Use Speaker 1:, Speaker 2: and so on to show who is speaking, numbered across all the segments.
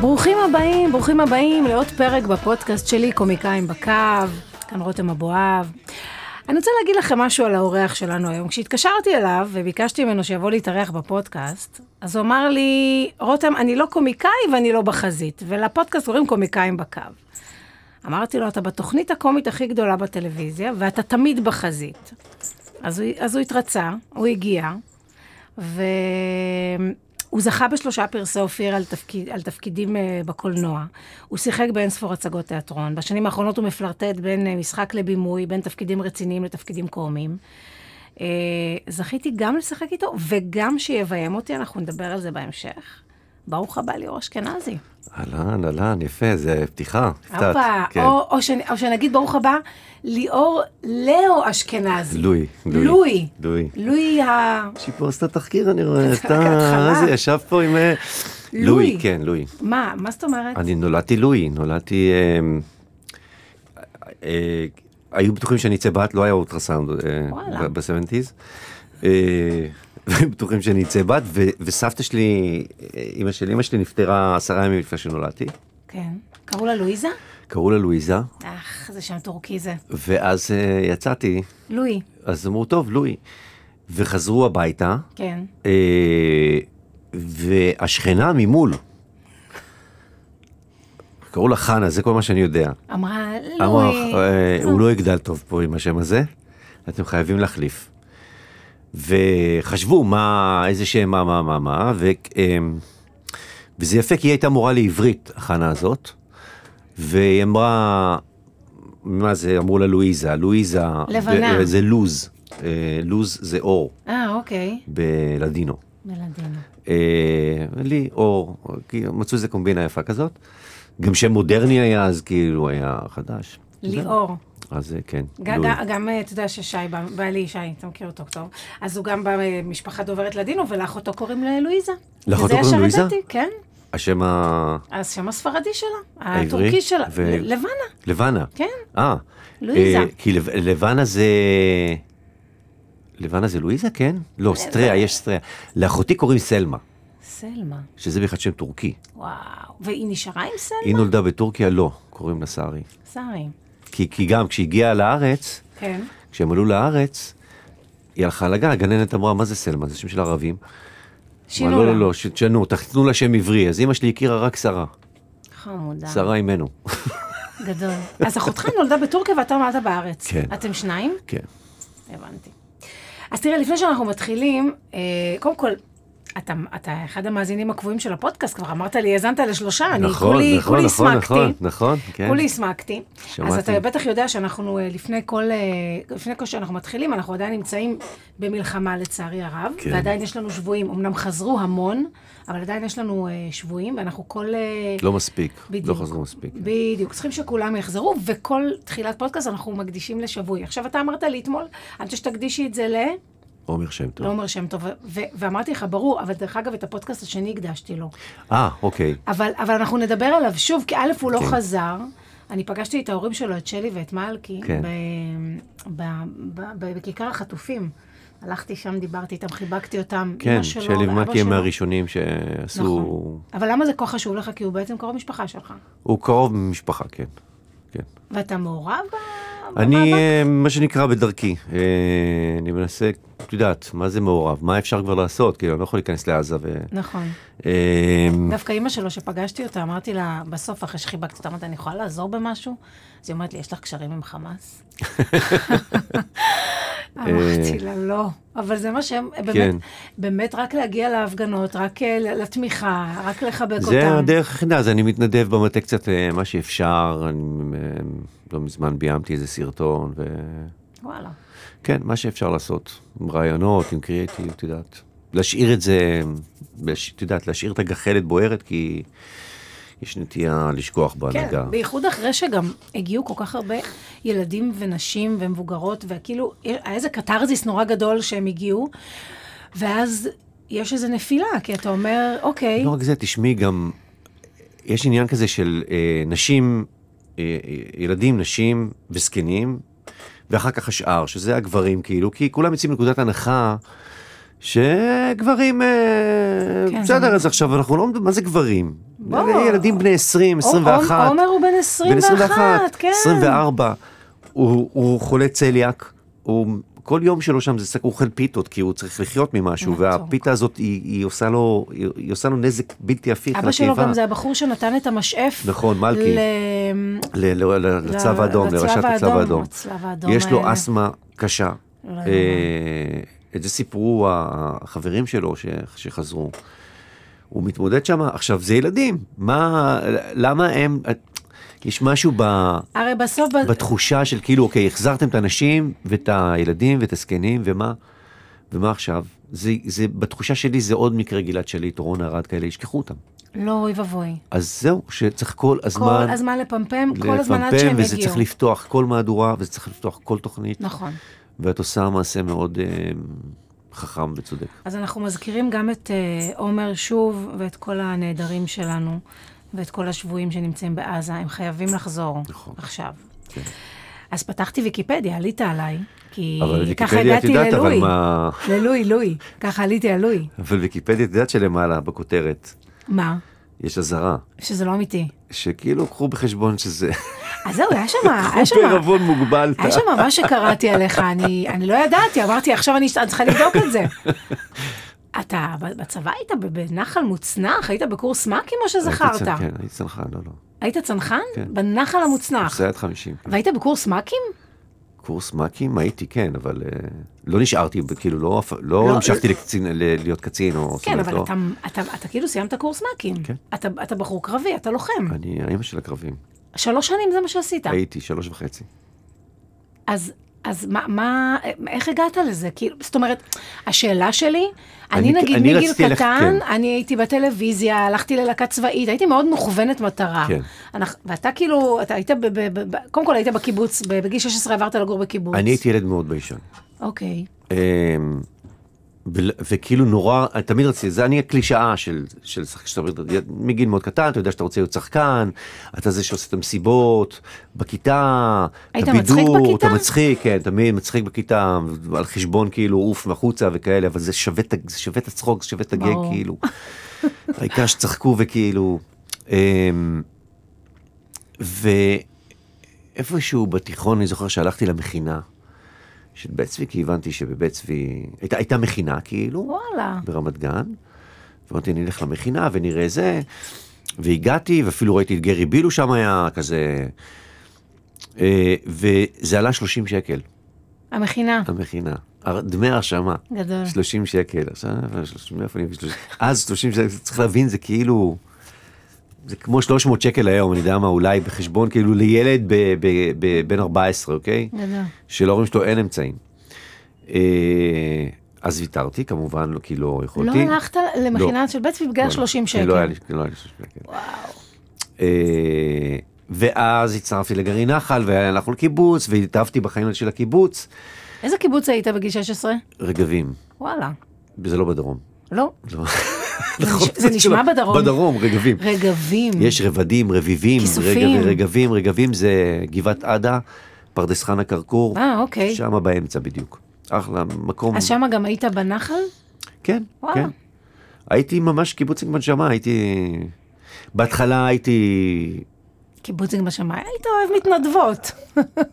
Speaker 1: ברוכים הבאים, ברוכים הבאים לעוד פרק בפודקאסט שלי, קומיקאים בקו, כאן רותם אבואב. אני רוצה להגיד לכם משהו על האורח שלנו היום. כשהתקשרתי אליו וביקשתי ממנו שיבוא להתארח בפודקאסט, אז הוא אמר לי, רותם, אני לא קומיקאי ואני לא בחזית, ולפודקאסט קוראים קומיקאים בקו. אמרתי לו, אתה בתוכנית הקומית הכי גדולה בטלוויזיה, ואתה תמיד בחזית. אז הוא, אז הוא התרצה, הוא הגיע, והוא זכה בשלושה פרסי אופיר על, תפקיד, על תפקידים אה, בקולנוע. הוא שיחק באינספור הצגות תיאטרון. בשנים האחרונות הוא מפלרטט בין אה, משחק לבימוי, בין תפקידים רציניים לתפקידים קומיים. אה, זכיתי גם לשחק איתו וגם שיביים אותי, אנחנו נדבר על זה בהמשך. ברוך הבא ליאור אשכנזי.
Speaker 2: אהלן, אהלן, יפה, זה פתיחה. הפתעת,
Speaker 1: הופה,
Speaker 2: כן.
Speaker 1: או, או, שנ, או שנגיד ברוך הבא, ליאור לאו אשכנזי.
Speaker 2: לואי, לואי.
Speaker 1: לואי.
Speaker 2: לואי.
Speaker 1: לואי ה...
Speaker 2: שהיא פה עשתה תחקיר, אני רואה,
Speaker 1: כהתחלה.
Speaker 2: אתה, איזה ישב פה עם... אה,
Speaker 1: לואי.
Speaker 2: לואי, כן, לואי.
Speaker 1: מה, מה זאת אומרת?
Speaker 2: אני נולדתי לואי, נולדתי... אה, אה, היו בטוחים שאני אצא בת, לא היה אולטרסאונד אה,
Speaker 1: וואלה.
Speaker 2: ב-70's. אה, בטוחים שאני אצא בת, ו- וסבתא שלי, אימא של אימא שלי נפטרה עשרה ימים לפני שנולדתי.
Speaker 1: כן. קראו לה לואיזה?
Speaker 2: קראו לה לואיזה,
Speaker 1: אך, זה שם טורקי זה.
Speaker 2: ואז אה, יצאתי,
Speaker 1: לואי.
Speaker 2: אז אמרו, טוב, לואי. וחזרו הביתה,
Speaker 1: כן.
Speaker 2: אה, והשכנה ממול, קראו לה חנה, זה כל מה שאני יודע.
Speaker 1: אמרה,
Speaker 2: אמר,
Speaker 1: לואי.
Speaker 2: אה, הוא לא יגדל טוב פה עם השם הזה, אתם חייבים להחליף. וחשבו מה, איזה שם, מה, מה, מה, מה, ו, אה, וזה יפה כי היא הייתה מורה לעברית, החנה הזאת, והיא אמרה, מה זה, אמרו לה לואיזה, לואיזה,
Speaker 1: לבנה.
Speaker 2: זה לוז, אה, לוז זה אור
Speaker 1: אה, אוקיי.
Speaker 2: בלדינו.
Speaker 1: מלדינו.
Speaker 2: אה, לי אור, כי מצאו איזה קומבינה יפה כזאת. גם שם מודרני היה אז, כאילו היה חדש.
Speaker 1: ליאור.
Speaker 2: אז אה, כן.
Speaker 1: ג-
Speaker 2: לואי.
Speaker 1: ג- גם, אה, אתה יודע ששי, בא- בעלי שי, אתה מכיר אותו טוב, אז הוא גם במשפחה דוברת לדינו, ולאחותו קוראים ללואיזה.
Speaker 2: לאחותו
Speaker 1: וזה
Speaker 2: קוראים
Speaker 1: ישר
Speaker 2: לואיזה?
Speaker 1: ידעתי, כן.
Speaker 2: השם ה...
Speaker 1: אז שם הספרדי שלה,
Speaker 2: העברי?
Speaker 1: הטורקי שלה,
Speaker 2: ו-
Speaker 1: ל- לבנה,
Speaker 2: לבנה.
Speaker 1: כן.
Speaker 2: אה.
Speaker 1: לואיזה.
Speaker 2: אה, כי לב- לבנה זה... לבנה זה לואיזה, כן?
Speaker 1: אה,
Speaker 2: לא, סטריה, יש סטריה. לאחותי קוראים סלמה,
Speaker 1: סלמה,
Speaker 2: שזה בכלל שם טורקי.
Speaker 1: וואו. והיא נשארה עם סלמה?
Speaker 2: היא נולדה בטורקיה, לא, קוראים לה סארי.
Speaker 1: שרי,
Speaker 2: כי כי גם כשהגיעה לארץ,
Speaker 1: כן.
Speaker 2: כשהם עלו לארץ, היא הלכה לגן, הגננת אמרה, מה זה סלמה? זה שם של ערבים.
Speaker 1: שינו
Speaker 2: לא,
Speaker 1: לה.
Speaker 2: לא, לא, ש- תשנו, תנו לה שם עברי. אז אמא שלי הכירה רק שרה,
Speaker 1: חמודה.
Speaker 2: שרה אימנו.
Speaker 1: כן. גדול. אז אחותך נולדה בטורקיה ואתה נולדת בארץ.
Speaker 2: כן.
Speaker 1: אתם שניים?
Speaker 2: כן.
Speaker 1: הבנתי. אז תראה, לפני שאנחנו מתחילים, אה, קודם כל, אתה, אתה אחד המאזינים הקבועים של הפודקאסט, כבר אמרת לי, האזנת לשלושה, אני
Speaker 2: נכון,
Speaker 1: כולי,
Speaker 2: נכון,
Speaker 1: כולי
Speaker 2: נכון,
Speaker 1: הסמקתי.
Speaker 2: נכון, נכון, כן.
Speaker 1: כולי הסמקתי.
Speaker 2: שמעתי.
Speaker 1: אז אתה בטח יודע שאנחנו אה, לפני כל, אה, לפני כל שאנחנו מתחילים, אנחנו עדיין נמצאים במלחמה לצערי הרב,
Speaker 2: כן.
Speaker 1: ועדיין יש לנו שבויים, אמנם חזרו המון, אבל עדיין יש לנו אה, שבויים, ואנחנו כל... אה,
Speaker 2: לא מספיק,
Speaker 1: בדיוק.
Speaker 2: לא חזרו מספיק.
Speaker 1: בדיוק, צריכים שכולם יחזרו, וכל תחילת פודקאסט אנחנו מקדישים לשבוי. עכשיו, אתה אמרת לי אתמול, אני רוצה שתקדישי את זה ל...
Speaker 2: עומר שם
Speaker 1: לא
Speaker 2: טוב.
Speaker 1: אומר שם טוב, ו- ואמרתי לך, ברור, אבל דרך אגב, את הפודקאסט השני הקדשתי לו.
Speaker 2: אה, אוקיי.
Speaker 1: אבל, אבל אנחנו נדבר עליו שוב, כי א', הוא לא
Speaker 2: כן.
Speaker 1: חזר. אני פגשתי את ההורים שלו, את שלי ואת מלכי,
Speaker 2: כן.
Speaker 1: ב- ב- ב- ב- בכיכר החטופים. הלכתי שם, דיברתי איתם, חיבקתי אותם. אמא
Speaker 2: כן,
Speaker 1: שלו
Speaker 2: שלי
Speaker 1: ואבא
Speaker 2: ומקי הם
Speaker 1: שלו.
Speaker 2: מהראשונים שעשו...
Speaker 1: נכון. אבל למה זה כה חשוב לך? כי הוא בעצם קרוב משפחה שלך.
Speaker 2: הוא קרוב ממשפחה, כן. כן.
Speaker 1: ואתה מעורב ב- במאבק?
Speaker 2: אני, אה, מה שנקרא, בדרכי. אה, אני מנסה, את יודעת, מה זה מעורב? מה אפשר כבר לעשות? כאילו, אני לא יכול להיכנס לעזה ו...
Speaker 1: נכון.
Speaker 2: אה,
Speaker 1: דווקא אימא שלו, שפגשתי אותה, אמרתי לה, בסוף, אחרי שחיבקתי אותה, אמרתי, אני יכולה לעזור במשהו? אז היא אומרת לי, יש לך קשרים עם חמאס? אמרתי לה, לא. אבל זה מה שהם, באמת,
Speaker 2: אה. כן.
Speaker 1: באמת רק להגיע להפגנות, רק אה, לתמיכה, רק לחבק אותם.
Speaker 2: זה הדרך היחידה, אז אני מתנדב במטה קצת אה, מה שאפשר. אני אה, לא מזמן ביימתי איזה סרטון, ו...
Speaker 1: וואלה.
Speaker 2: כן, מה שאפשר לעשות, עם רעיונות, עם קריאיטיב, את יודעת. להשאיר את זה, להש- את יודעת, להשאיר את הגחלת בוערת, כי יש נטייה לשכוח
Speaker 1: כן,
Speaker 2: בהנהגה.
Speaker 1: בייחוד אחרי שגם הגיעו כל כך הרבה ילדים ונשים ומבוגרות, וכאילו, היה איזה קתרזיס נורא גדול שהם הגיעו, ואז יש איזו נפילה, כי אתה אומר, אוקיי,
Speaker 2: לא רק זה, תשמעי גם, יש עניין כזה של אה, נשים, אה, אה, ילדים, נשים אה, וזקנים, ואחר כך השאר, שזה הגברים כאילו, כי כולם יוצאים מנקודת הנחה שגברים,
Speaker 1: כן,
Speaker 2: כן,
Speaker 1: זה
Speaker 2: בסדר,
Speaker 1: לא-
Speaker 2: אז עכשיו אנחנו לא, מה זה גברים?
Speaker 1: בוא.
Speaker 2: אלה ילדים בני 20, 21.
Speaker 1: עומר הוא בן 21, כן.
Speaker 2: 24. הוא, הוא חולה צליאק, הוא, כל יום שלו שם זה שק, הוא אוכל פיתות, כי הוא צריך לחיות ממשהו,
Speaker 1: מתוק.
Speaker 2: והפיתה הזאת, היא, היא, עושה לו, היא, היא עושה לו נזק בלתי הפיך
Speaker 1: אבא שלו גם זה הבחור שנתן את המשאף.
Speaker 2: כאילו. נכון, מלכי.
Speaker 1: ל-
Speaker 2: ל- ל- ל- לצו
Speaker 1: ל-
Speaker 2: האדום,
Speaker 1: לצלב
Speaker 2: לראשת הצו
Speaker 1: האדום,
Speaker 2: האדום.
Speaker 1: הצלב האדום,
Speaker 2: יש לו
Speaker 1: אה,
Speaker 2: אסתמה קשה.
Speaker 1: לא יודע
Speaker 2: אה, את זה סיפרו החברים שלו ש- שחזרו. הוא מתמודד שם, עכשיו זה ילדים, מה, למה הם, יש משהו ב...
Speaker 1: הרי בסוף, ב-
Speaker 2: בתחושה של כאילו, אוקיי, החזרתם את הנשים ואת הילדים ואת הזקנים, ומה, ומה עכשיו? זה, זה, בתחושה שלי זה עוד מקרה גלעד שליט, רון ארד כאלה, ישכחו אותם.
Speaker 1: לא, אוי ואבוי.
Speaker 2: אז זהו, שצריך כל הזמן
Speaker 1: כל הזמן לפמפם, כל הזמן עד
Speaker 2: לפמפם,
Speaker 1: שהם
Speaker 2: וזה
Speaker 1: יגיעו.
Speaker 2: צריך לפתוח כל מהדורה, וזה צריך לפתוח כל תוכנית,
Speaker 1: נכון.
Speaker 2: ואת עושה מעשה מאוד אה, חכם וצודק.
Speaker 1: אז אנחנו מזכירים גם את אה, עומר שוב, ואת כל הנעדרים שלנו, ואת כל השבויים שנמצאים בעזה. הם חייבים לחזור
Speaker 2: נכון.
Speaker 1: עכשיו. אז פתחתי ויקיפדיה, עלית עליי, כי
Speaker 2: אבל
Speaker 1: ככה
Speaker 2: ויקיפדיה, את
Speaker 1: הגעתי
Speaker 2: יודעת, אבל
Speaker 1: ללואי.
Speaker 2: מה...
Speaker 1: ללואי, לואי. ככה עליתי על לואי.
Speaker 2: אבל ויקיפדיה, את יודעת שלמעלה, בכותרת,
Speaker 1: מה?
Speaker 2: יש אזהרה,
Speaker 1: שזה לא אמיתי.
Speaker 2: שכאילו, קחו בחשבון שזה...
Speaker 1: אז זהו, היה שם, היה שם,
Speaker 2: בערבון מוגבל. אה,
Speaker 1: היה שם מה שקראתי עליך, אני, אני לא ידעתי, אמרתי, עכשיו אני אני צריכה לבדוק את זה. אתה בצבא היית ב- בנחל מוצנח? היית בקורס מ"כים או
Speaker 2: הייתי
Speaker 1: שזכרת?
Speaker 2: צנחן, כן, הייתי צנחן, לא, לא.
Speaker 1: היית צנחן?
Speaker 2: כן.
Speaker 1: בנחל המוצנח.
Speaker 2: סייעת 50.
Speaker 1: והיית בקורס מ"כים?
Speaker 2: קורס מ"כים הייתי, כן, אבל אה, לא נשארתי, ב- כאילו, לא הפ-
Speaker 1: לא-
Speaker 2: לא המשכתי לקצין- ל- להיות קצין, או... זאת
Speaker 1: כן,
Speaker 2: אומרת,
Speaker 1: אבל
Speaker 2: לא.
Speaker 1: אתה, אתה, אתה כאילו סיימת קורס מ"כים.
Speaker 2: כן.
Speaker 1: אתה, אתה בחור קרבי, אתה לוחם.
Speaker 2: אני האמא של הקרבים.
Speaker 1: שלוש שנים זה מה שעשית.
Speaker 2: הייתי שלוש וחצי.
Speaker 1: אז, אז מה, מה, איך הגעת לזה? כאילו, זאת אומרת, השאלה שלי, אני,
Speaker 2: אני-
Speaker 1: נגיד
Speaker 2: אני
Speaker 1: מגיל
Speaker 2: רציתי ללכת- כן.
Speaker 1: קטן, אני הייתי בטלוויזיה, הלכתי ללהקה צבאית, הייתי מאוד מכוונת מטרה.
Speaker 2: כן.
Speaker 1: אנחנו, ואתה כאילו, אתה היית, ב, ב, ב, ב, קודם כל היית בקיבוץ, ב- בגיל 16 עברת לגור בקיבוץ.
Speaker 2: אני הייתי ילד מאוד ביישן.
Speaker 1: אוקיי.
Speaker 2: אמ, ול- וכאילו נורא, תמיד רציתי, זה אני הקלישאה של, של שחק, שאתה אומר, מגיל מאוד קטן, אתה יודע שאתה רוצה להיות שחקן, אתה זה שעושה את המסיבות, בכיתה,
Speaker 1: היית
Speaker 2: את הבידור,
Speaker 1: מצחיק בכיתה?
Speaker 2: אתה מצחיק, כן, תמיד מצחיק בכיתה, על חשבון כאילו עוף מחוצה וכאלה, אבל זה שווה, את ה- זה שווה את הצחוק, זה שווה את הגג,
Speaker 1: ברור.
Speaker 2: כאילו. העיקר שצחקו וכאילו. אמ, ואיפשהו בתיכון, אני זוכר שהלכתי למכינה של בית צבי, כי הבנתי שבבית צבי הייתה, הייתה מכינה כאילו,
Speaker 1: וואלה.
Speaker 2: ברמת גן. ואמרתי, אני אלך למכינה ונראה זה. והגעתי, ואפילו ראיתי את גרי בילו שם היה כזה. אה, וזה עלה 30 שקל,
Speaker 1: המכינה.
Speaker 2: המכינה. הר- דמי הרשמה.
Speaker 1: גדול.
Speaker 2: 30 שקל. עכשיו, אבל 30, מאיפה אני אביא 30? אז 30 שקל, צריך להבין, זה כאילו... זה כמו 300 שקל היום, אני יודע מה, אולי בחשבון, כאילו לילד ב- ב- ב- בן 14, אוקיי?
Speaker 1: גדול.
Speaker 2: שלהורים שלו אין אמצעים. אה, אז ויתרתי, כמובן, לא- כי לא
Speaker 1: לא
Speaker 2: יכולתי.
Speaker 1: הלכת למכינה של בית צבי בגלל
Speaker 2: לא,
Speaker 1: 30
Speaker 2: לא,
Speaker 1: שקל.
Speaker 2: לא היה לי לא היה לי 30 שקל. אה, ואז הצטרפתי לגרעין נחל, והלכנו לקיבוץ, והתאהבתי בחיים של הקיבוץ.
Speaker 1: איזה קיבוץ היית בגיל 16?
Speaker 2: רגבים,
Speaker 1: וואלה.
Speaker 2: זה לא בדרום.
Speaker 1: לא.
Speaker 2: לא.
Speaker 1: זה
Speaker 2: נכון,
Speaker 1: נש- זה נשמע
Speaker 2: לא,
Speaker 1: בדרום.
Speaker 2: בדרום, רגבים.
Speaker 1: רגבים.
Speaker 2: יש רבדים, רביבים,
Speaker 1: כיסופים.
Speaker 2: רגב- רגבים, רגבים זה גבעת עדה, פרדס חנה כרכור,
Speaker 1: אה, אוקיי.
Speaker 2: שם באמצע בדיוק. אחלה, מקום,
Speaker 1: אז שמה גם היית בנחל?
Speaker 2: כן,
Speaker 1: וואלה.
Speaker 2: כן. הייתי ממש קיבוצניק בנשמה, הייתי... בהתחלה הייתי,
Speaker 1: קיבוצניק בשמיים, היית אוהב מתנדבות.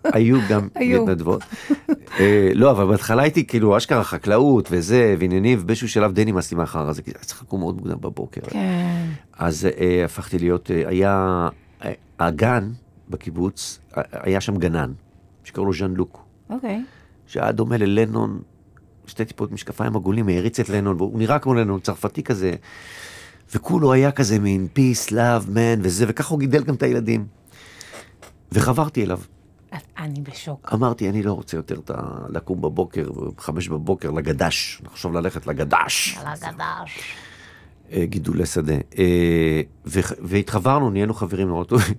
Speaker 2: היו גם
Speaker 1: היו.
Speaker 2: מתנדבות. אה, לא, אבל בהתחלה הייתי כאילו אשכרה חקלאות וזה, ועניינים, ובאיזשהו שלב די נמאס לי מהחרא הזה, כי צריך לקום מאוד מוקדם בבוקר.
Speaker 1: כן.
Speaker 2: אז אה, הפכתי להיות, אה, היה, אה, הגן בקיבוץ, אה, היה שם גנן, שקראו לו ז'אן לוק,
Speaker 1: אוקיי.
Speaker 2: שהיה דומה ללנון, שתי טיפות משקפיים עגולים, העריץ את לנון, והוא נראה כמו לנון, צרפתי כזה, וכולו היה כזה מין peace, love, man, וזה, וככה הוא גידל גם את הילדים. וחברתי אליו,
Speaker 1: את- אני בשוק.
Speaker 2: אמרתי, אני לא רוצה יותר את ה... לקום בבוקר, חמש בבוקר, לגדש, נחשוב ללכת לגדש.
Speaker 1: על הגדש.
Speaker 2: אה, גידולי שדה. אה, וח- והתחברנו, נהיינו חברים מאוד טובים.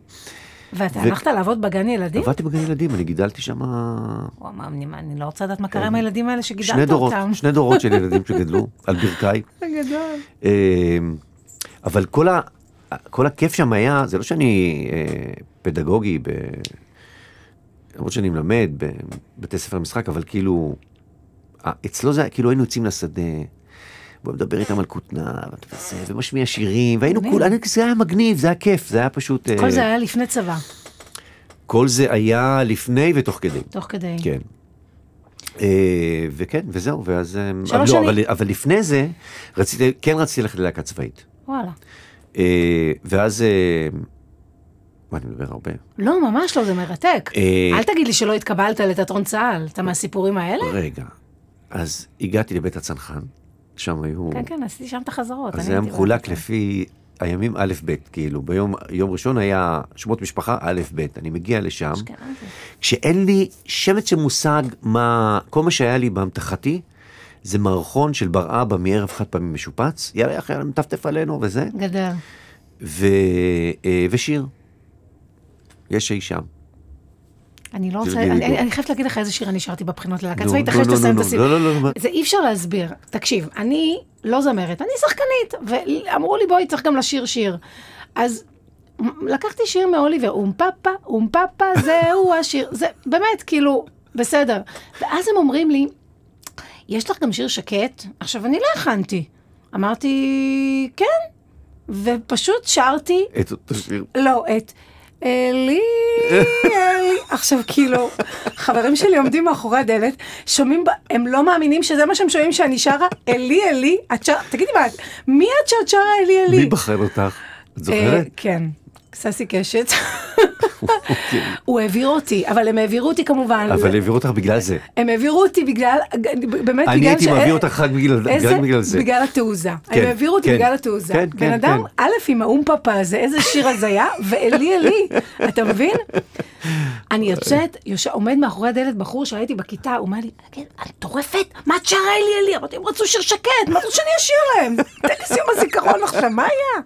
Speaker 1: ואתה
Speaker 2: ו-
Speaker 1: הלכת לעבוד בגן ילדים?
Speaker 2: עבדתי בגן ילדים, אני גידלתי שם
Speaker 1: הוא אמר, אני אני לא רוצה לדעת מה קרה עם הילדים האלה
Speaker 2: כן. שני
Speaker 1: שגידלת
Speaker 2: דורות,
Speaker 1: אותם.
Speaker 2: שני דורות של ילדים שגדלו על ברכיי.
Speaker 1: גדול.
Speaker 2: אה, אבל כל, ה, כל הכיף שם היה, זה לא שאני אה, פדגוגי ב, למרות שאני מלמד בבתי ספר למשחק, אבל כאילו, אה, אצלו זה היה, כאילו היינו יוצאים לשדה, והוא מדבר איתם על כותנה, וזה, ומשמיע שירים, והיינו
Speaker 1: מגניב.
Speaker 2: כולנו, זה היה מגניב, זה היה כיף, זה היה פשוט...
Speaker 1: כל
Speaker 2: אה,
Speaker 1: זה היה לפני צבא,
Speaker 2: כל זה היה לפני ותוך כדי.
Speaker 1: תוך כדי.
Speaker 2: כן. אה, וכן, וזהו, ואז... אה,
Speaker 1: שלוש
Speaker 2: אבל, לא,
Speaker 1: שנים.
Speaker 2: אבל, אבל לפני זה, רציתי, כן רציתי ללכת ללהקה צבאית.
Speaker 1: וואלה.
Speaker 2: אה, ואז... אה, מה, אני מדבר הרבה.
Speaker 1: לא, ממש לא, זה מרתק.
Speaker 2: אה,
Speaker 1: אל תגיד לי שלא התקבלת לתיאטרון צה"ל, אתה מהסיפורים האלה?
Speaker 2: רגע, אז הגעתי לבית הצנחן, שם היו...
Speaker 1: כן, כן, עשיתי שם את החזרות.
Speaker 2: אז
Speaker 1: אני
Speaker 2: זה היה
Speaker 1: הייתי
Speaker 2: מחולק
Speaker 1: בבית.
Speaker 2: לפי הימים א'-ב', כאילו, ביום יום ראשון היה שמות משפחה א'-ב', אני מגיע לשם,
Speaker 1: אשכנזי.
Speaker 2: כשאין לי שמץ של מושג מה... כל מה שהיה לי באמתחתי, זה מערכון של בר אבא מערב חד פעמי משופץ, יאללה אחי, יאללה, מטפטף עלינו וזה,
Speaker 1: גדל.
Speaker 2: ו... אה, ושיר. יש אי שם.
Speaker 1: אני לא רוצה,
Speaker 2: תרגלי
Speaker 1: אני-
Speaker 2: בו.
Speaker 1: אני- אני חייבת להגיד לך איזה שיר אני שרתי בבחינות ללהקה
Speaker 2: נו,
Speaker 1: צבאית,
Speaker 2: נו,
Speaker 1: אחרי
Speaker 2: נו,
Speaker 1: שתסיים
Speaker 2: נו,
Speaker 1: את
Speaker 2: נו,
Speaker 1: הסיפור.
Speaker 2: לא, לא, לא, מה-
Speaker 1: זה אי אפשר להסביר. תקשיב, אני לא זמרת, אני שחקנית, ואמרו לי בואי צריך גם לשיר שיר. אז מ- לקחתי שיר מאוליבר, אום פאפה, אום פאפה, זהו השיר. זה באמת, כאילו, בסדר. ואז הם אומרים לי, יש לך גם שיר שקט? עכשיו, אני לא הכנתי. אמרתי, כן. ופשוט שרתי
Speaker 2: את אותו שיר.
Speaker 1: לא, את אלי, אלי. עכשיו, כאילו, חברים שלי עומדים מאחורי הדלת, שומעים, ב- הם לא מאמינים שזה מה שהם שומעים שאני שרה, אלי, אלי, את שרה, תגידי מה, את- מי את שאת שרה אלי, אלי?
Speaker 2: מי בחר אותך? את זוכרת?
Speaker 1: אה, כן, ססי קשת.
Speaker 2: אוקיי.
Speaker 1: הוא העביר אותי, אבל הם העבירו אותי כמובן.
Speaker 2: אבל העבירו אותך בגלל זה.
Speaker 1: הם העבירו אותי בגלל, באמת בגלל
Speaker 2: אני הייתי
Speaker 1: ש-
Speaker 2: מעביר אותך רק בגלל
Speaker 1: איזה,
Speaker 2: רק בגלל זה.
Speaker 1: בגלל התעוזה.
Speaker 2: כן,
Speaker 1: הם העבירו אותי
Speaker 2: כן,
Speaker 1: בגלל התעוזה.
Speaker 2: כן,
Speaker 1: בן
Speaker 2: כן,
Speaker 1: אדם,
Speaker 2: כן.
Speaker 1: א', עם האום פאפה הזה, איזה שיר הזיה, ואלי אלי, אתה מבין? אני יוצאת, יוש... עומד מאחורי הדלת בחור שהייתי בכיתה, הוא אומר לי, "כן, את מטורפת? מה את שרה אלי אלי? אמרתי, הם רצו שיר שקט, מה את רוצה שאני אשיר להם? תן לי סיום הזיכרון עכשיו, מה היה?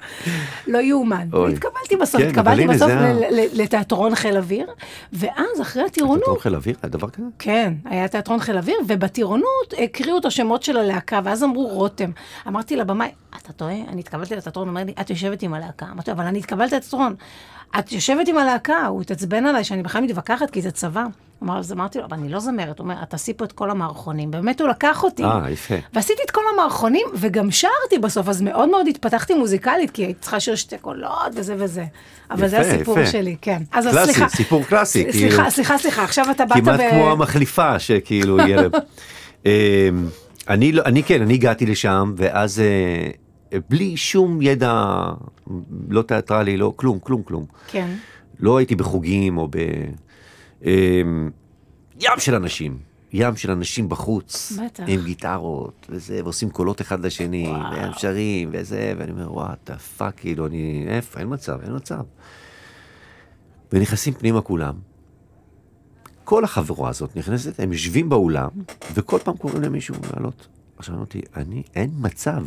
Speaker 1: לא יאומן.
Speaker 2: אוי.
Speaker 1: התקבלתי בסוף,
Speaker 2: כן, אבל
Speaker 1: התקבלתי
Speaker 2: הנה,
Speaker 1: בסוף
Speaker 2: זה ה-
Speaker 1: ל- ל- לתיאטרון חיל אוויר, ואז אחרי
Speaker 2: אתה
Speaker 1: הטירונות,
Speaker 2: אוכל אוויר? היה דבר כזה?
Speaker 1: כן, היה תיאטרון חיל אוויר, ובטירונות הקריאו את השמות של הלהקה, ואז אמרו רותם. אמרתי לבמאי, אתה טועה? אני התקבלתי לתיאטרון, הוא אומר לי, את יושבת עם הלהקה. אמרתי, אבל אני התקבלתי לתיאטרון. את יושבת עם הלהקה, הוא התעצבן עליי שאני בכלל מתווכחת, כי זה צבא. אמר, אז אמרתי לו, אבל אני לא זמרת. הוא אומר, את תעשי פה את כל המערכונים. באמת הוא לקח אותי.
Speaker 2: אה, יפה.
Speaker 1: ועשיתי את כל המערכונים, וגם שרתי בסוף, אז מאוד מאוד התפתחתי מוזיקלית, כי הייתי צריכה לשיר שתי קולות וזה וזה. אבל זה
Speaker 2: יפה,
Speaker 1: הסיפור
Speaker 2: יפה.
Speaker 1: שלי, כן. אז אז
Speaker 2: קלאסי,
Speaker 1: סליחה.
Speaker 2: סיפור קלאסי,
Speaker 1: ס-
Speaker 2: כאילו.
Speaker 1: סליחה, סליחה, סליחה, עכשיו אתה באת ב...
Speaker 2: כמעט כמו המחליפה שכאילו יהיה להם. אמ, אני לא- אני כן, אני הגעתי לשם, ואז אה, בלי שום ידע, לא תיאטרלי, לא כלום, כלום, כלום.
Speaker 1: כן.
Speaker 2: לא הייתי בחוגים או ב... אמ, ים של אנשים, ים של אנשים בחוץ,
Speaker 1: בטח.
Speaker 2: עם גיטרות וזה, ועושים קולות אחד לשני, והם שרים וזה, ואני אומר, וואט דה פאק, כאילו, אני, איפה, אין מצב, אין מצב. ונכנסים פנימה כולם. כל החבורה הזאת נכנסת, הם יושבים באולם, וכל פעם קוראים למישהו לעלות. עכשיו אמרתי, אני, אין מצב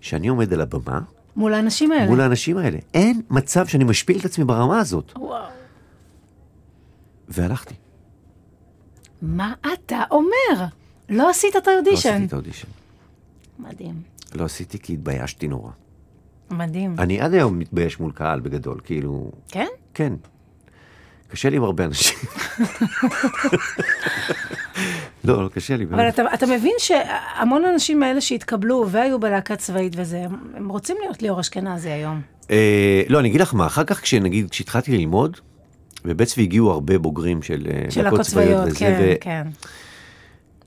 Speaker 2: שאני עומד על הבמה
Speaker 1: מול האנשים האלה.
Speaker 2: מול האנשים האלה. אין מצב שאני משפיל את עצמי ברמה הזאת.
Speaker 1: וואו.
Speaker 2: והלכתי.
Speaker 1: מה אתה אומר? לא עשית את
Speaker 2: לא עשיתי
Speaker 1: האודישן.
Speaker 2: את האודישן.
Speaker 1: מדהים.
Speaker 2: לא עשיתי כי התביישתי נורא.
Speaker 1: מדהים.
Speaker 2: אני עד היום מתבייש מול קהל בגדול, כאילו,
Speaker 1: כן?
Speaker 2: כן. קשה לי עם הרבה אנשים. לא, לא קשה לי.
Speaker 1: אבל
Speaker 2: באמת.
Speaker 1: אתה, אתה מבין שהמון האנשים האלה שהתקבלו והיו בלהקה צבאית וזה, הם, הם רוצים להיות ליאור אשכנזי היום.
Speaker 2: אה, לא, אני אגיד לך מה, אחר כך כשנגיד, כשהתחלתי ללמוד, בבית צבי הגיעו הרבה בוגרים של אה,
Speaker 1: של להקות צבאיות, כן,
Speaker 2: וזה,
Speaker 1: כן.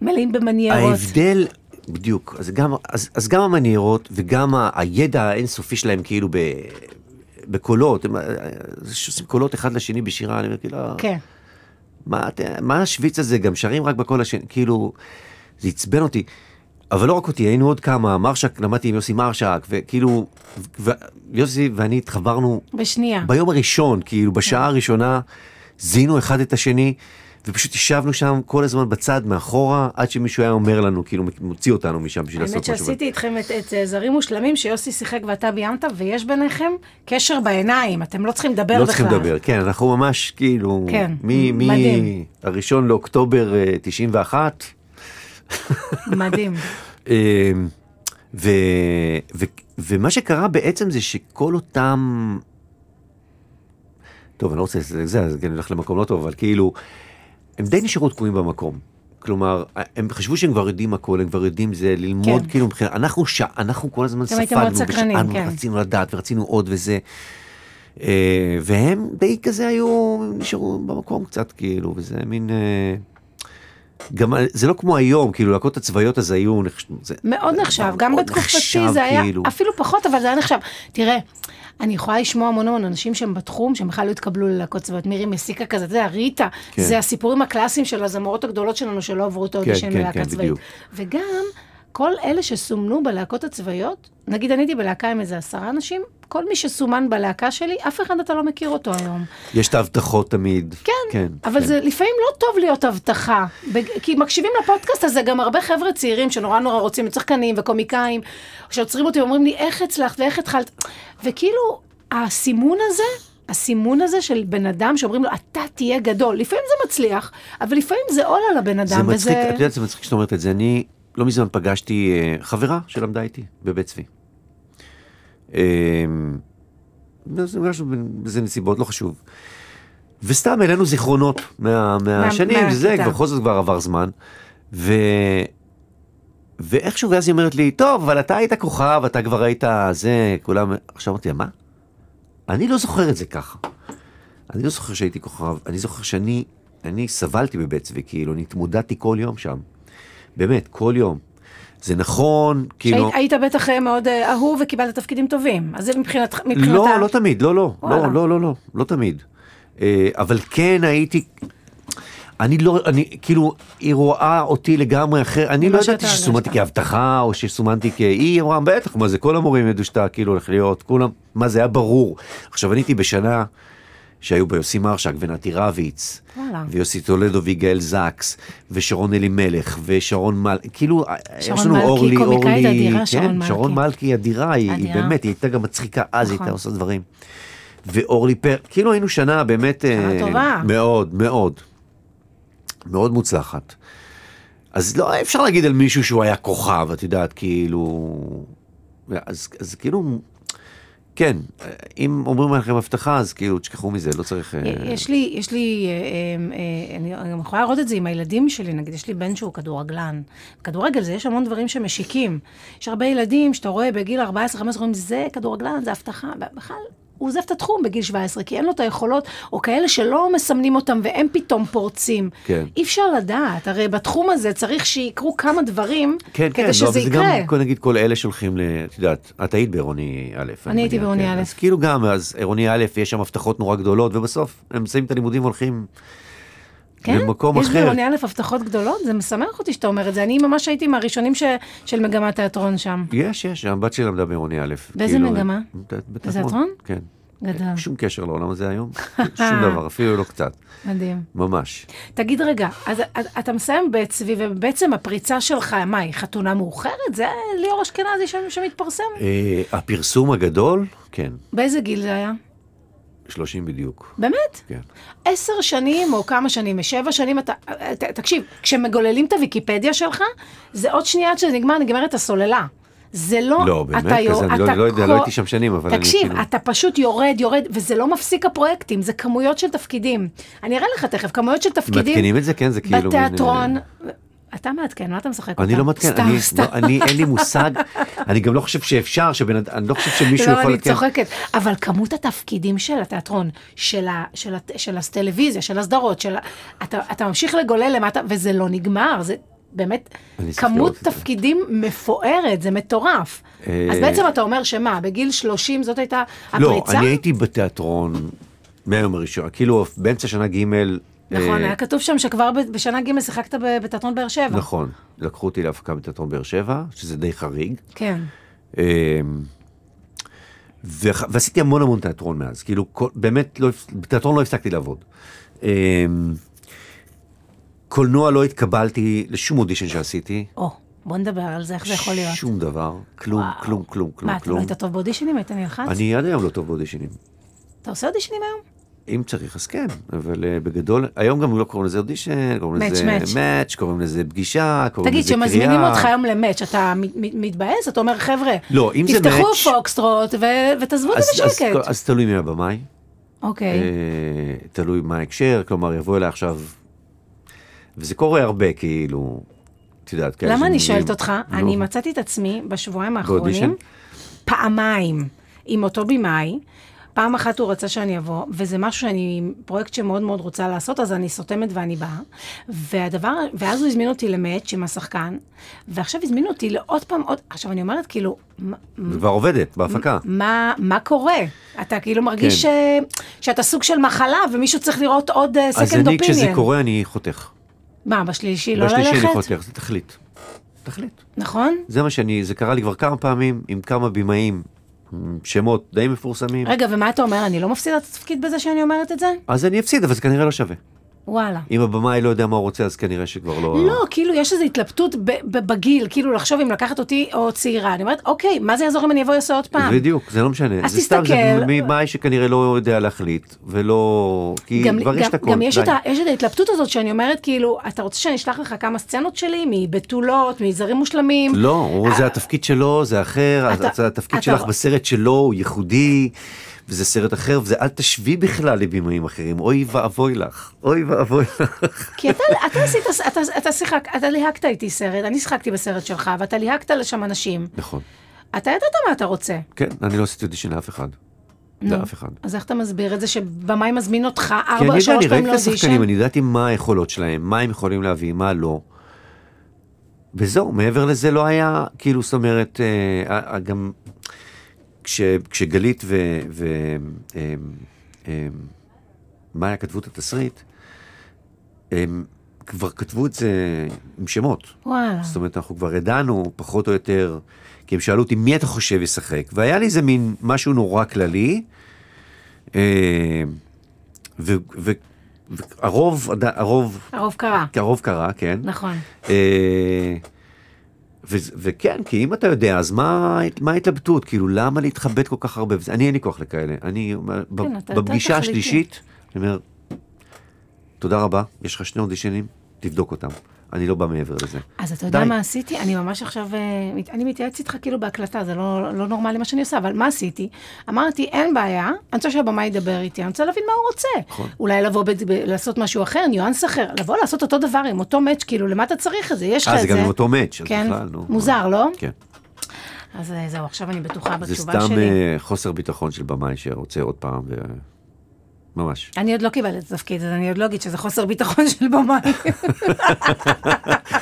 Speaker 1: מלאים במניירות.
Speaker 2: ההבדל, בדיוק, אז גם, אז, אז גם המניירות וגם ה, הידע האינסופי שלהם כאילו ב, בקולות, הם אה, זה שעושים קולות אחד לשני בשירה, אני אומר כאילו,
Speaker 1: כן.
Speaker 2: מה, את- מה השוויץ הזה, גם שרים רק בקול השני, כאילו, זה עצבן אותי. אבל לא רק אותי, היינו עוד כמה, מרשק, למדתי עם יוסי מרשק, וכאילו, ו- יוסי ואני התחברנו
Speaker 1: בשנייה.
Speaker 2: ביום הראשון, כאילו,
Speaker 1: כן.
Speaker 2: בשעה הראשונה, זיהינו אחד את השני, ופשוט ישבנו שם כל הזמן בצד, מאחורה, עד שמישהו היה אומר לנו, כאילו, מוציא אותנו משם בשביל לעשות
Speaker 1: האמת
Speaker 2: משהו.
Speaker 1: שעשיתי איתכם את, את אה, זרים מושלמים, שיוסי שיחק ואתה ביימת, ויש ביניכם קשר בעיניים, אתם לא צריכים לדבר בכלל.
Speaker 2: לא צריכים לדבר, כן, אנחנו ממש כאילו,
Speaker 1: כן,
Speaker 2: מ- מ-
Speaker 1: מדהים.
Speaker 2: הראשון לאוקטובר אה, 91,
Speaker 1: מדהים.
Speaker 2: אמ, ו, ו, ומה שקרה בעצם זה שכל אותם... טוב, אני לא רוצה לזה, זה, זה כן הולך למקום לא טוב, אבל כאילו, הם די נשארו תקועים במקום. כלומר, הם חשבו שהם כבר יודעים הכל, הם כבר יודעים זה ללמוד,
Speaker 1: כן.
Speaker 2: כן. כאילו, מבחינת, אנחנו, ש... אנחנו כל הזמן
Speaker 1: אתם
Speaker 2: ספגנו,
Speaker 1: הייתם מאוד סקרנים,
Speaker 2: ושאלנו,
Speaker 1: כן.
Speaker 2: רצינו לדעת ורצינו עוד וזה. אה, והם די כזה היו, הם נשארו במקום קצת, כאילו, וזה מין... אה, גם זה לא כמו היום, כאילו, להקות הצבאיות אז היו... נחש- זה-
Speaker 1: מאוד
Speaker 2: זה
Speaker 1: נחשב,
Speaker 2: כבר
Speaker 1: גם
Speaker 2: מאוד
Speaker 1: בתקופתי
Speaker 2: נחשב,
Speaker 1: זה היה,
Speaker 2: כאילו.
Speaker 1: אפילו פחות, אבל זה היה נחשב. תראה, אני יכולה לשמוע המון המון אנשים שהם בתחום, שהם בכלל לא התקבלו ללהקות צבאיות. מירי מסיקה כזה, אתה יודע, ריטה,
Speaker 2: כן.
Speaker 1: זה הסיפורים הקלאסיים של הזמרות הגדולות שלנו, שלא עברו את האודישן
Speaker 2: כן,
Speaker 1: ללהקה
Speaker 2: כן,
Speaker 1: צבאית.
Speaker 2: בדיוק.
Speaker 1: וגם, כל אלה שסומנו בלהקות הצבאיות, נגיד אני הייתי בלהקה עם איזה עשרה אנשים, כל מי שסומן בלהקה שלי, אף אחד אתה לא מכיר אותו היום.
Speaker 2: יש את ההבטחות תמיד.
Speaker 1: כן, כן אבל כן. זה לפעמים לא טוב להיות הבטחה. בג... כי מקשיבים לפודקאסט הזה גם הרבה חבר'ה צעירים שנורא נורא רוצים, צחקנים וקומיקאים, שעוצרים אותי ואומרים לי, איך הצלחת ואיך התחלת? וכאילו, הסימון הזה, הסימון הזה של בן אדם שאומרים לו, אתה תהיה גדול, לפעמים זה מצליח, אבל לפעמים זה עול על הבן אדם.
Speaker 2: זה מצחיק,
Speaker 1: וזה...
Speaker 2: את יודעת, זה מצחיק שאת אומרת את זה. אני לא מזמן פגשתי אה, חברה שלמדה איתי בבית צבי. אה, זה משהו באיזה נסיבות, לא חשוב. וסתם העלינו זיכרונות מה, מהשנים,
Speaker 1: מהכיתה.
Speaker 2: זה כבר, בכל זאת כבר עבר זמן. ו... ואיכשהו, ואז היא אומרת לי, טוב, אבל אתה היית כוכב, אתה כבר היית זה, כולם... עכשיו אמרתי לה, מה? אני לא זוכר את זה ככה. אני לא זוכר שהייתי כוכב, אני זוכר שאני אני סבלתי בבית צבי, כאילו, אני התמודדתי כל יום שם. באמת, כל יום. זה נכון, כאילו...
Speaker 1: שהיית, היית בטח אה, מאוד אה, אהוב וקיבלת תפקידים טובים, אז זה מבחינת, מבחינת
Speaker 2: לא,
Speaker 1: ה-
Speaker 2: לא תמיד, לא, לא,
Speaker 1: וואלה.
Speaker 2: לא, לא, לא, לא, לא תמיד. אה, אבל כן הייתי, אני לא, אני, כאילו, היא רואה אותי לגמרי אחר, אני
Speaker 1: ממה
Speaker 2: לא
Speaker 1: שאתה
Speaker 2: ידעתי שסומנתי
Speaker 1: הרגשת.
Speaker 2: כאבטחה, או שסומנתי כ... היא אמרה, בטח, מה זה, כל המורים ידעו שאתה כאילו הולך להיות, כולם, מה זה היה ברור. עכשיו, אני הייתי בשנה שהיו בה יוסי מרשק ונתי רביץ,
Speaker 1: וואלה.
Speaker 2: ויוסי טולדו ויגאל זקס, ושרון אלימלך, ושרון מל... כאילו, יש
Speaker 1: שרון
Speaker 2: לנו
Speaker 1: מלכי,
Speaker 2: אורלי,
Speaker 1: קומיקאית
Speaker 2: אורלי,
Speaker 1: אדירה, שרון
Speaker 2: כן,
Speaker 1: מלכי.
Speaker 2: שרון מלכי אדירה, היא היא
Speaker 1: אדירה.
Speaker 2: באמת, היא הייתה גם מצחיקה אז, היא
Speaker 1: נכון.
Speaker 2: הייתה עושה דברים. ואורלי פר, כאילו היינו שנה באמת...
Speaker 1: שנה
Speaker 2: אה,
Speaker 1: טובה.
Speaker 2: מאוד, מאוד. מאוד מוצלחת. אז לא אפשר להגיד על מישהו שהוא היה כוכב, את יודעת, כאילו... אז, אז כאילו... כן, אם אומרים לכם הבטחה, אז כאילו, תשכחו מזה, לא צריך... אה,
Speaker 1: יש לי, יש לי, אה, אה, אה, אני אני גם יכולה לראות את זה עם הילדים שלי, נגיד, יש לי בן שהוא כדורגלן. בכדורגל זה יש המון דברים שמשיקים. יש הרבה ילדים שאתה רואה בגיל 14-15, אומרים, זה כדורגלן, זה הבטחה, בכלל... הוא עוזב את התחום בגיל 17, כי אין לו את היכולות, או כאלה שלא מסמנים אותם והם פתאום פורצים.
Speaker 2: כן.
Speaker 1: אי אפשר לדעת, הרי בתחום הזה צריך שיקרו כמה דברים,
Speaker 2: כן,
Speaker 1: כדי
Speaker 2: כן,
Speaker 1: שזה
Speaker 2: לא, אבל זה
Speaker 1: יקרה.
Speaker 2: גם, כל- נגיד, כל אלה שהולכים ל... את יודעת, את היית בעירוני א'.
Speaker 1: הייתי
Speaker 2: אני מניח,
Speaker 1: בעירוני
Speaker 2: כן.
Speaker 1: א'.
Speaker 2: אז כאילו גם, אז עירוני א', יש שם הבטחות נורא גדולות, ובסוף הם מסיימים את הלימודים והולכים
Speaker 1: כן?
Speaker 2: למקום
Speaker 1: יש
Speaker 2: אחר.
Speaker 1: בעירוני א' הבטחות גדולות? זה משמח אותי שאתה אומר את זה. אני ממש הייתי מהראשונים ש... של מגמת תיאטרון שם.
Speaker 2: יש, יש, הבת שלי למדה בעירוני א'.
Speaker 1: באיזה
Speaker 2: כאילו,
Speaker 1: מגמה?
Speaker 2: בת- בתיאטרון.
Speaker 1: בתיאטרון?
Speaker 2: כן.
Speaker 1: גדול,
Speaker 2: אין שום קשר לעולם הזה היום, שום דבר, אפילו לא קצת,
Speaker 1: מדהים.
Speaker 2: ממש.
Speaker 1: תגיד רגע, אז אז אתה מסיים בית צבי, ובעצם הפריצה שלך, מה, היא חתונה מאוחרת? זה ליאור אשכנזי שם- שמתפרסם?
Speaker 2: אה, הפרסום הגדול, כן,
Speaker 1: באיזה גיל זה היה?
Speaker 2: 30 בדיוק,
Speaker 1: באמת?
Speaker 2: כן.
Speaker 1: עשר שנים או כמה שנים, שבע שנים, אתה, ת, תקשיב, כשמגוללים את הוויקיפדיה שלך, זה עוד שנייה עד שזה נגמר, נגמרת הסוללה. זה לא,
Speaker 2: לא, באמת
Speaker 1: אתה, יור-
Speaker 2: כזה, אני לא-
Speaker 1: אתה
Speaker 2: לא יודע,
Speaker 1: כל-
Speaker 2: לא הייתי שם שנים, אבל אני
Speaker 1: תקשיב,
Speaker 2: כאילו-
Speaker 1: אתה פשוט יורד, יורד, וזה לא מפסיק הפרויקטים, זה כמויות של תפקידים. אני אראה לך תכף, כמויות של תפקידים.
Speaker 2: מעדכנים את זה? כן, זה כאילו מין,
Speaker 1: בתיאטרון, אתה מעדכן, מה אתה משחק אותה?
Speaker 2: אני לא מתקן,
Speaker 1: סתם,
Speaker 2: אני,
Speaker 1: סתם.
Speaker 2: לא, אני אין לי מושג, אני גם לא חושב שאפשר, שבן אדם, אני לא חושב שמישהו
Speaker 1: לא,
Speaker 2: יכול
Speaker 1: אני
Speaker 2: לתקן.
Speaker 1: צוחקת. אבל כמות התפקידים של התיאטרון, של, ה, של, הת, של הטלוויזיה, של הסדרות, של, ה- אתה, אתה ממשיך לגולל למטה, וזה לא נגמר, זה באמת
Speaker 2: אני צריך
Speaker 1: כמות
Speaker 2: לראות את זה.
Speaker 1: תפקידים מפוארת, זה מטורף.
Speaker 2: אה,
Speaker 1: אז בעצם אתה אומר שמה, בגיל 30 זאת הייתה
Speaker 2: לא,
Speaker 1: הפריצה?
Speaker 2: אני הייתי בתיאטרון מהיום הראשון, כאילו באמצע שנה ג',
Speaker 1: נכון,
Speaker 2: אה,
Speaker 1: היה כתוב שם שכבר ב- בשנה ג' שיחקת ב- בתיאטרון באר שבע.
Speaker 2: נכון, לקחו אותי להפקה בתיאטרון באר שבע, שזה די חריג.
Speaker 1: כן.
Speaker 2: אמ, וח- ועשיתי המון המון תיאטרון מאז, כאילו כל- באמת, לא הפס- בתיאטרון לא הפסקתי לעבוד. אמ, קולנוע לא התקבלתי לשום אודישן שעשיתי,
Speaker 1: או, בוא נדבר על זה, איך זה יכול להיות.
Speaker 2: שום דבר, כלום,
Speaker 1: וואו.
Speaker 2: כלום, כלום, כלום,
Speaker 1: מה, אתה לא
Speaker 2: כלום.
Speaker 1: היית טוב באודישנים? היית נלחץ?
Speaker 2: אני עד היום לא טוב באודישנים.
Speaker 1: אתה עושה אודישנים היום?
Speaker 2: אם צריך אז כן, אבל אה, בגדול, היום גם לא קוראים לזה אודישן, קוראים
Speaker 1: Match,
Speaker 2: לזה
Speaker 1: match.
Speaker 2: מאץ', קוראים לזה פגישה, קוראים
Speaker 1: תגיד,
Speaker 2: לזה קריאה.
Speaker 1: כשמזמינים אותך היום למאץ', אתה מ- מ- מתבאס? אתה אומר, חבר'ה,
Speaker 2: לא, אם זה
Speaker 1: תפתחו
Speaker 2: מאץ'-
Speaker 1: פוקסטרוט ו- ותעזבו את
Speaker 2: אז-
Speaker 1: זה
Speaker 2: אז-
Speaker 1: בשקט.
Speaker 2: אז תלוי מי הבמאי.
Speaker 1: אוקיי.
Speaker 2: אה, תלוי מה ההקשר, כלומר יבוא אליי עכשיו וזה קורה הרבה, כאילו, את יודעת, כאלה
Speaker 1: למה אני
Speaker 2: שאומרים,
Speaker 1: שואלת אותך?
Speaker 2: נו,
Speaker 1: אני מצאתי את עצמי בשבועיים
Speaker 2: באודישן?
Speaker 1: האחרונים פעמיים עם אותו במאי. פעם אחת הוא רצה שאני אבוא, וזה משהו שאני, פרויקט שמאוד מאוד רוצה לעשות, אז אני סותמת ואני באה. והדבר, ואז הוא הזמין אותי למאץ' עם השחקן, ועכשיו הזמינו אותי לעוד פעם, עוד, עכשיו אני אומרת, כאילו, מה-
Speaker 2: כבר עובדת, בהפקה.
Speaker 1: מה, מה קורה? אתה כאילו מרגיש
Speaker 2: כן.
Speaker 1: ש... שאתה סוג של מחלה, ומישהו צריך לראות עוד אה,
Speaker 2: אז
Speaker 1: second
Speaker 2: אני, כשזה
Speaker 1: opinion.
Speaker 2: קורה, אני חותך.
Speaker 1: מה, בשלישי לא
Speaker 2: בשלישי אני
Speaker 1: ללכת?
Speaker 2: חותך, זה תכלית. תכלית.
Speaker 1: נכון?
Speaker 2: זה מה שאני, זה קרה לי כבר כמה פעמים עם כמה בימאים, עם שמות די מפורסמים.
Speaker 1: רגע, ומה אתה אומר? אני לא מפסידה את התפקיד בזה שאני אומרת את זה?
Speaker 2: אז אני אפסיד, אבל זה כנראה לא שווה.
Speaker 1: וואלה.
Speaker 2: אם הבמאי לא יודע מה הוא רוצה, אז כנראה שכבר לא...
Speaker 1: לא, כאילו, יש איזו התלבטות ב- ב- בגיל, כאילו, לחשוב אם לקחת אותי או צעירה. אני אומרת, אוקיי, מה זה יעזור אם אני אבוא ועושה עוד פעם?
Speaker 2: בדיוק, זה לא משנה.
Speaker 1: אז
Speaker 2: זה סתם, זה
Speaker 1: תסתכל.
Speaker 2: במאי שכנראה לא יודע להחליט, ולא... כי
Speaker 1: גם,
Speaker 2: כבר יש
Speaker 1: גם,
Speaker 2: את הכל.
Speaker 1: גם יש
Speaker 2: די.
Speaker 1: את, ה, יש את ההתלבטות הזאת שאני אומרת, כאילו, אתה רוצה שאני אשלח לך כמה סצנות שלי מבתולות, מזרים מושלמים?
Speaker 2: לא, הוא- זה התפקיד שלו, זה אחר,
Speaker 1: אתה-
Speaker 2: אז התפקיד
Speaker 1: אתה-
Speaker 2: שלך בסרט שלו הוא ייחודי, וזה סרט אחר, וזה אל תשווי בכלל לבימויים אחרים, אוי ואבוי לך, אוי ואבוי לך.
Speaker 1: כי אתה, אתה עשית, אתה, אתה שיחק, אתה ליהקת איתי סרט, אני שיחקתי בסרט שלך, ואתה ליהקת לשם אנשים.
Speaker 2: נכון,
Speaker 1: אתה ידעת מה אתה רוצה.
Speaker 2: כן, אני לא עשיתי אודישן לאף אחד. לאף אחד.
Speaker 1: אז איך אתה מסביר את זה שבמאי מזמין אותך
Speaker 2: כי אני
Speaker 1: ארבע,
Speaker 2: יודע,
Speaker 1: שלוש
Speaker 2: כן, אני
Speaker 1: פעמים
Speaker 2: ראיתי את
Speaker 1: לאודישן?
Speaker 2: השחקנים, אני ידעתי מה היכולות שלהם, מה הם יכולים להביא, מה לא. וזהו, מעבר לזה לא היה, כאילו, זאת אומרת, אה, אה, גם כש, כשגלית ו... ו אה, אה, מאיה כתבו את התסריט, הם כבר כתבו את זה עם שמות.
Speaker 1: וואלה.
Speaker 2: זאת אומרת, אנחנו כבר ידענו, פחות או יותר, כי הם שאלו אותי, מי אתה חושב ישחק? והיה לי איזה מין משהו נורא כללי, אה, ו- ו- והרוב, עד- הרוב,
Speaker 1: הרוב קרה,
Speaker 2: הרוב קרה, כן.
Speaker 1: נכון.
Speaker 2: אה, ו- וכן, כי אם אתה יודע, אז מה מה ההתלבטות? כאילו, למה להתחבט כל כך הרבה? וזה- אני אין לי כוח לכאלה. אני, ב-
Speaker 1: כן, אתה- אתה
Speaker 2: בפגישה
Speaker 1: תחליטי.
Speaker 2: השלישית, אני אומר, תודה רבה, יש לך שני אודישנים, תבדוק אותם. אני לא בא מעבר לזה.
Speaker 1: אז אתה יודע
Speaker 2: די.
Speaker 1: מה עשיתי? אני ממש עכשיו, אה, מת- אני מתייעץ איתך כאילו בהקלטה, זה לא, לא נורמלי מה שאני עושה, אבל מה עשיתי? אמרתי, אין בעיה, אני רוצה שהבמאי ידבר איתי, אני רוצה להבין מה הוא רוצה.
Speaker 2: נכון.
Speaker 1: אולי לבוא ב- ב- לעשות משהו אחר, ניואנס אחר, לבוא לעשות אותו דבר עם אותו מאץ', כאילו, למה אתה צריך את זה? יש לך
Speaker 2: אה,
Speaker 1: את
Speaker 2: זה
Speaker 1: זה.
Speaker 2: גם עם אותו מאץ', אז
Speaker 1: כן,
Speaker 2: בכלל, נו.
Speaker 1: מוזר, לא?
Speaker 2: כן.
Speaker 1: אז אה, זהו, עכשיו אני בטוחה
Speaker 2: זה
Speaker 1: בתשובה
Speaker 2: סתם
Speaker 1: שלי.
Speaker 2: אה, חוסר ביטחון של במאי שרוצה עוד פעם, ו- ממש.
Speaker 1: אני עוד לא קיבלתי את התפקיד, אז אני עוד לא אגיד שזה חוסר ביטחון של במאי.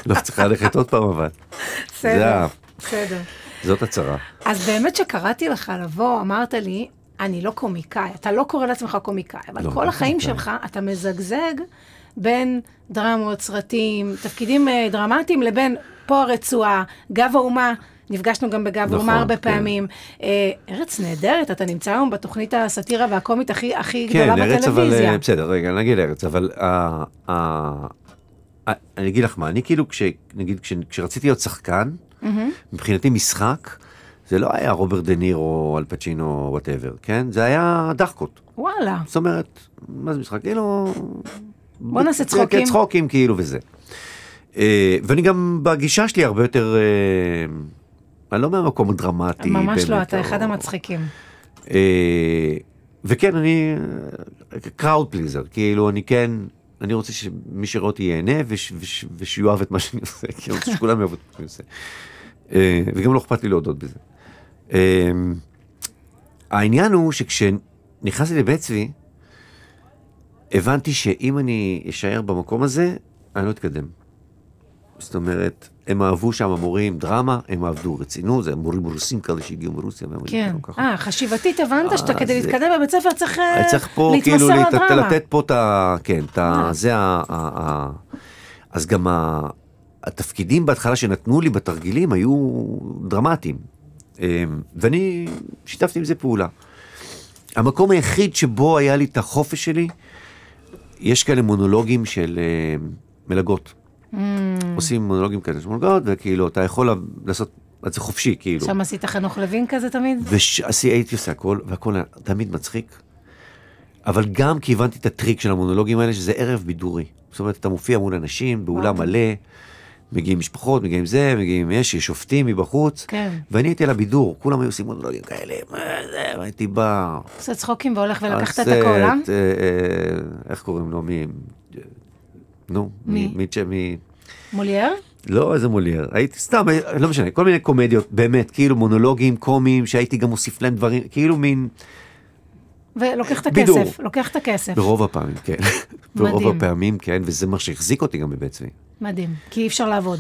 Speaker 2: לא צריכה ללכת עוד פעם, אבל. זה
Speaker 1: בסדר,
Speaker 2: ה-
Speaker 1: בסדר.
Speaker 2: זאת הצהרה.
Speaker 1: אז באמת שקראתי לך לבוא, אמרת לי, אני לא קומיקאי, אתה לא קורא לעצמך קומיקאי, אבל
Speaker 2: לא,
Speaker 1: כל
Speaker 2: לא
Speaker 1: החיים
Speaker 2: קומיקאי.
Speaker 1: שלך אתה מזגזג בין דרמות, סרטים, תפקידים אה, דרמטיים, לבין פה הרצועה, גב האומה. נפגשנו גם בגב
Speaker 2: נכון,
Speaker 1: האומה הרבה
Speaker 2: כן.
Speaker 1: פעמים. אה, ארץ נהדרת, אתה נמצא היום בתוכנית הסאטירה והקומית הכי, הכי
Speaker 2: כן,
Speaker 1: גדולה
Speaker 2: ארץ, אבל...
Speaker 1: בטלוויזיה.
Speaker 2: אה, בסדר, רגע, נגיד ארץ, אבל... ה- ה- ה- אני אגיד לך מה, אני כאילו, כש- נגיד, כש- כשרציתי להיות שחקן, מבחינתי משחק, זה לא היה רוברט דה נירו, אל פצ'ינו, וואטאבר, כן? זה היה דחקות.
Speaker 1: וואלה,
Speaker 2: זאת אומרת, מה זה משחק? כאילו... בוא
Speaker 1: נעשה צחוקים.
Speaker 2: צחוקים כאילו וזה. אה, ואני גם בגישה שלי הרבה יותר, אה, אני לא מהמקום הדרמטי.
Speaker 1: ממש לא,
Speaker 2: באמת,
Speaker 1: אתה
Speaker 2: או-
Speaker 1: אחד המצחיקים.
Speaker 2: אה, וכן, אני קראוד פליזר, כאילו אני כן, אני רוצה שמי שרואה אותי ייהנה וש- וש- ושיאהב את מה שאני עושה, כי אני רוצה שכולם יאהבו את מה שאני עושה. אה, וגם לא אכפת לי להודות בזה. אה, העניין הוא שכשנכנסתי לבית צבי, הבנתי שאם אני אשאר במקום הזה, אני לא אתקדם. זאת אומרת, הם אהבו שם המורים דרמה, הם אהבו רצינות, זה היה מורים רוסים כאלה שהגיעו מרוסיה. והם
Speaker 1: כן.
Speaker 2: היו לא ככה.
Speaker 1: אה, חשיבתית הבנת שאתה
Speaker 2: אה,
Speaker 1: כדי
Speaker 2: זה-
Speaker 1: להתקדם בבית ספר צריך אה,
Speaker 2: אני צריך פה כאילו
Speaker 1: להתמסר
Speaker 2: לת-
Speaker 1: לדרמה.
Speaker 2: לתת פה את ה... כן, את ה... זה ה... ה- ה- אז גם ה- התפקידים בהתחלה שנתנו לי בתרגילים היו דרמטיים. אמ, ואני שיתפתי עם זה פעולה. המקום היחיד שבו היה לי את החופש שלי, יש כאלה מונולוגים של אמ, מלגות.
Speaker 1: Mm.
Speaker 2: עושים מונולוגים כאלה של מלגות, וכאילו, אתה יכול לעשות את זה חופשי, כאילו.
Speaker 1: שם עשית חנוך לוין כזה תמיד?
Speaker 2: והייתי עושה הכל, והכל היה תמיד מצחיק. אבל גם כי הבנתי את הטריק של המונולוגים האלה, שזה ערב בידורי. זאת אומרת, אתה מופיע מול אנשים באולם
Speaker 1: וואו.
Speaker 2: מלא, מגיעים משפחות, מגיעים זה, מגיעים יש, יש שופטים מבחוץ.
Speaker 1: כן.
Speaker 2: ואני הייתי על הבידור, כולם היו עושים מונולוגים כאלה, מה זה, והייתי בא... אה,
Speaker 1: עושה צחוקים והולך ולקחת את
Speaker 2: הסט,
Speaker 1: הכל, אה?
Speaker 2: אה, אה, איך קוראים לו? מי? נו,
Speaker 1: מי?
Speaker 2: מ- מיטשה, מ...
Speaker 1: מולייר?
Speaker 2: לא איזה מולייר, הייתי סתם, אה, לא משנה, כל מיני קומדיות, באמת, כאילו מונולוגים קומיים, שהייתי גם מוסיף להם דברים, כאילו מין,
Speaker 1: ולוקח את
Speaker 2: בידור.
Speaker 1: הכסף, לוקח את הכסף.
Speaker 2: ברוב הפעמים, כן. ברוב
Speaker 1: מדהים.
Speaker 2: הפעמים, כן, וזה מה שהחזיק אותי גם בבית צבי,
Speaker 1: מדהים, כי אי אפשר לעבוד.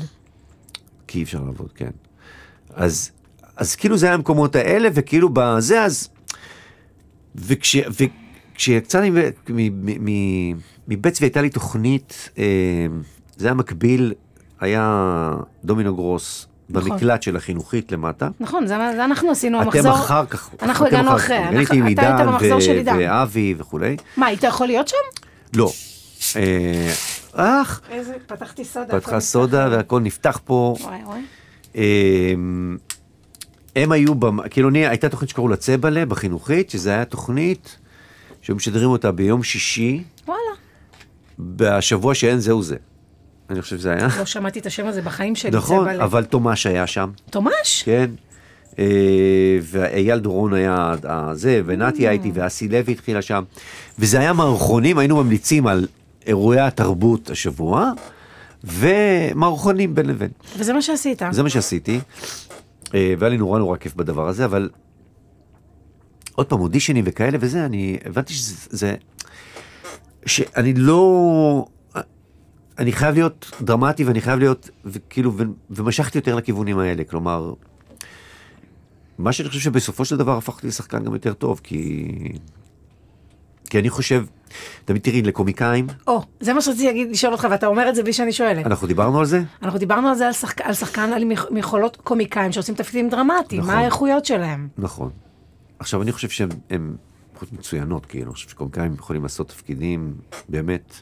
Speaker 2: כי אי אפשר לעבוד, כן. אז, אז כאילו זה היה המקומות האלה, וכאילו בזה, אז... וכש... וכשיצאתי מ- מ- מ- מ- מבית צבי הייתה לי תוכנית, אה, זה היה מקביל, היה דומינו גרוס
Speaker 1: נכון.
Speaker 2: במקלט של החינוכית למטה.
Speaker 1: נכון, זה מה- זה אנחנו עשינו
Speaker 2: אתם
Speaker 1: המחזור.
Speaker 2: אחר כך,
Speaker 1: אנחנו
Speaker 2: אתם
Speaker 1: הגענו
Speaker 2: אחר
Speaker 1: אחרי.
Speaker 2: כך.
Speaker 1: אנחנו-
Speaker 2: אני הייתי עם
Speaker 1: אתה היית
Speaker 2: עידן
Speaker 1: במחזור של
Speaker 2: ו-
Speaker 1: עידן.
Speaker 2: ואבי וכולי.
Speaker 1: מה, היית יכול להיות שם?
Speaker 2: לא. אה, אך,
Speaker 1: איזה, פתחתי סודה.
Speaker 2: פתחה סודה והכל נפתח פה.
Speaker 1: וואי וואי.
Speaker 2: אה, הם היו, במ- כאילו אני, הייתה תוכנית שקראו לה צבלה בחינוכית, שזו הייתה תוכנית שהיו משדרים אותה ביום שישי,
Speaker 1: וואלה.
Speaker 2: בשבוע שאין זהו זה. אני חושב שזה היה.
Speaker 1: לא שמעתי את השם הזה בחיים שלי.
Speaker 2: נכון,
Speaker 1: צבע לב.
Speaker 2: אבל תומש היה שם.
Speaker 1: תומש?
Speaker 2: כן. אה, ואייל דורון היה ה- זה, ונתי הייתי, ואסי לוי התחילה שם. וזה היה מערכונים, היינו ממליצים על אירועי התרבות השבוע, ומערכונים בין לבין.
Speaker 1: וזה מה שעשית.
Speaker 2: זה מה שעשיתי, אה, והיה לי נורא נורא כיף בדבר הזה, אבל עוד פעם, אודישנים וכאלה וזה, אני הבנתי שזה, זה- שאני לא, אני חייב להיות דרמטי ואני חייב להיות, וכאילו, ו- ומשכתי יותר לכיוונים האלה, כלומר, מה שאני חושב שבסופו של דבר הפכתי לשחקן גם יותר טוב, כי... כי אני חושב, תמיד תראי, לקומיקאים,
Speaker 1: או, זה מה שרציתי להגיד, לשאול אותך, ואתה אומר את זה בלי שאני שואלת.
Speaker 2: אנחנו דיברנו על זה?
Speaker 1: אנחנו דיברנו על זה, על שחק- על שחקן, על מיכ- מיכולות קומיקאים שעושים תפקידים דרמטיים,
Speaker 2: נכון.
Speaker 1: מה האיכויות שלהם?
Speaker 2: נכון. עכשיו, אני חושב שהן הן פחות מצוינות, כאילו, אני חושב שקומיקאים יכולים לעשות תפקידים, באמת.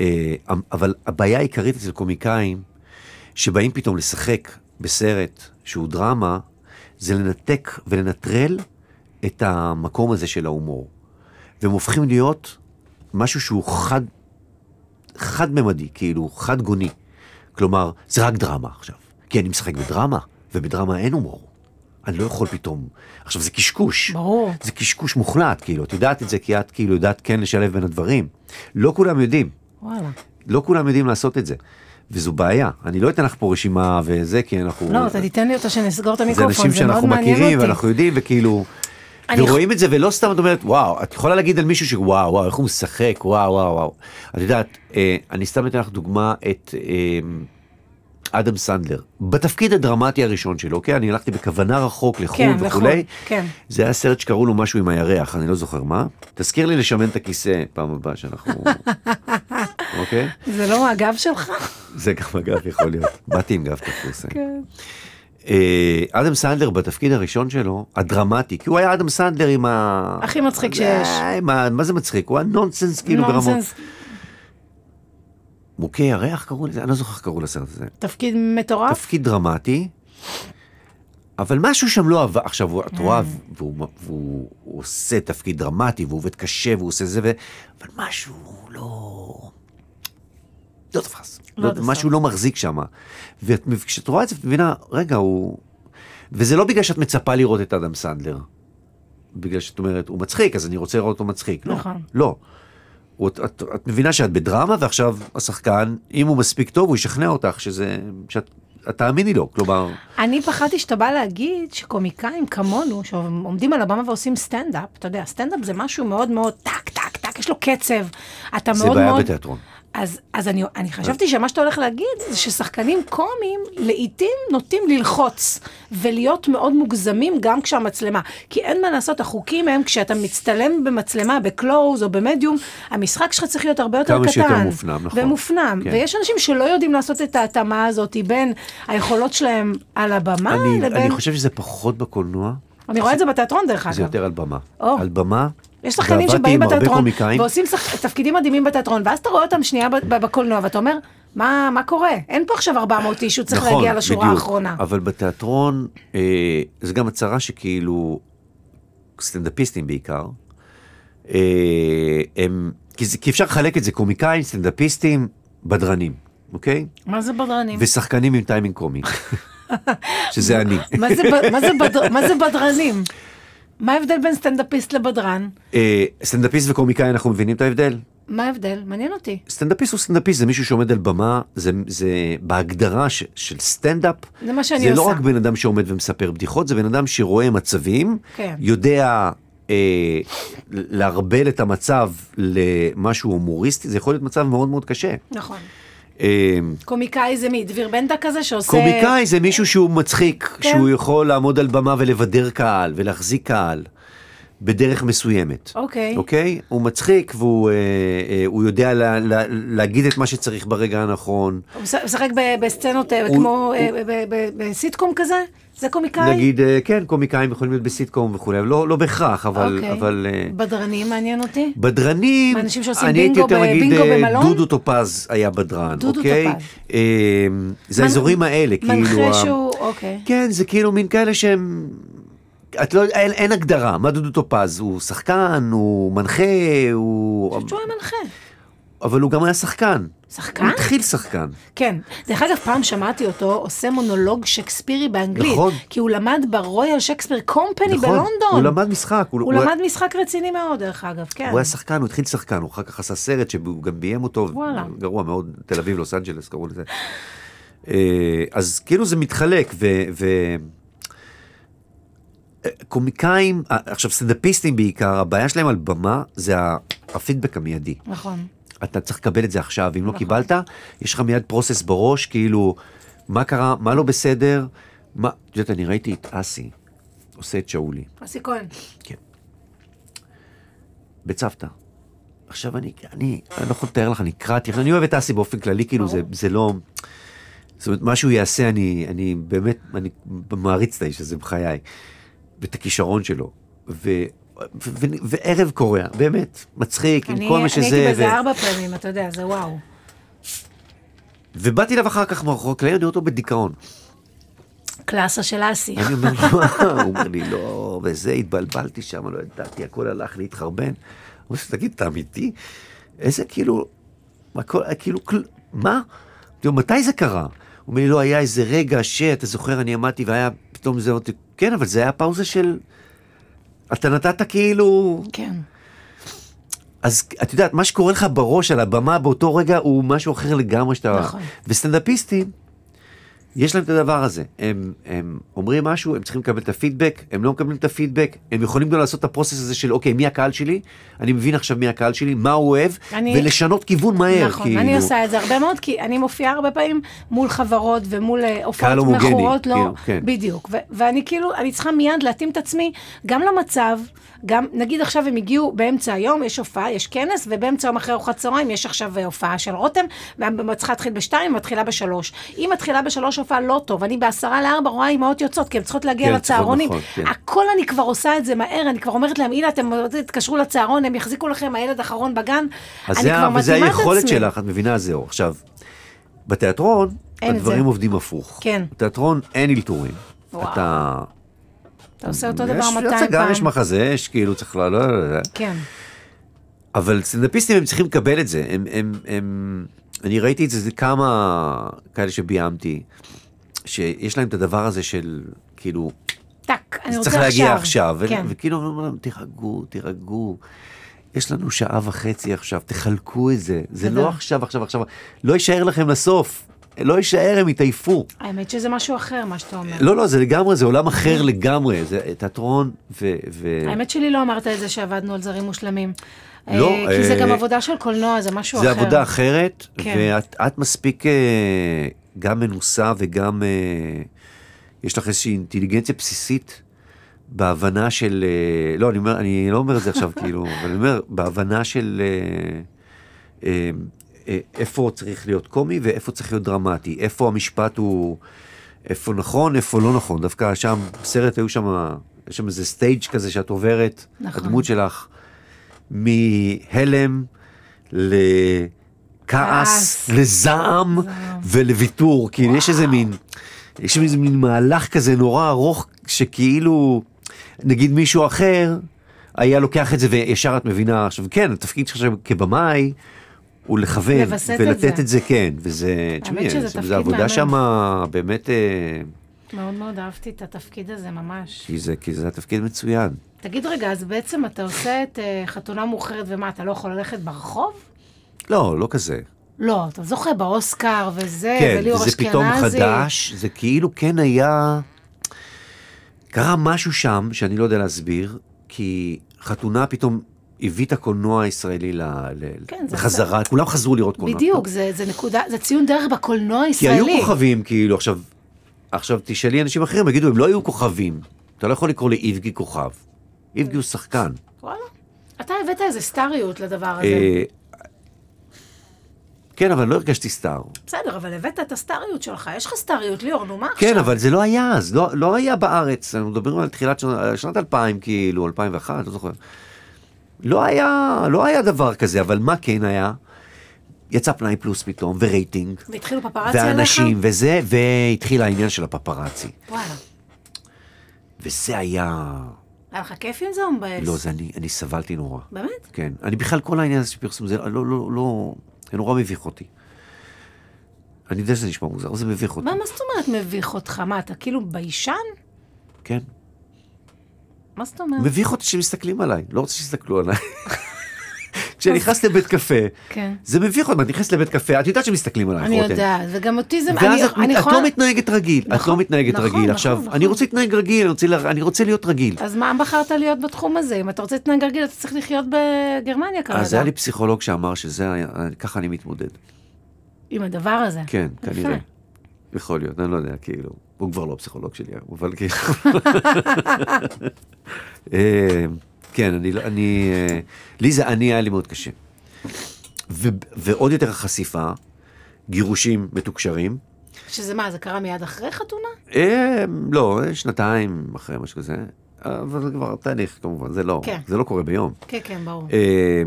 Speaker 2: אה, אבל הבעיה העיקרית אצל קומיקאים, שבאים פתאום לשחק בסרט שהוא דרמה, זה לנתק ולנטרל את המקום הזה של ההומור. והם הופכים להיות משהו שהוא חד, חד-ממדי, כאילו, חד-גוני. כלומר, זה רק דרמה עכשיו. כי אני משחק בדרמה, ובדרמה אין הומור. אני לא יכול פתאום... עכשיו, זה קשקוש.
Speaker 1: ברור.
Speaker 2: זה קשקוש מוחלט, כאילו. את יודעת את זה כי את כאילו יודעת כן לשלב בין הדברים. לא כולם יודעים.
Speaker 1: וואלה.
Speaker 2: לא כולם יודעים לעשות את זה. וזו בעיה. אני לא אתן לך פה רשימה וזה, כי אנחנו...
Speaker 1: לא, אתה תיתן לי אותה שנסגור את המיקרופון,
Speaker 2: זה אנשים
Speaker 1: זה מאוד
Speaker 2: שאנחנו
Speaker 1: מעניין
Speaker 2: מכירים,
Speaker 1: אותי.
Speaker 2: ואנחנו יודעים, וכאילו...
Speaker 1: אני
Speaker 2: ורואים את זה, ולא סתם את אומרת, וואו, את יכולה להגיד על מישהו שוואו, וואו, איך הוא משחק, וואו, וואו, וואו. את יודעת, אה, אני סתם אתן לך דוגמה את אה, אדם סנדלר. בתפקיד הדרמטי הראשון שלו, כן, אני הלכתי בכוונה רחוק לחו"ל
Speaker 1: כן, לחו"ל,
Speaker 2: וכולי.
Speaker 1: כן.
Speaker 2: זה היה סרט שקראו לו משהו עם הירח, אני לא זוכר מה. תזכיר לי לשמן את הכיסא פעם הבאה שאנחנו... אוקיי?
Speaker 1: זה לא הגב שלך?
Speaker 2: זה גם אגב יכול להיות. באתי עם גב תפוס.
Speaker 1: כן.
Speaker 2: אה, אדם סנדלר בתפקיד הראשון שלו, הדרמטי, כי הוא היה אדם סנדלר עם ה...
Speaker 1: הכי מצחיק
Speaker 2: אה,
Speaker 1: שיש.
Speaker 2: עם ה... מה זה מצחיק? הוא היה נונסנס כאילו ברמות.
Speaker 1: נונסנס.
Speaker 2: מוכה ירח קראו לזה? אני לא זוכר איך קראו לסרט הזה.
Speaker 1: תפקיד מטורף?
Speaker 2: תפקיד דרמטי, אבל משהו שם לא עבד. עכשיו, הוא-
Speaker 1: כן.
Speaker 2: את רואה, והוא, והוא, והוא עושה תפקיד דרמטי, והוא עובד קשה, והוא עושה זה, ו... אבל משהו לא... לא תפס.
Speaker 1: לא
Speaker 2: לא
Speaker 1: תפס.
Speaker 2: משהו לא מחזיק שם. וכשאת רואה את זה, את מבינה, רגע, הוא... וזה לא בגלל שאת מצפה לראות את אדם סנדלר. בגלל שאת אומרת, הוא מצחיק, אז אני רוצה לראות אותו מצחיק. לא,
Speaker 1: נכון.
Speaker 2: לא. הוא- את, את, את מבינה שאת בדרמה, ועכשיו השחקן, אם הוא מספיק טוב, הוא ישכנע אותך שזה... שאת את תאמיני לו,
Speaker 1: אה,
Speaker 2: כלומר...
Speaker 1: אני פחדתי שאתה בא להגיד שקומיקאים כמונו, שעומדים על הבמה ועושים סטנדאפ, אתה יודע, סטנדאפ זה משהו מאוד מאוד טק, טק, טק, יש לו קצב. אתה
Speaker 2: זה
Speaker 1: מאוד
Speaker 2: בעיה
Speaker 1: מאוד...
Speaker 2: בתיאטרון.
Speaker 1: אז, אז אני, אני חשבתי שמה שאתה הולך להגיד זה ששחקנים קומיים לעיתים נוטים ללחוץ ולהיות מאוד מוגזמים גם כשהמצלמה. כי אין מה לעשות, החוקים הם כשאתה מצטלם במצלמה, בקלוז או במדיום, המשחק שלך צריך להיות הרבה יותר
Speaker 2: כמה
Speaker 1: קטן.
Speaker 2: שיותר מופנם, נכון.
Speaker 1: ומופנם. כן.
Speaker 2: כן.
Speaker 1: ויש אנשים שלא יודעים לעשות את ההתאמה הזאת בין היכולות שלהם על הבמה
Speaker 2: אני,
Speaker 1: לבין...
Speaker 2: אני חושב שזה פחות בקולנוע,
Speaker 1: אני רואה את זה בתיאטרון דרך אגב.
Speaker 2: זה יותר על במה.
Speaker 1: אה, או.
Speaker 2: על במה,
Speaker 1: יש שחקנים
Speaker 2: ועבדתי
Speaker 1: שבאים
Speaker 2: עם הרבה
Speaker 1: בתיאטרון
Speaker 2: קומיקאים.
Speaker 1: ועושים שח... תפקידים מדהימים בתיאטרון, ואז אתה רואה אותם שנייה ב- ב- בקולנוע ואתה אומר, מה, מה קורה? אין פה עכשיו 400 איש, הוא צריך
Speaker 2: נכון,
Speaker 1: להגיע לשורה
Speaker 2: בדיוק.
Speaker 1: האחרונה.
Speaker 2: אבל בתיאטרון, אה, זה גם הצהרה שכאילו, סטנדאפיסטים בעיקר, אה, הם, כי, זה, כי אפשר לחלק את זה, קומיקאים, סטנדאפיסטים, בדרנים, אוקיי?
Speaker 1: מה זה בדרנים?
Speaker 2: ושחקנים עם טיימינג קומי, שזה אני.
Speaker 1: מה זה ב- מה זה בדר- מה זה בדרנים? מה ההבדל בין סטנדאפיסט לבדרן?
Speaker 2: אה, סטנדאפיסט וקומיקאי, אנחנו מבינים את ההבדל?
Speaker 1: מה ההבדל? מעניין אותי.
Speaker 2: סטנדאפיסט הוא סטנדאפיסט, זה מישהו שעומד על במה, זה, זה בהגדרה ש, של סטנדאפ.
Speaker 1: זה מה שאני
Speaker 2: זה לא
Speaker 1: עושה.
Speaker 2: רק בן אדם שעומד ומספר בדיחות, זה בן אדם שרואה מצבים,
Speaker 1: כן.
Speaker 2: יודע אה, לערבל את המצב למשהו הומוריסטי, זה יכול להיות מצב מאוד מאוד קשה.
Speaker 1: נכון.
Speaker 2: אה,
Speaker 1: קומיקאי זה מי? דביר בנדה כזה שעושה...
Speaker 2: קומיקאי זה מישהו שהוא מצחיק,
Speaker 1: כן.
Speaker 2: שהוא יכול לעמוד על במה ולבדר קהל ולהחזיק קהל בדרך מסוימת.
Speaker 1: אוקיי.
Speaker 2: אוקיי? הוא מצחיק והוא אה, אה, הוא יודע לה, לה, להגיד את מה שצריך ברגע הנכון.
Speaker 1: הוא מש- משחק ב- בסצנות אה,
Speaker 2: הוא-
Speaker 1: כמו... אה, ב- ב- בסיטקום כזה? זה קומיקאי?
Speaker 2: נגיד, אה, כן, קומיקאים יכולים להיות בסיטקום וכולי, אבל לא, לא בהכרח, אבל...
Speaker 1: אוקיי.
Speaker 2: אבל אה,
Speaker 1: בדרנים מעניין אותי?
Speaker 2: בדרנים,
Speaker 1: אנשים שעושים
Speaker 2: אני הייתי
Speaker 1: בינגו
Speaker 2: יותר
Speaker 1: ב-
Speaker 2: נגיד,
Speaker 1: בינגו
Speaker 2: אה,
Speaker 1: במלון?
Speaker 2: דודו טופז היה בדרן,
Speaker 1: דודו
Speaker 2: אוקיי?
Speaker 1: טופז.
Speaker 2: אה, זה
Speaker 1: מנ-
Speaker 2: האזורים האלה, כאילו... ה-
Speaker 1: מנחה שהוא... אוקיי.
Speaker 2: כן, זה כאילו מין כאלה שהם... את לא, אין, אין הגדרה, מה דודו טופז? הוא שחקן, הוא מנחה, הוא...
Speaker 1: שהוא היה מנחה.
Speaker 2: אבל הוא גם היה שחקן.
Speaker 1: שחקן?
Speaker 2: הוא התחיל שחקן.
Speaker 1: כן. דרך אגב, פעם שמעתי אותו עושה מונולוג שקספירי באנגלית.
Speaker 2: נכון.
Speaker 1: כי הוא למד ברויאל שקספיר קומפני
Speaker 2: נכון,
Speaker 1: בלונדון.
Speaker 2: הוא למד משחק. הוא,
Speaker 1: הוא למד משחק רציני מאוד, דרך אגב, כן.
Speaker 2: הוא היה שחקן, הוא התחיל שחקן, הוא אחר כך עשה סרט שהוא גם ביים אותו,
Speaker 1: וואלה.
Speaker 2: גרוע מאוד, תל אביב, לוס אנג'לס, קראו לזה. אה, אז כאילו זה מתחלק, ו... ו- אה, קומיקאים, אה, עכשיו סטנדאפיסטים בעיקר, הבעיה שלהם על במה זה ה- הפידבק המיידי.
Speaker 1: נכון.
Speaker 2: אתה צריך לקבל את זה עכשיו, אם לא קיבלת, יש לך מיד פרוסס בראש, כאילו, מה קרה, מה לא בסדר, מה, את יודעת, אני ראיתי את אסי עושה את שאולי.
Speaker 1: אסי כהן.
Speaker 2: כן. בצוותא. עכשיו אני, אני, אני לא יכול לתאר לך, אני קראתי, אני אוהב את אסי באופן כללי, כאילו זה,
Speaker 1: ברור.
Speaker 2: זה לא... זאת אומרת, מה שהוא יעשה, אני, אני באמת, אני מעריץ את האיש הזה בחיי, ואת הכישרון שלו. ו, ו, ו, וערב קורע, באמת, מצחיק,
Speaker 1: אני
Speaker 2: עם כל מה שזה.
Speaker 1: אני הייתי
Speaker 2: ו-
Speaker 1: בזה ארבע פעמים, אתה יודע, זה וואו.
Speaker 2: ובאתי אליו אחר כך מאחורי הקלעים, אני רואה אותו בדיכאון.
Speaker 1: קלאסה של אסי.
Speaker 2: אני אומר לו, מה? הוא אומר לי, לא, וזה, התבלבלתי שם, לא ידעתי, הכל הלך לי, התחרבן. אמרתי לו, תגיד, אתה אמיתי? איזה כאילו, הכל, כאילו, כל- מה? אמרתי לו, מתי זה קרה? הוא אומר לי, לא, היה איזה רגע שאתה זוכר, אני עמדתי והיה פתאום זה, אמרתי, כן, אבל זה היה פאוזה של... אתה נתת כאילו...
Speaker 1: כן.
Speaker 2: אז את יודעת, מה שקורה לך בראש על הבמה באותו רגע הוא משהו אחר לגמרי שאתה...
Speaker 1: נכון.
Speaker 2: וסטנדאפיסטים, יש להם את הדבר הזה. הם, הם אומרים משהו, הם צריכים לקבל את הפידבק, הם לא מקבלים את הפידבק, הם יכולים גם לעשות את הפרוסס הזה של, אוקיי, מי הקהל שלי? אני מבין עכשיו מי הקהל שלי, מה הוא אוהב,
Speaker 1: אני-
Speaker 2: ולשנות כיוון מהר.
Speaker 1: נכון,
Speaker 2: כאילו.
Speaker 1: אני עושה את זה הרבה מאוד, כי אני מופיעה הרבה פעמים מול חברות ומול אה,
Speaker 2: קהל
Speaker 1: הופעות
Speaker 2: הומוגני,
Speaker 1: מכורות, לא,
Speaker 2: כאילו, כן.
Speaker 1: בדיוק. ו- ואני כאילו, אני צריכה מיד להתאים את עצמי גם למצב, גם, נגיד עכשיו הם הגיעו באמצע היום, יש הופעה, יש כנס, ובאמצע יום אחרי ארוחת צהריים יש עכשיו אה, הופעה של רותם, וצריכה להתחיל בשתיים, ומתחילה בשלוש. אם מתחילה בשלוש הופעה לא טוב, אני בעשרה לארבע רואה אימהות יוצאות, כי הן צריכות להגיע
Speaker 2: כן, צריכות,
Speaker 1: לצהרונים.
Speaker 2: נכון, כן.
Speaker 1: הכל אני כבר עושה את זה מהר, אני כבר אומרת להם, הנה, אתם תתקשרו לצהרון, הם יחזיקו לכם, הילד האחרון בגן.
Speaker 2: אז
Speaker 1: אני
Speaker 2: זה,
Speaker 1: כבר
Speaker 2: ה- וזה
Speaker 1: מתאימה את
Speaker 2: היכולת
Speaker 1: עצמי.
Speaker 2: שלך, את מבינה? אז זהו. עכשיו, בתיאטרון,
Speaker 1: אין את
Speaker 2: הדברים
Speaker 1: זה.
Speaker 2: עובדים הפוך.
Speaker 1: כן.
Speaker 2: בתיאטרון אין אלתורים.
Speaker 1: וואו.
Speaker 2: אתה...
Speaker 1: אתה עושה אותו דבר
Speaker 2: יש
Speaker 1: 200 פעם.
Speaker 2: הצגה, יש מחזה, יש כאילו, צריך ל... לא, לא, לא.
Speaker 1: כן,
Speaker 2: אבל סטנדאפיסטים הם צריכים לקבל את זה. הם, הם, הם, אני ראיתי את זה, זה כמה כאלה שביימתי, שיש להם את הדבר הזה של כאילו,
Speaker 1: טאק, אני
Speaker 2: זה
Speaker 1: רוצה
Speaker 2: צריך
Speaker 1: עכשיו.
Speaker 2: להגיע עכשיו. ו-
Speaker 1: כן,
Speaker 2: וכאילו אומרים להם, תירגעו, תירגעו. יש לנו שעה וחצי עכשיו, תחלקו את זה. זה
Speaker 1: תודה.
Speaker 2: לא עכשיו, עכשיו, עכשיו. לא יישאר לכם לסוף. לא יישאר, הם יתעייפו.
Speaker 1: האמת שזה משהו אחר, מה שאתה אומר.
Speaker 2: לא, לא, זה לגמרי, זה עולם אחר לגמרי. זה תיאטרון ו... ו-
Speaker 1: האמת שלי לא אמרת את זה שעבדנו על זרים מושלמים.
Speaker 2: לא,
Speaker 1: אה, כי זה
Speaker 2: אה,
Speaker 1: גם עבודה של קולנוע, זה משהו אחר.
Speaker 2: זה עבודה אחרת,
Speaker 1: כן.
Speaker 2: ואת את מספיק אה, גם מנוסה וגם אה, יש לך איזושהי אינטליגנציה בסיסית בהבנה של, אה, לא, אני, אומר, אני לא אומר את זה עכשיו כאילו, אבל אני אומר, בהבנה של אה, אה, אה, איפה צריך להיות קומי ואיפה צריך להיות דרמטי, איפה המשפט הוא, איפה נכון, איפה לא נכון, דווקא שם, בסרט היו שם, יש שם איזה סטייג' כזה שאת עוברת,
Speaker 1: נכון.
Speaker 2: הדמות שלך. מהלם לכעס,
Speaker 1: כעס.
Speaker 2: לזעם ולוויתור. כאילו יש איזה מין, יש איזה מין מהלך כזה נורא ארוך, שכאילו, נגיד מישהו אחר היה לוקח את זה וישר את מבינה. עכשיו כן, התפקיד שלך עכשיו כבמאי הוא לכוון
Speaker 1: לווסת את
Speaker 2: ולתת את
Speaker 1: זה.
Speaker 2: זה, כן, וזה, תשמעי,
Speaker 1: שזה
Speaker 2: זה-
Speaker 1: תפקיד
Speaker 2: זה עבודה
Speaker 1: מהמם.
Speaker 2: שמה באמת, אה,
Speaker 1: מאוד מאוד אהבתי את התפקיד הזה, ממש.
Speaker 2: כי זה- כי זה התפקיד מצוין.
Speaker 1: תגיד רגע, אז בעצם אתה עושה את אה, חתונה מאוחרת ומה, אתה לא יכול ללכת ברחוב?
Speaker 2: לא, לא כזה.
Speaker 1: לא, אתה זוכה באוסקר וזה,
Speaker 2: כן,
Speaker 1: וליאור
Speaker 2: וזה
Speaker 1: אשכנזי.
Speaker 2: פתאום חדש, זה כאילו כן היה... קרה משהו שם שאני לא יודע להסביר, כי חתונה פתאום הביא את הקולנוע הישראלי ל... ל-
Speaker 1: כן, זה-
Speaker 2: לחזרה, כולם חזרו לראות קולנוע.
Speaker 1: בדיוק, זה, זה נקודה, זה ציון דרך בקולנוע
Speaker 2: כי
Speaker 1: הישראלי.
Speaker 2: היו כוכבים, כאילו, עכשיו, עכשיו תשאלי אנשים אחרים, יגידו, הם לא היו כוכבים. אתה לא יכול לקרוא לאיבגי כוכב. איבגי הוא שחקן.
Speaker 1: וואלה. אתה הבאת איזה סטריות לדבר הזה.
Speaker 2: אה, כן, אבל לא הרגשתי סטאר.
Speaker 1: בסדר, אבל הבאת את הסטריות שלך. יש לך סטריות, ליאור, נו מה עכשיו?
Speaker 2: כן, אבל זה לא היה אז, לא, לא היה בארץ. אנחנו מדברים על תחילת שנות, שנת 2000, כאילו, 2001, לא זוכר. לא היה, לא היה דבר כזה, אבל מה כן היה? יצא פנאי פלוס פתאום, ורייטינג,
Speaker 1: והתחילו פפרצי עליך?
Speaker 2: ואנשים, וזה, והתחיל העניין של הפפרצי.
Speaker 1: וואלה.
Speaker 2: וזה היה...
Speaker 1: היה לך כיף עם זה או מבאס?
Speaker 2: לא, זה אני, אני סבלתי נורא.
Speaker 1: באמת?
Speaker 2: כן. אני בכלל, כל העניין הזה של פרסום, זה לא, לא, לא, זה נורא מביך אותי. אני יודע שזה נשמע מוזר, אבל זה מביך אותי.
Speaker 1: מה, מה זאת אומרת מביך אותך? מה, אתה כאילו ביישן?
Speaker 2: כן.
Speaker 1: מה זאת אומרת?
Speaker 2: מביך אותי שמסתכלים עליי, לא רוצה שיסתכלו עליי. כשאני נכנס לבית קפה,
Speaker 1: כן.
Speaker 2: זה מביך אותי, את נכנסת לבית קפה, את יודעת שמסתכלים עלייך,
Speaker 1: אני
Speaker 2: רותם.
Speaker 1: יודעת, וגם אותי זה...
Speaker 2: ואז
Speaker 1: אני-
Speaker 2: את
Speaker 1: אני
Speaker 2: את
Speaker 1: יכולה-
Speaker 2: לא מתנהגת רגיל, את
Speaker 1: נכון,
Speaker 2: לא מתנהגת
Speaker 1: נכון,
Speaker 2: רגיל.
Speaker 1: נכון,
Speaker 2: עכשיו,
Speaker 1: נכון.
Speaker 2: אני רוצה להתנהג רגיל, אני רוצה לה- אני רוצה להיות רגיל.
Speaker 1: אז מה בחרת להיות בתחום הזה? אם אתה רוצה להתנהג רגיל, אתה צריך לחיות בגרמניה כרגע.
Speaker 2: אז היה לי פסיכולוג שאמר שזה היה, ככה אני מתמודד.
Speaker 1: עם הדבר הזה.
Speaker 2: כן,
Speaker 1: יפה.
Speaker 2: כנראה. יכול להיות, אני לא יודע, כאילו, הוא כבר לא פסיכולוג שלי, אבל כאילו... אה, כן, אני, לא- אני, אה, לי זה, אני, היה לי מאוד קשה. ו, ועוד יותר החשיפה, גירושים מתוקשרים,
Speaker 1: שזה מה, זה קרה מיד אחרי חתונה?
Speaker 2: אה, לא, אה, שנתיים אחרי משהו כזה, אבל זה כבר תהליך כמובן, זה לא,
Speaker 1: כן.
Speaker 2: זה לא קורה ביום.
Speaker 1: כן, כן, ברור.
Speaker 2: אה,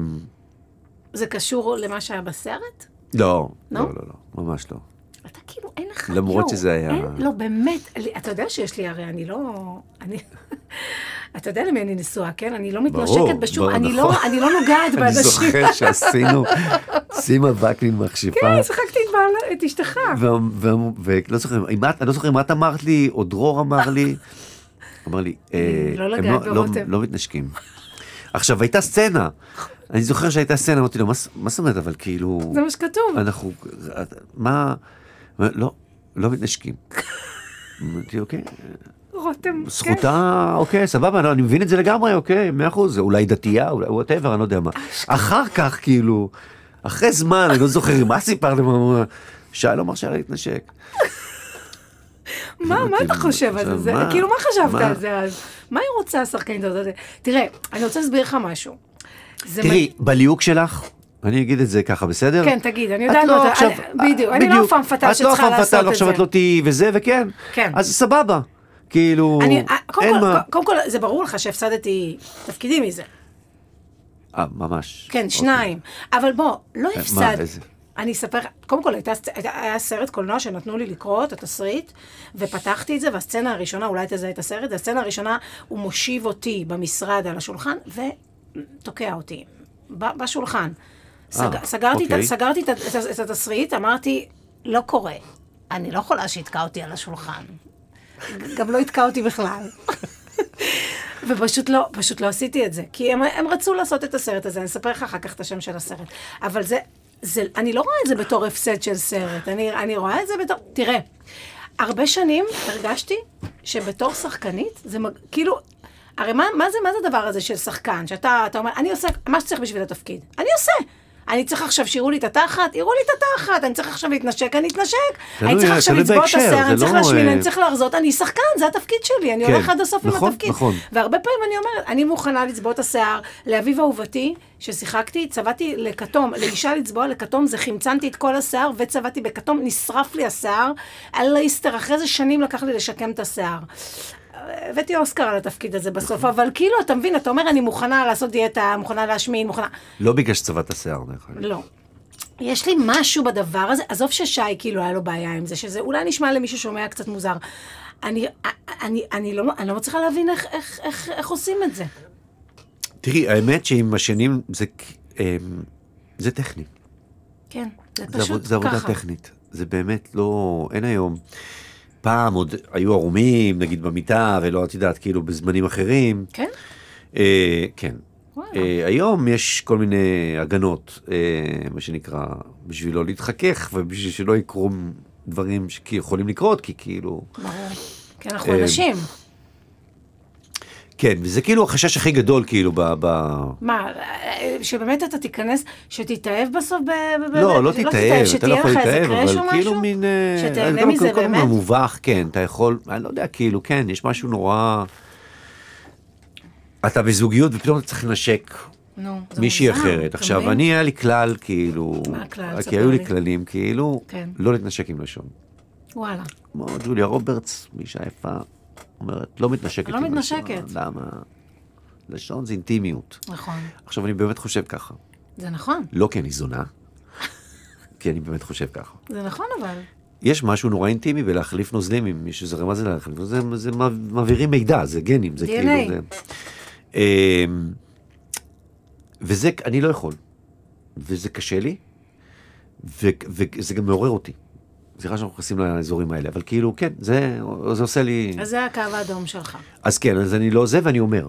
Speaker 1: זה קשור למה שהיה בסרט?
Speaker 2: לא,
Speaker 1: לא?
Speaker 2: לא, לא, לא, ממש לא.
Speaker 1: אתה כאילו, אין לך...
Speaker 2: למרות
Speaker 1: לא,
Speaker 2: שזה היה-
Speaker 1: אין, לא, באמת, לי- אתה יודע שיש לי, הרי אני לא... אני... אתה יודע למי אני נשואה, כן? אני לא
Speaker 2: ברור,
Speaker 1: מתנשקת בשום...
Speaker 2: ברור,
Speaker 1: אני,
Speaker 2: נכון.
Speaker 1: לא, אני לא נוגעת
Speaker 2: אני
Speaker 1: באנשים.
Speaker 2: זוכר שעשינו, סימה וקנין מכשפה.
Speaker 1: כן, שיחקתי את בעל... את אשתך.
Speaker 2: ואמ- ואמ- ולא זוכר, אם את- אני לא זוכר אם את אמרת לי, או דרור אמר לי, אמר לי, אה,
Speaker 1: לא
Speaker 2: הם
Speaker 1: לגעת
Speaker 2: לא-
Speaker 1: ברותם.
Speaker 2: לא מתנשקים. עכשיו, הייתה סצנה, אני זוכר שהייתה סצנה, אמרתי לו, "מה ס- מה זאת אומרת, אבל כאילו,
Speaker 1: זה מה שכתוב.
Speaker 2: אנחנו, את- מה, מה- לא, לא מתנשקים. אמרתי, אוקיי,
Speaker 1: רותם, כן.
Speaker 2: זכותה, אוקיי, סבבה, לא, אני מבין את זה לגמרי, אוקיי, מאה אחוז, זה אולי דתייה, אולי וואטאבר, אני לא יודע מה. אחר כך, כאילו, אחרי זמן, אני לא זוכר מה סיפרתם, אמרו, שלום מרשה לה להתנשק.
Speaker 1: מה, מה אתה חושב על זה?
Speaker 2: מה?
Speaker 1: כאילו, מה חשבת
Speaker 2: מה?
Speaker 1: על זה אז? מה היא רוצה, השחקנית הזאת? תראה, אני רוצה להסביר לך משהו. זה
Speaker 2: תראי, בליהוק שלך, אני אגיד את זה ככה, בסדר?
Speaker 1: כן, תגיד, אני
Speaker 2: את
Speaker 1: יודעת מה
Speaker 2: לא
Speaker 1: אתה-
Speaker 2: עכשיו-
Speaker 1: אני- בדיוק, אני לא
Speaker 2: בדיוק.
Speaker 1: הפעם פטאל שצריכה
Speaker 2: את לא הפעם
Speaker 1: לעשות
Speaker 2: פטאל,
Speaker 1: את
Speaker 2: עכשיו
Speaker 1: זה.
Speaker 2: את לא תהיי וזה, וכן.
Speaker 1: כן.
Speaker 2: אז סבבה. כאילו,
Speaker 1: אני, אה, קודם
Speaker 2: אין
Speaker 1: כל,
Speaker 2: מה.
Speaker 1: קודם כל, זה ברור לך שהפסדתי תפקידים מזה.
Speaker 2: אה, ממש.
Speaker 1: כן,
Speaker 2: אוקיי. אה,
Speaker 1: שניים. אבל בוא, לא
Speaker 2: מה,
Speaker 1: הפסד.
Speaker 2: איזה?
Speaker 1: אני אספר, קודם כל הייתה, סצ- הייתה- היה סרט קולנוע שנתנו לי לקרוא את התסריט, ופתחתי את זה, והסצנה הראשונה, אולי תזהה את הסרט, הסצנה הראשונה, הוא מושיב אותי במשרד על השולחן, ותוקע אותי, ב- בשולחן. סג,
Speaker 2: אה,
Speaker 1: סגרתי, את, ה-
Speaker 2: אוקיי.
Speaker 1: סגרתי את, ה- את, ה- את התסריט, אמרתי, לא קורה. אני לא יכולה שיתקע אותי על השולחן. גם לא יתקע אותי בכלל. ופשוט לא, פשוט לא עשיתי את זה. כי הם, הם רצו לעשות את הסרט הזה, אני אספר לך אחר כך את השם של הסרט. אבל זה, זה, אני לא רואה את זה בתור הפסד של סרט, אני, אני רואה את זה בתור, תראה, הרבה שנים הרגשתי שבתור שחקנית, זה מג- כאילו, הרי מה, מה זה, מה זה הדבר הזה של שחקן, שאתה אתה אומר, אני עושה מה שצריך בשביל התפקיד, אני עושה. אני צריך עכשיו שיראו לי את התחת, יראו לי את התחת, אני צריך עכשיו להתנשק, אני אתנשק.
Speaker 2: תלוי-
Speaker 1: אני צריך עכשיו
Speaker 2: תלוי
Speaker 1: לצבוע את
Speaker 2: בהקשר,
Speaker 1: השיער,
Speaker 2: זה
Speaker 1: אני צריך
Speaker 2: לא,
Speaker 1: להשמין,
Speaker 2: אה,
Speaker 1: אני צריך להרזות, אני שחקן, זה התפקיד שלי, אני
Speaker 2: כן,
Speaker 1: הולך עד הסוף עם
Speaker 2: נכון,
Speaker 1: התפקיד.
Speaker 2: נכון.
Speaker 1: והרבה פעמים אני אומרת, אני מוכנה לצבוע את השיער. לאביב אהובתי, ששיחקתי, צבעתי לכתום, לאישה לצבוע לכתום, זה חמצנתי את כל השיער וצבעתי בכתום, נשרף לי השיער. אללה יסתר, אחרי זה שנים לקח לי לשקם את השיער. הבאתי אוסקר על התפקיד הזה בסוף, אבל כאילו, אתה מבין, אתה אומר, אני מוכנה לעשות דיאטה, מוכנה להשמין, מוכנה...
Speaker 2: לא בגלל שצבעת שיער, דרך אגב.
Speaker 1: לא. יש לי משהו בדבר הזה, עזוב ששי כאילו היה לו בעיה עם זה, שזה אולי נשמע למי ששומע קצת מוזר. אני, אני, אני, לא, אני לא מצליחה להבין איך, איך, איך, איך עושים את זה.
Speaker 2: תראי, האמת שעם השנים זה כ- אמ, זה טכני.
Speaker 1: כן, זה
Speaker 2: זה
Speaker 1: פשוט
Speaker 2: עבוד- זה עבודה
Speaker 1: ככה.
Speaker 2: טכנית. זה באמת לא, אין היום. פעם עוד היו ערומים, נגיד במיטה, ולא, את יודעת, כאילו בזמנים אחרים.
Speaker 1: כן?
Speaker 2: אה, כן. אה, היום יש כל מיני הגנות, אה, מה שנקרא, בשביל לא להתחכך ובשביל שלא יקרו דברים שיכולים לקרות, כי כאילו...
Speaker 1: ברור. כי אנחנו
Speaker 2: אה,
Speaker 1: אנשים.
Speaker 2: כן, וזה כאילו החשש הכי גדול, כאילו, ב... ב...
Speaker 1: מה, אה, שבאמת אתה תיכנס, שתתאהב בסוף ב... ב-
Speaker 2: לא,
Speaker 1: ב-
Speaker 2: לא תתאהב, אתה לא
Speaker 1: שתהיה
Speaker 2: יכול
Speaker 1: לך איזה
Speaker 2: להתאהב,
Speaker 1: קראש או
Speaker 2: אבל כאילו
Speaker 1: משהו?
Speaker 2: מין... אה,
Speaker 1: שתהנה
Speaker 2: גם
Speaker 1: מזה
Speaker 2: כל- כל הזמן
Speaker 1: באמת?
Speaker 2: מובך, כן, אתה יכול, אני לא יודע, כאילו, כן, יש משהו נורא... אתה בזוגיות ופתאום אתה צריך לנשק
Speaker 1: נו, זה
Speaker 2: מישהי
Speaker 1: מוזר,
Speaker 2: אחרת.
Speaker 1: אתה
Speaker 2: עכשיו,
Speaker 1: מבין?
Speaker 2: אני, היה לי כלל, כאילו...
Speaker 1: מה הכלל?
Speaker 2: כי
Speaker 1: ספר
Speaker 2: היו
Speaker 1: לי.
Speaker 2: לי כללים, כאילו,
Speaker 1: כן.
Speaker 2: לא להתנשק עם לשון.
Speaker 1: וואלה.
Speaker 2: כמו ג'וליה רוברטס, אישה יפה, אומרת, לא מתנשקת
Speaker 1: לא
Speaker 2: עם
Speaker 1: מתנשקת.
Speaker 2: לשון. למה? לשון זה אינטימיות.
Speaker 1: נכון.
Speaker 2: עכשיו, אני באמת חושב ככה.
Speaker 1: זה נכון.
Speaker 2: לא כי אני זונה, כי אני באמת חושב ככה.
Speaker 1: זה נכון אבל.
Speaker 2: יש משהו נורא אינטימי בלהחליף נוזלים עם מישהו, זה מה זה להחליף נוזלים, זה, זה מע- מעבירים מידע, זה גנים, זה
Speaker 1: DNA.
Speaker 2: כאילו... זה... אמ, וזה, אני לא יכול, וזה קשה לי, ו, וזה גם מעורר אותי. סליחה שאנחנו נכנסים לאזורים האלה, אבל כאילו, כן, זה, זה עושה לי...
Speaker 1: אז
Speaker 2: אז...
Speaker 1: זה הקו האדום שלך.
Speaker 2: אז כן, אז אני לא זה, ואני אומר.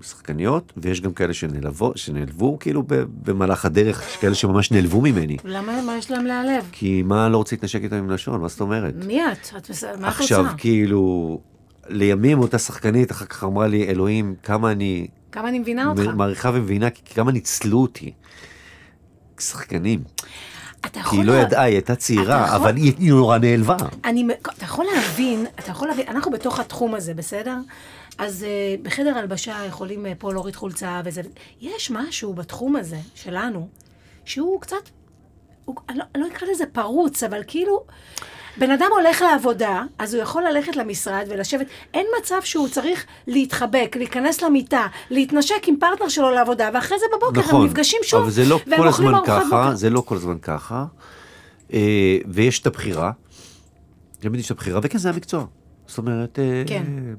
Speaker 2: שחקניות, ויש גם כאלה שנעלבו, שנעלבו כאילו ב- במהלך הדרך, יש כאלה שממש נעלבו ממני.
Speaker 1: למה מה יש להם להיעלב?
Speaker 2: כי מה לא רוצה להתנשק איתם עם לשון, מה זאת אומרת?
Speaker 1: מי את? את מס- מה את רוצה?
Speaker 2: עכשיו, כאילו, לימים אותה שחקנית אחר כך אמרה לי, אלוהים, כמה אני
Speaker 1: כמה אני מבינה אותך.
Speaker 2: מ- מעריכה ומבינה, כי כמה ניצלו אותי. שחקנים.
Speaker 1: אתה
Speaker 2: כי
Speaker 1: יכול...
Speaker 2: היא לא
Speaker 1: לה-
Speaker 2: ידעה, היא הייתה
Speaker 1: נכון. אתה נכון. אוקיי,
Speaker 2: צעירה,
Speaker 1: יכול-
Speaker 2: אבל היא היא נורא נעלבה.
Speaker 1: אני, מ- אתה יכול להבין, אתה יכול להבין, אנחנו בתוך התחום הזה, בסדר? אז uh, בחדר הלבשה יכולים uh, פה להוריד חולצה וזה. יש משהו בתחום הזה, שלנו, שהוא קצת, הוא, אני, לא, אני לא אקרא לזה פרוץ, אבל כאילו, בן אדם הולך לעבודה, אז הוא יכול ללכת למשרד ולשבת. אין מצב שהוא צריך להתחבק, להיכנס למיטה, להתנשק עם פרטנר שלו לעבודה, ואחרי זה בבוקר הם
Speaker 2: נכון.
Speaker 1: נפגשים שוב,
Speaker 2: אבל זה לא
Speaker 1: והם
Speaker 2: כל
Speaker 1: אוכלים
Speaker 2: הזמן
Speaker 1: ארוחת
Speaker 2: ככה,
Speaker 1: בוקר.
Speaker 2: זה לא כל הזמן ככה. אה, ויש את הבחירה. תמיד יש את הבחירה, וכן, זה המקצוע. זאת אומרת... אה,
Speaker 1: כן.
Speaker 2: אה,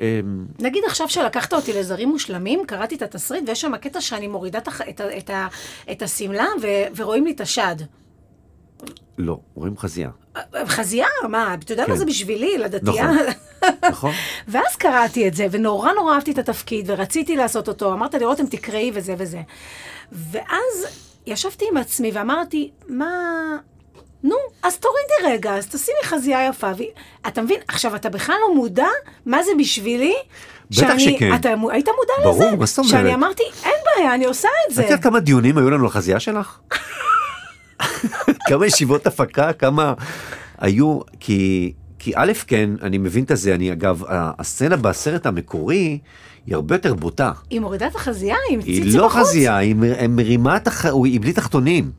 Speaker 2: אה,
Speaker 1: נגיד עכשיו שלקחת אותי לזרים מושלמים, קראתי את התסריט, ויש שם קטע שאני מורידה את, הח- את, ה- את, ה- את השמלה ו- ורואים לי את השד.
Speaker 2: לא, רואים חזייה,
Speaker 1: חזייה, מה, אתה יודע מה
Speaker 2: כן.
Speaker 1: זה בשבילי, לדתייה?
Speaker 2: נכון. נכון?
Speaker 1: ואז קראתי את זה, ונורא נורא אהבתי את התפקיד, ורציתי לעשות אותו, אמרת לי, רותם, תקראי וזה וזה. ואז ישבתי עם עצמי ואמרתי, מה... נו, אז תורידי רגע, אז תשימי חזייה יפה. והיא- אתה מבין? עכשיו, אתה בכלל לא מודע מה זה בשבילי?
Speaker 2: בטח שכן.
Speaker 1: אתה מו- היית מודע
Speaker 2: ברור,
Speaker 1: לזה?
Speaker 2: מה זאת אומרת?
Speaker 1: שאני אמרתי, אין בעיה, אני עושה את
Speaker 2: את
Speaker 1: זה.
Speaker 2: יודעת כמה דיונים היו לנו על החזייה שלך? כמה ישיבות הפקה, כמה היו, כי, כי א', כן, אני מבין את זה, אני אגב, ה- הסצנה בסרט המקורי היא הרבה יותר בוטה.
Speaker 1: היא מורידה את החזייה, היא עם ציצי בחוץ.
Speaker 2: היא לא חזייה, היא מ- היא מרימה, את הח- היא בלי תחתונים.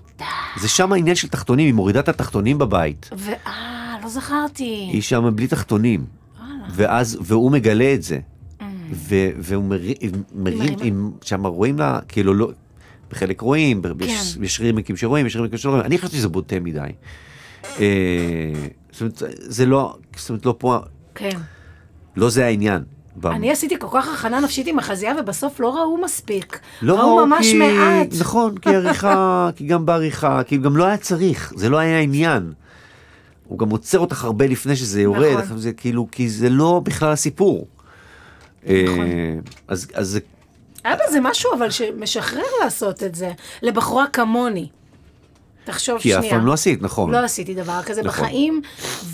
Speaker 2: זה שם העניין של תחתונים, היא מורידה את התחתונים בבית.
Speaker 1: ואה, לא זכרתי.
Speaker 2: היא שם בלי תחתונים,
Speaker 1: וואלה. אה.
Speaker 2: ואז, והוא מגלה את זה. ו- והוא מרים,
Speaker 1: מרימה.
Speaker 2: מרים, שם רואים לה, כאילו לא, בחלק רואים, ב- יש-
Speaker 1: כן.
Speaker 2: יש רימיקים שרואים, יש רימיקים שלא רואים, אני חשבתי שזה בוטה מדי. אה, זאת אומרת, זה לא, זאת אומרת, לא פה,
Speaker 1: כן.
Speaker 2: לא זה העניין. ב-
Speaker 1: אני עשיתי כל כך הכנה נפשית עם החזייה, ובסוף לא ראו מספיק.
Speaker 2: לא,
Speaker 1: ראו ממש
Speaker 2: כי-
Speaker 1: מעט.
Speaker 2: נכון, כי עריכה, כי גם בעריכה, כי גם לא היה צריך, זה לא היה העניין. הוא גם עוצר אותך הרבה לפני שזה יורד,
Speaker 1: נכון.
Speaker 2: נכון. זה כאילו, כי זה לא בכלל הסיפור.
Speaker 1: נכון.
Speaker 2: אה, אז, אז זה
Speaker 1: אבא, זה משהו אבל שמשחרר לעשות את זה, לבחורה כמוני. תחשוב
Speaker 2: כי
Speaker 1: שנייה.
Speaker 2: אף פעם לא עשית, נכון.
Speaker 1: לא עשיתי דבר כזה
Speaker 2: נכון.
Speaker 1: בחיים,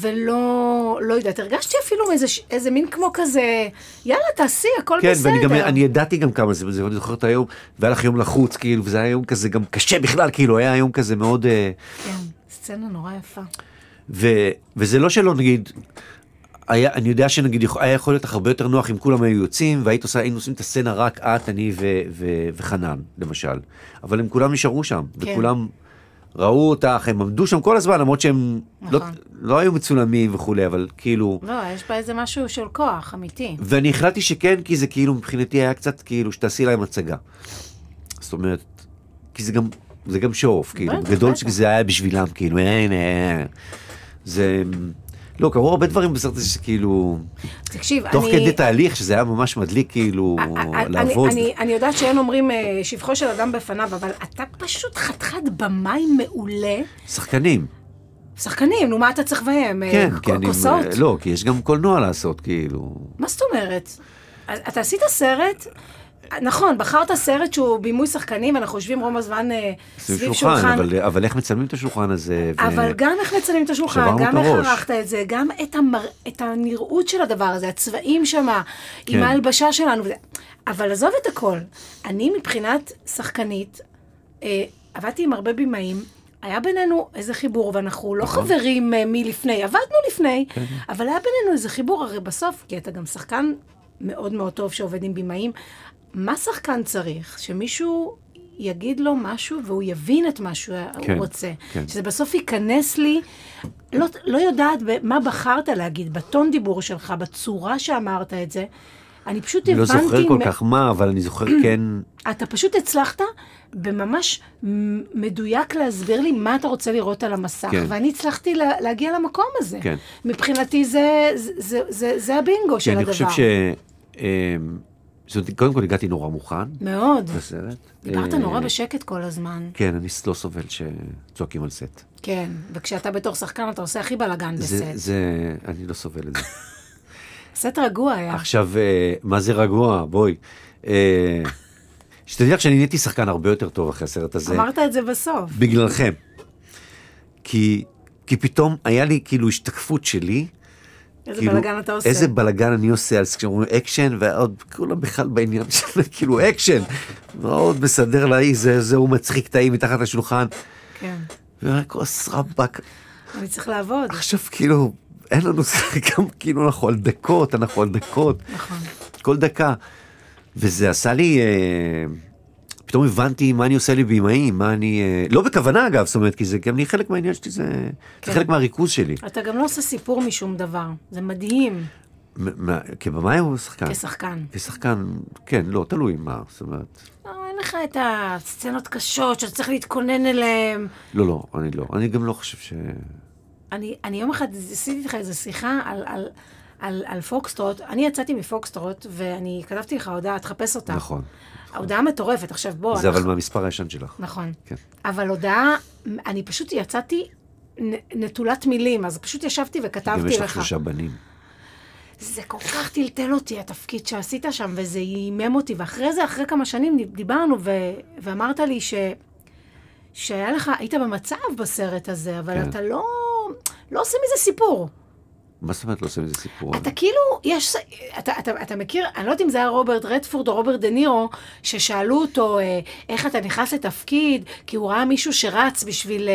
Speaker 1: ולא, לא יודעת, הרגשתי אפילו איזה, ש- איזה מין כמו כזה, יאללה, תעשי, הכל
Speaker 2: כן,
Speaker 1: בסדר.
Speaker 2: ואני גם, אני ידעתי גם כמה זה, זה, אני זוכר את היום, והיה לך יום לחוץ, כאילו, וזה היה יום כזה גם קשה בכלל, כאילו, היה יום כזה מאוד, אה,
Speaker 1: כן, סצנה נורא יפה.
Speaker 2: ו, וזה לא שלא נגיד, היה, אני יודע שנגיד, יכול- היה יכול להיות לך הרבה יותר נוח אם כולם היו יוצאים, והיית עושה, היינו עושים את הסצנה רק את, אני ו, ו, וחנן, למשל. אבל הם כולם נשארו שם,
Speaker 1: כן.
Speaker 2: וכולם ראו אותך, הם עמדו שם כל הזמן, למרות שהם לא,
Speaker 1: נכון.
Speaker 2: לא היו מצולמים וכולי, אבל כאילו...
Speaker 1: לא, יש בה איזה משהו של כוח, אמיתי.
Speaker 2: ואני החלטתי שכן, כי זה כאילו מבחינתי היה קצת כאילו שתעשי להם הצגה. זאת אומרת, כי זה גם, זה גם שואוף, כאילו,
Speaker 1: בטח,
Speaker 2: גדול
Speaker 1: בטח.
Speaker 2: שזה היה בשבילם, כאילו, אין, אין. זה, לא, קרו הרבה דברים בסרט הזה שכאילו,
Speaker 1: תקשיב,
Speaker 2: תוך
Speaker 1: אני... אה,
Speaker 2: כדי תהליך, שזה היה ממש מדליק, כאילו,
Speaker 1: אני-
Speaker 2: לעבוד.
Speaker 1: אני, אני יודעת שאין אומרים אה, שבחו של אדם בפניו, אבל אתה פשוט חתיכת במאי מעולה.
Speaker 2: שחקנים,
Speaker 1: שחקנים, נו, מה אתה צריך בהם? אה,
Speaker 2: כן,
Speaker 1: כ-
Speaker 2: כי אני,
Speaker 1: כוסות?
Speaker 2: לא, כי יש גם קולנוע לעשות, כאילו.
Speaker 1: מה זאת אומרת? אז אתה עשית סרט נכון, בחרת סרט שהוא בימוי שחקנים, אנחנו יושבים רוב הזמן אה, סביב שולחן.
Speaker 2: אבל, אבל איך מצלמים את השולחן הזה? ו-
Speaker 1: אבל גם איך מצלמים את השולחן,
Speaker 2: שברנו
Speaker 1: גם
Speaker 2: את
Speaker 1: איך
Speaker 2: הראש.
Speaker 1: ערכת את זה, גם את, המר... את הנראות של הדבר הזה, הצבעים שמה, עם
Speaker 2: כן.
Speaker 1: ההלבשה שלנו. וזה. אבל עזוב את הכל, אני מבחינת שחקנית, אה, עבדתי עם הרבה בימאים. היה בינינו איזה חיבור, ואנחנו לא
Speaker 2: נכון.
Speaker 1: חברים אה, מלפני, עבדנו לפני,
Speaker 2: כן.
Speaker 1: אבל היה בינינו איזה חיבור, הרי בסוף, כי אתה גם שחקן מאוד מאוד טוב שעובד עם בימאים, מה שחקן צריך? שמישהו יגיד לו משהו והוא יבין את מה שהוא
Speaker 2: כן,
Speaker 1: כן, רוצה.
Speaker 2: כן.
Speaker 1: כן. שזה בסוף ייכנס לי, לא, לא יודעת במה בחרת להגיד, בטון דיבור שלך, בצורה שאמרת את זה. אני פשוט
Speaker 2: אני
Speaker 1: הבנתי...
Speaker 2: לא זוכר כל
Speaker 1: מא-
Speaker 2: כך מה, אבל אני זוכר כן,
Speaker 1: אתה פשוט הצלחת בממש מ- מדויק להסביר לי מה אתה רוצה לראות על המסך,
Speaker 2: כן.
Speaker 1: כן. ואני הצלחתי לה, להגיע למקום הזה.
Speaker 2: כן.
Speaker 1: מבחינתי זה, זה, זה, זה, זה הבינגו של
Speaker 2: כי אני
Speaker 1: הדבר.
Speaker 2: חושב ש... אמ, זאת אומרת, קודם כל הגעתי נורא מוכן
Speaker 1: מאוד.
Speaker 2: לסרט.
Speaker 1: דיברת
Speaker 2: אה,
Speaker 1: נורא בשקט כל הזמן.
Speaker 2: כן, אני לא סובל שצועקים על סט.
Speaker 1: כן, וכשאתה בתור שחקן אתה עושה הכי בלאגן
Speaker 2: זה,
Speaker 1: בסט.
Speaker 2: זה, אני לא סובל את זה.
Speaker 1: סט רגוע היה.
Speaker 2: עכשיו, אה, מה זה רגוע? בואי. אה, שתדעי לך שאני נהייתי שחקן הרבה יותר טוב אחרי הסרט הזה.
Speaker 1: אמרת את זה בסוף.
Speaker 2: בגללכם. כי, כי פתאום היה לי כאילו השתקפות שלי.
Speaker 1: איזה
Speaker 2: כאילו,
Speaker 1: בלאגן אתה עושה.
Speaker 2: איזה בלאגן אני עושה, אז כשאומרים אקשן, ועוד כולם בכלל בעניין של כאילו אקשן. מאוד מסדר להיא, זה, זה הוא מצחיק את ההיא מתחת לשולחן.
Speaker 1: כן.
Speaker 2: ורק כוס רבאק.
Speaker 1: אני צריך לעבוד.
Speaker 2: עכשיו כאילו, אין לנו זה, גם כאילו אנחנו על דקות, אנחנו על דקות.
Speaker 1: נכון.
Speaker 2: כל דקה. וזה עשה לי, אה, פתאום הבנתי מה אני עושה לי בימאים, מה אני, אה, לא בכוונה אגב, זאת אומרת, כי זה גם לי חלק מהעניין שלי, זה, זה
Speaker 1: כן.
Speaker 2: חלק מהריכוז שלי.
Speaker 1: אתה גם לא עושה סיפור משום דבר. זה מדהים
Speaker 2: אה. מ- מה- כבמאי או שחקן?
Speaker 1: כשחקן.
Speaker 2: כשחקן, כן, לא, תלוי מה, זאת אומרת,
Speaker 1: לא, אין לך את הסצנות קשות שאתה צריך להתכונן אליהן.
Speaker 2: לא, לא, אני לא, אני גם לא חושב ש...
Speaker 1: אני, אני יום אחד עשיתי איתך איזו שיחה על, על, על, על פוקסטרוט. אני יצאתי מפוקסטרוט, ואני כתבתי לך הודעה, תחפש אותה.
Speaker 2: נכון.
Speaker 1: ההודעה מטורפת, עכשיו בוא.
Speaker 2: זה
Speaker 1: אנחנו-
Speaker 2: אבל מהמספר הישן שלך.
Speaker 1: נכון.
Speaker 2: כן.
Speaker 1: אבל הודעה, אני פשוט יצאתי נ- נטולת מילים, אז פשוט ישבתי
Speaker 2: גם
Speaker 1: וכתבתי
Speaker 2: יש לך
Speaker 1: לך.
Speaker 2: שלושה בנים.
Speaker 1: זה כל כך טלטל אותי, התפקיד שעשית שם, וזה הימם אותי. ואחרי זה, אחרי כמה שנים, דיברנו, ו... ואמרת לי ש... שהיה לך, היית במצב בסרט הזה, אבל
Speaker 2: כן.
Speaker 1: כן. אתה לא... לא עושה מזה סיפור.
Speaker 2: מה זאת אומרת לא עושים איזה סיפור?
Speaker 1: אתה כאילו, יש... אתה, אתה, אתה מכיר, אני לא יודעת אם זה היה רוברט רדפורד או רוברט דה נירו, ששאלו אותו אה, איך אתה נכנס לתפקיד, כי הוא ראה מישהו שרץ בשביל... אה,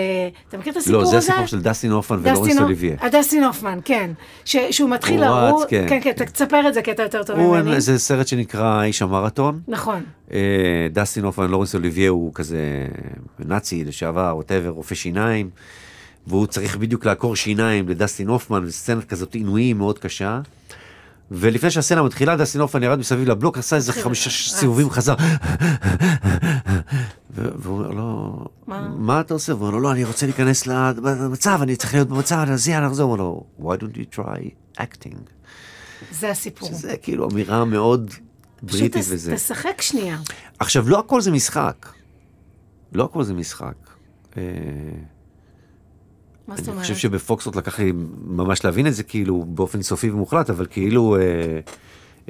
Speaker 1: אתה מכיר את הסיפור
Speaker 2: לא,
Speaker 1: הזה?
Speaker 2: זה הסיפור של דסטין הופמן ולורנס
Speaker 1: דסטין- אה,
Speaker 2: אוליביה.
Speaker 1: הדסטין הופמן, כן. ש, שהוא מתחיל...
Speaker 2: הוא רץ,
Speaker 1: לרוץ-
Speaker 2: כן.
Speaker 1: כן, כן, אתה תספר את זה, כי אתה יותר טוב
Speaker 2: הוא,
Speaker 1: ממני.
Speaker 2: זה סרט שנקרא איש המרתון.
Speaker 1: נכון.
Speaker 2: אה, דסטין הופמן, לורנס אוליביה הוא כזה נאצי לשעבר, ווטאבר, רופא שיניים, והוא צריך בדיוק לעקור שיניים לדסטין הופמן, וסצנת כזאת עינויים מאוד קשה. ולפני שהסצנה מתחילה, דסטין הופמן ירד מסביב לבלוק, עשה איזה
Speaker 1: התחיל
Speaker 2: חמישה
Speaker 1: רץ.
Speaker 2: סיבובים, חזר. ו- והוא אומר לו, "לא,
Speaker 1: מה?
Speaker 2: מה אתה עושה? והוא אומר לו, לא, אני רוצה להיכנס למצב, אני צריך להיות במצב, אז יאללה, נחזור. הוא אומר לו, why don't you try acting?
Speaker 1: זה הסיפור.
Speaker 2: שזה כאילו אמירה מאוד בריטית
Speaker 1: פשוט
Speaker 2: וזה.
Speaker 1: תס- תשחק שנייה.
Speaker 2: עכשיו, לא הכל זה משחק. לא הכל זה משחק. אה,
Speaker 1: מה זאת
Speaker 2: אני
Speaker 1: אומרת?
Speaker 2: חושב שבפוקסוט לקח לי ממש להבין את זה, כאילו, באופן סופי ומוחלט, אבל כאילו... אה,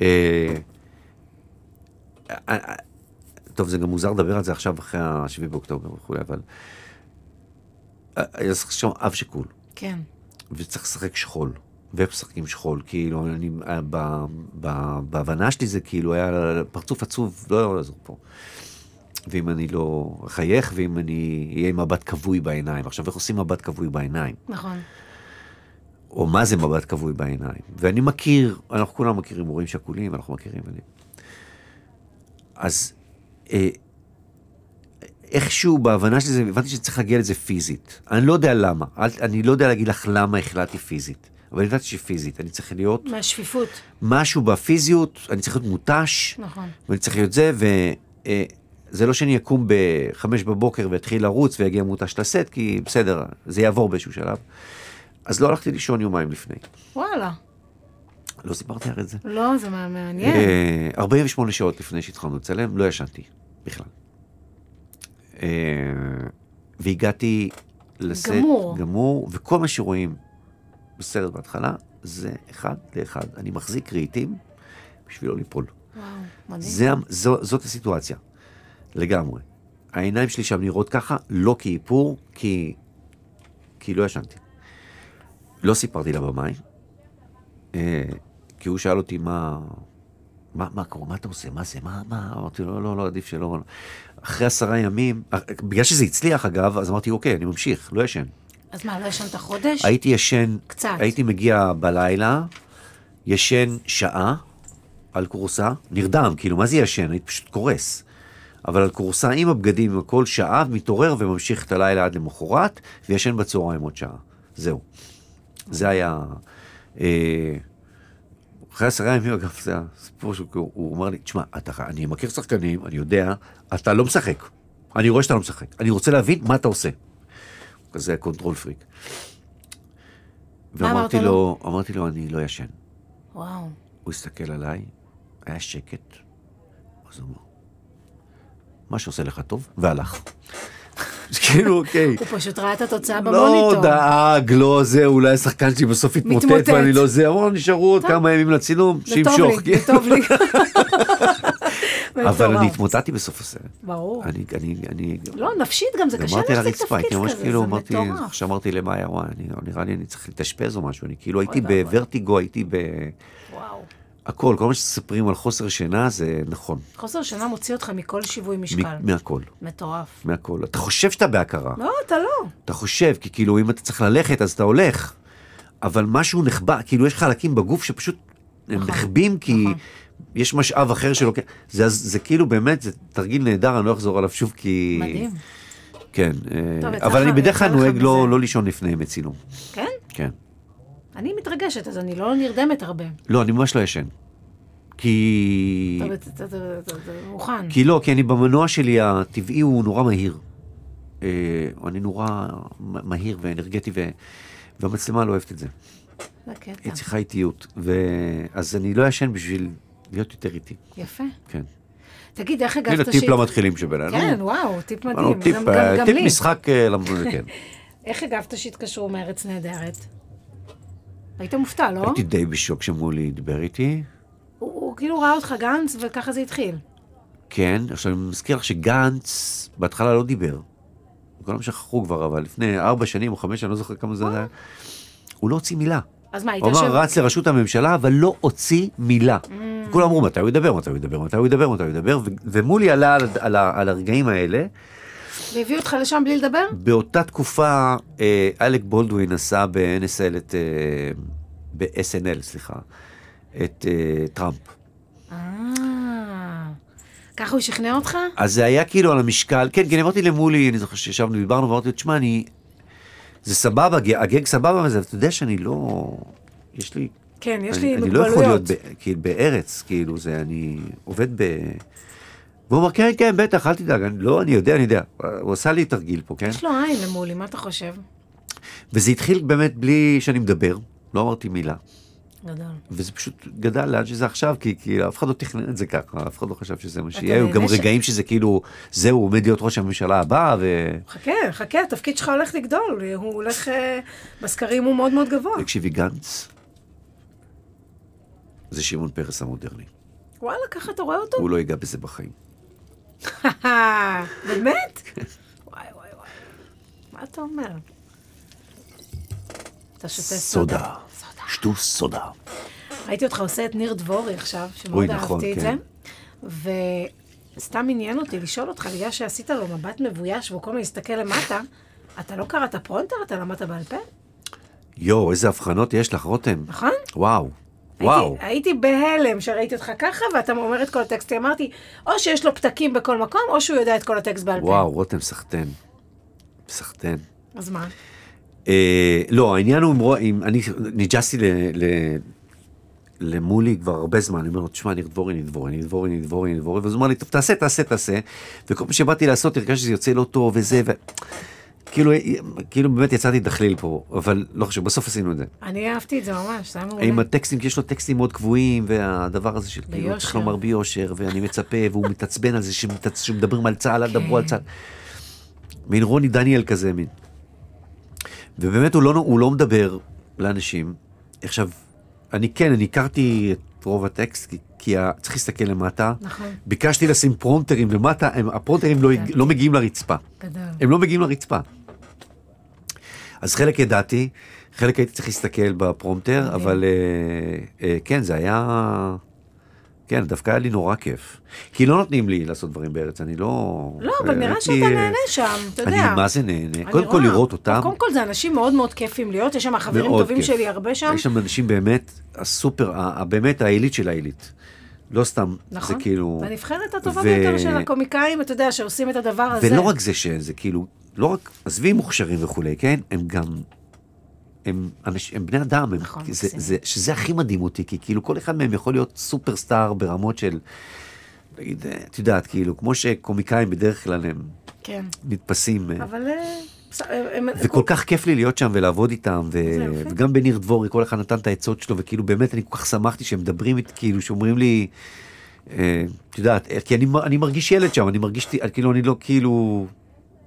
Speaker 2: אה, אה, אה, טוב, זה גם מוזר לדבר על זה עכשיו, אחרי ה-7 באוקטובר וכולי, אבל... אה, היה צריך שם אב שכול,
Speaker 1: כן.
Speaker 2: וצריך לשחק שכול. ואיך משחקים שכול? כאילו, אני... אה, ב- ב- בהבנה שלי זה כאילו היה פרצוף עצוב, לא יכול לעזור פה. ואם אני לא אחייך, ואם אני אהיה עם מבט כבוי בעיניים. עכשיו, איך עושים מבט כבוי בעיניים?
Speaker 1: נכון.
Speaker 2: או מה זה מבט כבוי בעיניים? ואני מכיר, אנחנו כולם מכירים הורים שכולים, אנחנו מכירים. אני... אז אה, איכשהו בהבנה של זה, הבנתי שצריך להגיע לזה פיזית. אני לא יודע למה, אל, אני לא יודע להגיד לך למה החלטתי פיזית, אבל ידעתי שפיזית, אני צריך להיות
Speaker 1: מהשפיפות.
Speaker 2: משהו בפיזיות, אני צריך להיות מותש.
Speaker 1: נכון.
Speaker 2: ואני צריך להיות זה, וזה לא שאני אקום בחמש בבוקר ואתחיל לרוץ ויגיע מותש לסט, כי בסדר, זה יעבור באיזשהו שלב. אז לא הלכתי לישון יומיים לפני.
Speaker 1: וואלה.
Speaker 2: לא סיפרתי לך את זה.
Speaker 1: לא, זה מה- מעניין.
Speaker 2: אה, 48 שעות לפני שהתחלנו לצלם, לא ישנתי בכלל. אה, והגעתי לסט
Speaker 1: גמור.
Speaker 2: גמור, וכל מה שרואים בסרט בהתחלה, זה אחד לאחד. אני מחזיק רהיטים בשביל לא ליפול.
Speaker 1: וואו, מדהים.
Speaker 2: זה, המ- זו, זאת הסיטואציה, לגמרי. העיניים שלי שם נראות ככה, לא כאיפור, כי, כי לא ישנתי. לא סיפרתי לבמאי, אה, כי הוא שאל אותי מה... מה, מה קורה, מה אתה עושה, מה זה, מה, מה, אמרתי לו, לא, לא, לא, עדיף שלא. אחרי עשרה ימים, אה, בגלל שזה הצליח אגב, אז אמרתי, אוקיי, אני ממשיך, לא ישן.
Speaker 1: אז מה, לא ישנת חודש?
Speaker 2: הייתי ישן,
Speaker 1: קצת.
Speaker 2: הייתי מגיע בלילה, ישן שעה על כורסה, נרדם, כאילו, מה זה ישן? הייתי פשוט קורס. אבל על כורסה עם הבגדים, עם הכל שעה, מתעורר וממשיך את הלילה עד למחרת, וישן בצהריים עוד שעה. זהו. זה היה... אה, אחרי עשרה ימים, אגב, זה הסיפור שהוא הוא- הוא אמר לי, תשמע, אתה, אני מכיר שחקנים, אני יודע, אתה לא משחק. אני רואה שאתה לא משחק. אני רוצה להבין מה אתה עושה. הוא כזה קונטרול פריק.
Speaker 1: מה אמרת
Speaker 2: ואמרתי לו, אמרתי לו, אני לא ישן.
Speaker 1: וואו.
Speaker 2: הוא הסתכל עליי, היה שקט, אז הוא אמר, מה שעושה לך טוב, והלך. אז כאילו, אוקיי.
Speaker 1: הוא פשוט ראה את התוצאה
Speaker 2: לא
Speaker 1: במוניטור.
Speaker 2: דאג, לא זה, אולי השחקן שלי בסוף
Speaker 1: מתמוטט.
Speaker 2: יתמוטט ואני לא זה, אמרו, נשארו עוד כמה ימים לצילום,
Speaker 1: זה טוב
Speaker 2: שימשוך.
Speaker 1: לי, זה טוב לי.
Speaker 2: אבל
Speaker 1: מטורף.
Speaker 2: אני התמוטטתי בסוף הסרט.
Speaker 1: ברור.
Speaker 2: אני, אני, אני...
Speaker 1: לא, נפשית גם, זה קשה
Speaker 2: גמרתי על
Speaker 1: להחזיק
Speaker 2: הרצפה,
Speaker 1: תפקיד
Speaker 2: הייתי ממש
Speaker 1: כזה,
Speaker 2: כאילו,
Speaker 1: זה
Speaker 2: אמרתי,
Speaker 1: מטורף.
Speaker 2: כשאמרתי למאיה, וואי, אני- נראה לי אני צריך להתאשפז או משהו, אני כאילו הייתי
Speaker 1: ואבוי.
Speaker 2: בוורטיגו, הייתי ב...
Speaker 1: וואו.
Speaker 2: הכל, כל מה שמספרים על חוסר שינה זה נכון,
Speaker 1: חוסר שינה מוציא אותך מכל שיווי משקל.
Speaker 2: מ- מהכל,
Speaker 1: מטורף.
Speaker 2: מהכל. אתה חושב שאתה בהכרה,
Speaker 1: לא, אתה לא.
Speaker 2: אתה חושב, כי כאילו אם אתה צריך ללכת אז אתה הולך, אבל משהו נחבא, כאילו יש חלקים בגוף שפשוט הם
Speaker 1: נכון,
Speaker 2: נחבים כי
Speaker 1: נכון.
Speaker 2: יש משאב אחר שלוקח, זה, זה כאילו באמת, זה תרגיל נהדר, אני לא אחזור עליו שוב כי...
Speaker 1: מדהים.
Speaker 2: כן,
Speaker 1: טוב, יצא
Speaker 2: אה, אבל
Speaker 1: לך-
Speaker 2: אני בדרך כלל
Speaker 1: יצא לך
Speaker 2: נוהג לא
Speaker 1: מזה.
Speaker 2: לא לישון לפני ימי צילום,
Speaker 1: כן?
Speaker 2: כן.
Speaker 1: אני מתרגשת, אז אני לא נרדמת הרבה.
Speaker 2: לא, אני ממש לא ישן. כי...
Speaker 1: אתה- אתה- אתה- אתה- אתה מוכן.
Speaker 2: כי לא, כי אני במנוע שלי הטבעי הוא נורא מהיר. אה, אני נורא מ- מהיר ואנרגטי, ו... והמצלמה לא אוהבת את זה.
Speaker 1: זה קטע.
Speaker 2: היא צריכה איטיות. ו... אז אני לא ישן בשביל להיות יותר איטי,
Speaker 1: יפה.
Speaker 2: כן.
Speaker 1: תגיד, איך הגבת
Speaker 2: הנה טיפ
Speaker 1: שהת-
Speaker 2: למתחילים שבינינו.
Speaker 1: כן, וואו, טיפ
Speaker 2: אמרנו,
Speaker 1: מדהים.
Speaker 2: טיפ,
Speaker 1: גם-
Speaker 2: אה,
Speaker 1: גם- גם
Speaker 2: טיפ
Speaker 1: לי.
Speaker 2: משחק, אה, למ- כן.
Speaker 1: איך הגבת שהתקשרו מארץ נהדרת? היית מופתע, לא?
Speaker 2: הייתי די בשוק כשאמרו לי, דבר איתי.
Speaker 1: הוא- הוא כאילו ראה אותך גנץ, וככה זה התחיל.
Speaker 2: כן, עכשיו אני מזכיר לך שגנץ בהתחלה לא דיבר. כולם שכחו כבר, אבל לפני ארבע שנים או חמש, אני לא זוכר כמה
Speaker 1: אה.
Speaker 2: זה היה, הוא לא הוציא מילה.
Speaker 1: אז מה, היית
Speaker 2: הוא אמר,
Speaker 1: יושב...
Speaker 2: רץ לראשות הממשלה, אבל לא הוציא
Speaker 1: Mm.
Speaker 2: מילה. כולם אמרו, מתי הוא ידבר, מתי הוא ידבר, מתי הוא ידבר, מתי הוא ידבר, ו- ומולי עלה על- על ה- על הרגעים האלה.
Speaker 1: והביאו אותך לשם בלי לדבר?
Speaker 2: באותה תקופה, אה, אלק בולדווין עשה ב-NSL את... אה, ב-SNL, סליחה, את אה, טראמפ.
Speaker 1: אה... ככה הוא שכנע אותך?
Speaker 2: אז זה היה כאילו על המשקל, כן, כן, אמרתי למולי, אני זוכר שישבנו, דיברנו, ואמרתי לו, תשמע, אני... זה סבבה, הג- הגג סבבה וזה, אבל אתה יודע שאני לא... יש לי...
Speaker 1: כן, יש
Speaker 2: אני,
Speaker 1: לי
Speaker 2: אני לא יכול להיות
Speaker 1: מוגבלויות.
Speaker 2: ב, כאילו, בארץ, כאילו, זה, אני עובד ב... והוא אמר, כן, כן, בטח, אל תדאג, אני, לא, אני יודע, אני יודע. הוא עשה לי תרגיל פה, כן?
Speaker 1: יש לו עין למולי, מה אתה חושב?
Speaker 2: וזה התחיל באמת בלי שאני מדבר, לא אמרתי מילה.
Speaker 1: גדול.
Speaker 2: וזה פשוט גדל לאן שזה עכשיו, כי, כי אף אחד לא תכנן את זה ככה, אף אחד לא חשב שזה מה שיהיה,
Speaker 1: נהנה
Speaker 2: היו גם
Speaker 1: ש-
Speaker 2: רגעים שזה כאילו, זהו, הוא עומד להיות ראש הממשלה הבא, ו...
Speaker 1: חכה, חכה, התפקיד שלך הולך לגדול. הוא הולך... אה, בסקרים הוא מאוד מאוד גבוה.
Speaker 2: תקשיבי, גנץ, זה שמעון פרס המודרני.
Speaker 1: וואלה, ככה אתה רואה אותו?
Speaker 2: הוא לא ייגע בזה בחיים.
Speaker 1: באמת? וואי, וואי, וואי. מה אתה אומר? אתה שותה סודה.
Speaker 2: סודה. שתו סודה.
Speaker 1: ראיתי אותך עושה את ניר דבורי עכשיו,
Speaker 2: אוי,
Speaker 1: שמאוד
Speaker 2: נכון,
Speaker 1: אהבתי את זה.
Speaker 2: כן.
Speaker 1: וסתם עניין אותי לשאול אותך, בגלל שעשית לו מבט מבויש והוא כל הזמן הסתכל למטה, אתה לא קראת פרונטר? אתה למדת בעל פה?
Speaker 2: יואו, איזה הבחנות יש לך, רותם.
Speaker 1: נכון?
Speaker 2: וואו. וואו.
Speaker 1: הייתי, הייתי בהלם שראיתי אותך ככה, ואתה אומר את כל הטקסט. אמרתי, או שיש לו פתקים בכל מקום, או שהוא יודע את כל הטקסט בעל פה.
Speaker 2: וואו, רותם, סחטן. סחטן.
Speaker 1: אז מה?
Speaker 2: אה, לא, העניין הוא, עם רו- עם- אני ניג'סתי ל- ל- למולי כבר הרבה זמן, אני אומר לו, תשמע, ניר דבורי, ניר דבורי, ניר דבורי, ניר דבורי, ניר דבורי, ואז הוא אמר לי, טוב, תעשה, תעשה, תעשה. וכל פעם שבאתי לעשות, הרגשתי שזה יוצא לא טוב וזה, ו... כאילו, כאילו באמת יצאתי דחליל פה, אבל לא חשוב, בסוף עשינו את זה.
Speaker 1: אני אהבתי את זה ממש, זה היה מעולה.
Speaker 2: עם הטקסטים, כי יש לו טקסטים מאוד קבועים, והדבר הזה של כאילו,
Speaker 1: ביושר.
Speaker 2: צריך לומר ביושר, ואני מצפה, והוא מתעצבן על זה שמתעצ- שמדברים על צה"ל, אל
Speaker 1: כן.
Speaker 2: דברו על צה"ל. מין רוני דניאל כזה, מין. ובאמת הוא לא, הוא לא מדבר לאנשים. עכשיו, אני כן, אני הכרתי את רוב הטקסט, כי כי ה- צריך להסתכל למטה.
Speaker 1: נכון.
Speaker 2: ביקשתי לשים פרומטרים למטה, הם- הפרומטרים לא,
Speaker 1: כן.
Speaker 2: הג- לא מגיעים לרצפה.
Speaker 1: גדול.
Speaker 2: הם לא מגיעים לרצפה. אז חלק ידעתי, חלק הייתי צריך להסתכל בפרומטר,
Speaker 1: מדהים.
Speaker 2: אבל אה, אה, כן, זה היה... כן, דווקא היה לי נורא כיף. כי לא נותנים לי לעשות דברים בארץ, אני לא...
Speaker 1: לא, אבל נראה
Speaker 2: הייתי- אה,
Speaker 1: שאתה נהנה שם, אתה יודע.
Speaker 2: אני מה זה נהנה?
Speaker 1: אני
Speaker 2: קודם כל
Speaker 1: רואה.
Speaker 2: לראות אותם.
Speaker 1: קודם כל זה אנשים מאוד מאוד כיפים להיות, יש שם חברים
Speaker 2: מאוד
Speaker 1: טובים
Speaker 2: כיף.
Speaker 1: שלי הרבה שם.
Speaker 2: יש שם אנשים באמת, הסופר, ה- ה- באמת העילית של העילית. לא סתם,
Speaker 1: נכון.
Speaker 2: זה כאילו...
Speaker 1: והנבחרת הטובה
Speaker 2: ו-
Speaker 1: ביותר של הקומיקאים, אתה יודע, שעושים את הדבר הזה.
Speaker 2: ולא רק זה שזה כאילו, לא רק, עזבי מוכשרים וכולי, כן? הם גם, הם, אנש, הם בני אדם, הם,
Speaker 1: נכון,
Speaker 2: זה,
Speaker 1: מקסים.
Speaker 2: זה, שזה הכי מדהים אותי, כי כאילו כל אחד מהם יכול להיות סופרסטאר ברמות של, נגיד, אה, את יודעת, כאילו, כמו שקומיקאים בדרך כלל הם
Speaker 1: כן.
Speaker 2: נתפסים. אה,
Speaker 1: אבל... אה, בס- הם- לא, הם-
Speaker 2: וכל כך כיף לי להיות שם ולעבוד איתם, ו...
Speaker 1: זה יפה.
Speaker 2: וגם בניר דבורי, כל אחד נתן את העצות שלו, וכאילו באמת אני כל כך שמחתי שהם מדברים איתי, כאילו שאומרים לי, אה, את יודעת, אה, כי אני, מ- אני מרגיש ילד שם, אני מרגיש, ת- אה, כאילו אני לא, כאילו,